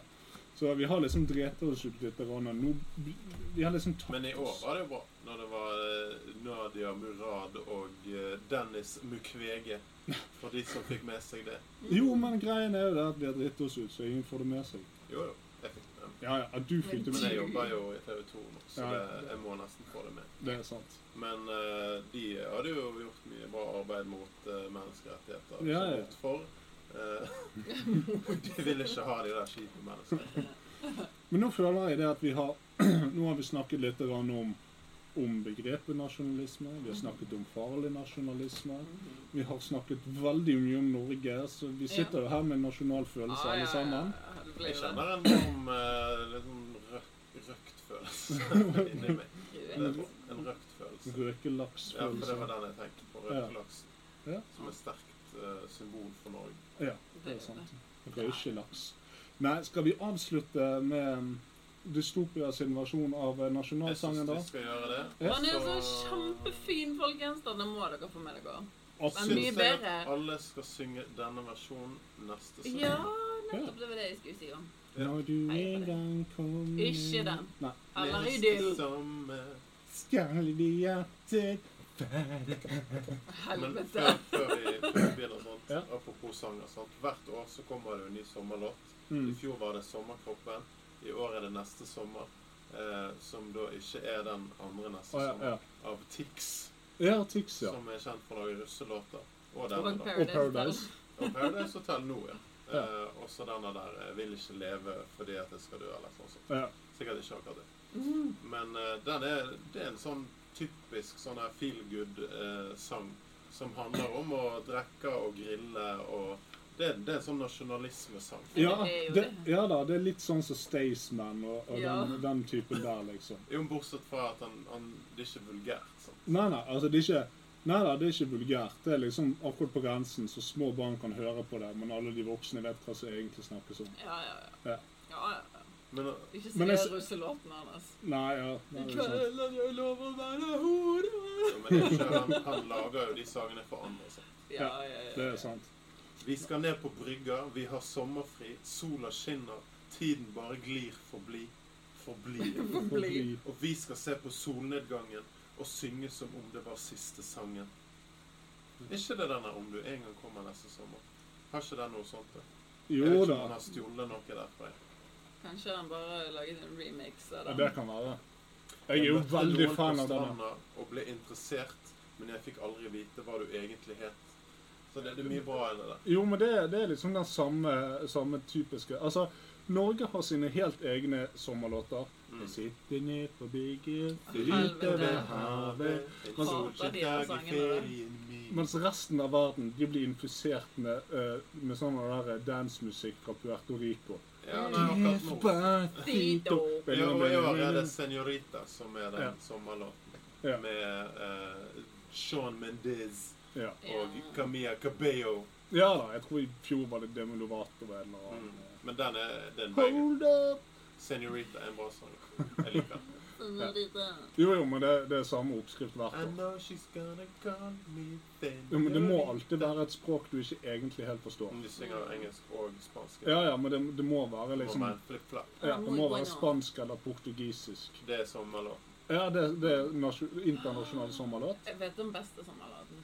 Speaker 9: Så vi har liksom drept oss ut litt. grann, og Nå, vi har liksom tatt
Speaker 7: Men i år var det jo bra. Når det var eh, Nadia Murad og eh, Dennis Mukwege. For de som fikk med seg det.
Speaker 9: Jo, men greien er jo det at vi har dritt oss ut, så ingen får det med seg.
Speaker 7: Jo, jo. Jeg fikk det med meg.
Speaker 9: Ja, ja, at du fikk det
Speaker 7: Men
Speaker 9: med
Speaker 7: jeg
Speaker 9: deg.
Speaker 7: jobber jo i TV 2 nå, så
Speaker 9: Ja,
Speaker 7: det,
Speaker 9: ja.
Speaker 7: jeg må nesten få det med.
Speaker 9: Det er sant.
Speaker 7: Men eh, de hadde jo gjort mye bra arbeid mot eh, menneskerettigheter.
Speaker 9: Ja,
Speaker 7: så
Speaker 9: ja.
Speaker 7: mot for. Eh, de ville ikke ha de der skitne menneskerettighetene.
Speaker 9: Men nå føler jeg det at vi har Nå har vi snakket litt grann om, om begrepet nasjonalisme. Vi har snakket om farlig nasjonalisme. Vi har snakket veldig mye om Norge, så vi sitter jo her med en nasjonal følelse
Speaker 8: Ah, ja,
Speaker 9: alle
Speaker 8: ja,
Speaker 9: sammen.
Speaker 8: ja, det ble
Speaker 7: Jeg
Speaker 8: jo
Speaker 7: kjenner en sånn eh, litt sånn røk- røkt følelse inni meg.
Speaker 8: det.
Speaker 7: Det er En røkt følelse. Ja, for det var
Speaker 9: Røkelaksfølelse.
Speaker 7: den jeg tenkte på.
Speaker 9: Ja.
Speaker 7: Røkt laks.
Speaker 9: Ja.
Speaker 7: Som et sterkt eh, symbol for Norge.
Speaker 9: Ja, det er sant. Røykelaks. Nei, skal vi avslutte med Dystopias versjon av
Speaker 7: Jeg
Speaker 9: eh,
Speaker 7: syns
Speaker 9: nasjonalsangen,
Speaker 7: vi
Speaker 9: da?
Speaker 7: skal gjøre det.
Speaker 9: Ja.
Speaker 8: Han er jo så kjempefin, folkens. Den må dere få med dere. Men
Speaker 9: Absolutt.
Speaker 7: Syns
Speaker 8: mye
Speaker 7: jeg
Speaker 8: bedre.
Speaker 7: at alle skal synge denne versjonen neste søndag.
Speaker 8: Ja, nettopp. Det var det jeg skulle si om.
Speaker 9: Når du en gang kommer
Speaker 8: Ikke den.
Speaker 9: Nei.
Speaker 8: Eller
Speaker 7: Neste
Speaker 8: idyll.
Speaker 7: sommer.
Speaker 9: Skal de hjertet
Speaker 7: Men
Speaker 8: Helvete.
Speaker 7: før, før, vi, før vi begynner sånt,
Speaker 9: Ja.
Speaker 7: apropos sanger sånt. Hvert år så kommer det jo en ny sommerlåt. I
Speaker 9: Mm.
Speaker 7: fjor var det 'Sommerkroppen'. I år er det 'Neste sommer'. Eh, som da ikke er den andre neste
Speaker 9: Å, ja,
Speaker 7: sommer.
Speaker 9: ja.
Speaker 7: Av Tix,
Speaker 9: Ja, Tix, ja.
Speaker 7: som er kjent for å lage russelåter. Og
Speaker 8: Og
Speaker 7: denne, da.
Speaker 9: Og Paradise.
Speaker 8: Hotel.
Speaker 7: Og Paradise Hotel nå, ja.
Speaker 9: Ja.
Speaker 7: Eh, også denne der eh, 'Vil ikke leve fordi at jeg skal dø', eller sånn. sånt.
Speaker 9: Ja.
Speaker 7: Sikkert ikke akkurat det. Men eh, den er, det er en sånn typisk sånn her feel good-sang som handler om å drikke og grille og Det, det er en sånn nasjonalismesang.
Speaker 9: Ja,
Speaker 8: Det er jo
Speaker 9: det,
Speaker 8: det.
Speaker 9: ja da, det er litt sånn som Staysman og, og
Speaker 8: Ja.
Speaker 9: den, den typen der, liksom.
Speaker 7: Jo, bortsett fra at han, han, det er ikke vulgært. sant?
Speaker 9: Nei, nei, altså det er ikke Nei da, det er ikke vulgært. Det er liksom akkurat på grensen, så små barn kan høre på det, men alle de voksne vet hva som egentlig snakkes om.
Speaker 8: Ja, ja,
Speaker 9: Ja.
Speaker 8: ja. ja, ja.
Speaker 7: Men, eh,
Speaker 8: Ikke si
Speaker 9: Men jeg s-
Speaker 8: russelåten hans.
Speaker 9: Nei, ja. Nei, det er sant.
Speaker 8: Kvelden jeg lover å være hore.
Speaker 7: men det er ikke, han, han lager jo de sangene for andre. Så.
Speaker 8: Ja, ja, ja.
Speaker 9: Det er sant.
Speaker 7: Vi skal ned på brygga, vi har sommerfri, sola skinner, tiden bare glir forbi. Forbi.
Speaker 8: Bli.
Speaker 9: Forbi.
Speaker 7: Og vi skal se på solnedgangen og synge som om det var siste sangen. Er ikke det denne om du en gang kommer neste sommer? Har ikke den noe sånt? det? Jeg vet ikke
Speaker 9: Jo
Speaker 7: om
Speaker 9: da.
Speaker 7: han har stjålet noe derfra. jeg.
Speaker 8: Kanskje han bare laget en remix av
Speaker 9: Ja,
Speaker 8: den.
Speaker 9: Det kan være. Jeg er jo
Speaker 7: møtte
Speaker 9: veldig
Speaker 7: noen på
Speaker 9: fan av denne.
Speaker 7: stranda Og ble interessert, men jeg fikk aldri vite hva du egentlig het. Så det, det er mye bra i det der.
Speaker 9: Jo, men det, det er liksom den samme, samme typiske Altså, Norge har sine helt egne sommerlåter.
Speaker 7: Mm.
Speaker 9: Jeg sitter ned på bygget,
Speaker 8: Helvete.
Speaker 9: flyter ved havet
Speaker 7: En
Speaker 9: Men-
Speaker 7: solskint dag i ferien min.
Speaker 9: Mens resten av verden de blir infisert med, eh, med sånn der dansemusikk fra Puerto Rico.
Speaker 7: Ja, nei, akkurat nå.
Speaker 9: Despacito.
Speaker 7: Ja, og i år er det 'Senorita' som er den
Speaker 9: Ja.
Speaker 7: sommerlåten.
Speaker 9: Ja.
Speaker 7: Med eh, Sean Mendez
Speaker 9: Ja.
Speaker 7: og Camilla Cabello.
Speaker 9: ja da, jeg tror i fjor var det Demi Lovato eller noe
Speaker 7: Mm.
Speaker 9: annet.
Speaker 7: Men den er den veien.
Speaker 9: Hold up!
Speaker 7: 'Senorita' er en bra sang. Jeg liker den.
Speaker 9: Jo, jo, men det, det er samme oppskrift hvert
Speaker 7: I
Speaker 9: år.
Speaker 7: know she's gonna call me
Speaker 9: Jo, men Det må
Speaker 7: senorita.
Speaker 9: alltid være et språk du ikke egentlig helt forstår.
Speaker 7: Men De synger engelsk og spansk.
Speaker 9: Ja, ja, men det, det må være
Speaker 7: Det
Speaker 9: liksom
Speaker 7: må være flip-flap.
Speaker 9: ja, Det må være spansk eller portugisisk.
Speaker 7: Det er sommerlåt.
Speaker 9: Ja, det, det er nasjo- internasjonal sommerlåt.
Speaker 8: Jeg vet den beste sommerlåten.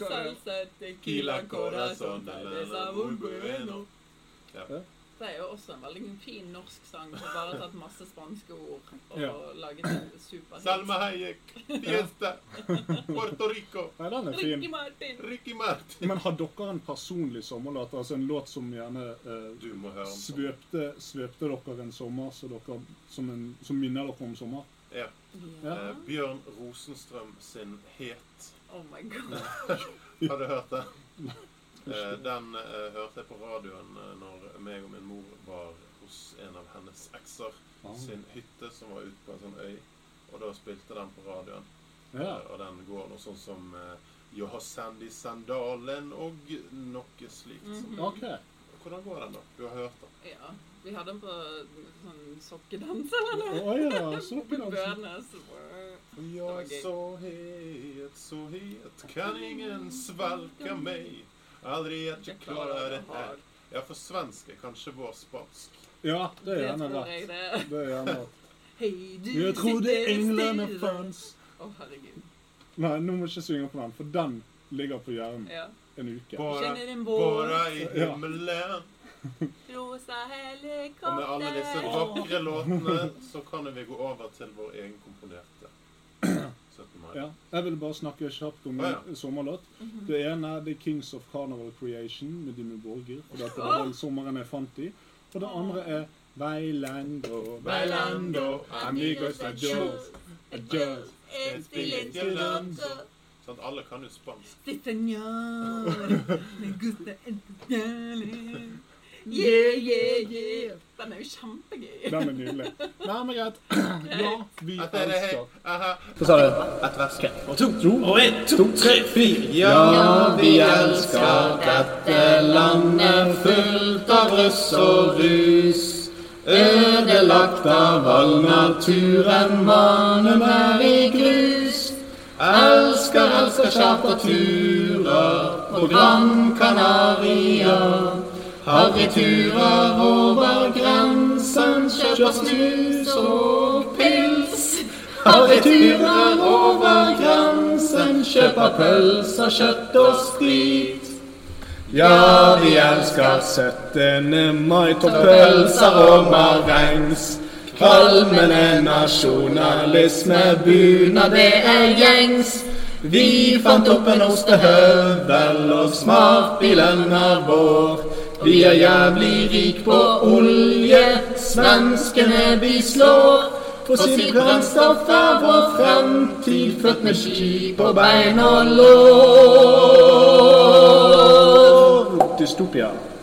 Speaker 9: Hva-
Speaker 8: Salsa, tequila, corazón, cerveza, muy bueno. Det er jo også en veldig fin norsk sang som bare har tatt masse spanske ord og
Speaker 9: Ja.
Speaker 8: laget en superhit.
Speaker 7: Salma Hayek, Fiesta, Puerto Rico,
Speaker 9: Nei, den er
Speaker 8: Ricky
Speaker 9: fin.
Speaker 8: Martin!
Speaker 7: Ricky Martin.
Speaker 9: Men har dere en personlig sommerlåt? Altså en låt som gjerne eh,
Speaker 7: Du må høre om sånn.
Speaker 9: svøpte, svøpte dere en sommer, så dere, som, en, som minner dere om sommer?
Speaker 7: Ja.
Speaker 9: Ja.
Speaker 7: Eh, Bjørn Rosenstrøm sin Het.
Speaker 8: Oh my god.
Speaker 7: Har du hørt den? Eh, den eh, hørte jeg på radioen eh, når meg og min mor var hos en av hennes ekser sin hytte, som var ute på en sånn øy. Og da spilte den på radioen.
Speaker 9: Ja.
Speaker 7: Eh, Og den går noe sånn som eh, Jeg har sand i sandalen og noe slikt. som-
Speaker 8: Mhm.
Speaker 9: OK.
Speaker 7: Hvordan går den, da? Du har hørt den?
Speaker 8: Ja. Vi hadde den på sånn sokkedans eller
Speaker 9: Å
Speaker 8: noe.
Speaker 9: ja,
Speaker 8: Oppe i
Speaker 9: sokkedansen.
Speaker 8: Bønes. var
Speaker 7: Jeg
Speaker 8: gøy.
Speaker 7: så het, så het, kan ingen svelge meg. Aldri at jeg klarer det her. Ja, for svensk er kanskje vår spansk.
Speaker 9: Ja, det
Speaker 8: Det
Speaker 9: er gjerne
Speaker 8: tror jeg
Speaker 9: rett.
Speaker 8: det.
Speaker 9: Det er gjerne rett.
Speaker 8: Hei, du
Speaker 9: Jeg trodde
Speaker 8: sitter
Speaker 9: englene
Speaker 8: stille.
Speaker 9: fantes.
Speaker 8: Å, herregud.
Speaker 9: Nei, nå må jeg ikke synge på den, for den ligger på hjernen
Speaker 8: Ja.
Speaker 9: en uke.
Speaker 7: Bare,
Speaker 8: Kjenner en vår,
Speaker 7: bare i himmelen.
Speaker 8: rosa
Speaker 7: Og med alle disse
Speaker 8: helikopter.
Speaker 7: vakre låtene så kan vi gå over til vår egenkomponerte 17. mai.
Speaker 9: Ja. Jeg vil bare snakke kjapt om
Speaker 7: Ah,
Speaker 9: en sommerlåt. Det ene er The Kings of Carnival Creation med Dimmu Borgir. For dette var den sommeren jeg fant de. Og det andre er Veilando, Veilando, amigos adios, adios.
Speaker 8: Et
Speaker 7: Til land. Sånn, alle kan jo spansk.
Speaker 8: Yeah, yeah, yeah. Den er jo kjempegøy.
Speaker 9: Den er nydelig. Nei, men greit. Ja, vi
Speaker 7: At det er hei,
Speaker 9: elsker.
Speaker 7: aha.
Speaker 5: Ja, vi elsker dette landet fullt av russ og rus. Ødelagt av all naturen, mannen er i grus. Elsker, elsker charterturer på Gran Canaria. Harryturer over grensen, kjøper snus og pils. Harryturer over grensen, kjøper pølser, kjøtt og sprit. Ja, vi elsker 17. mai, topppølser og marengs. Kvalmende nasjonalisme, bunad, det er gjengs. Vi fant opp en ostehøvel, og smartbilen er vår. Vi er jævlig rik på olje, svenskene vi slår. Fossilt brennstoff er vår fremtid, født med ski på bein og lår.
Speaker 9: Dystopia.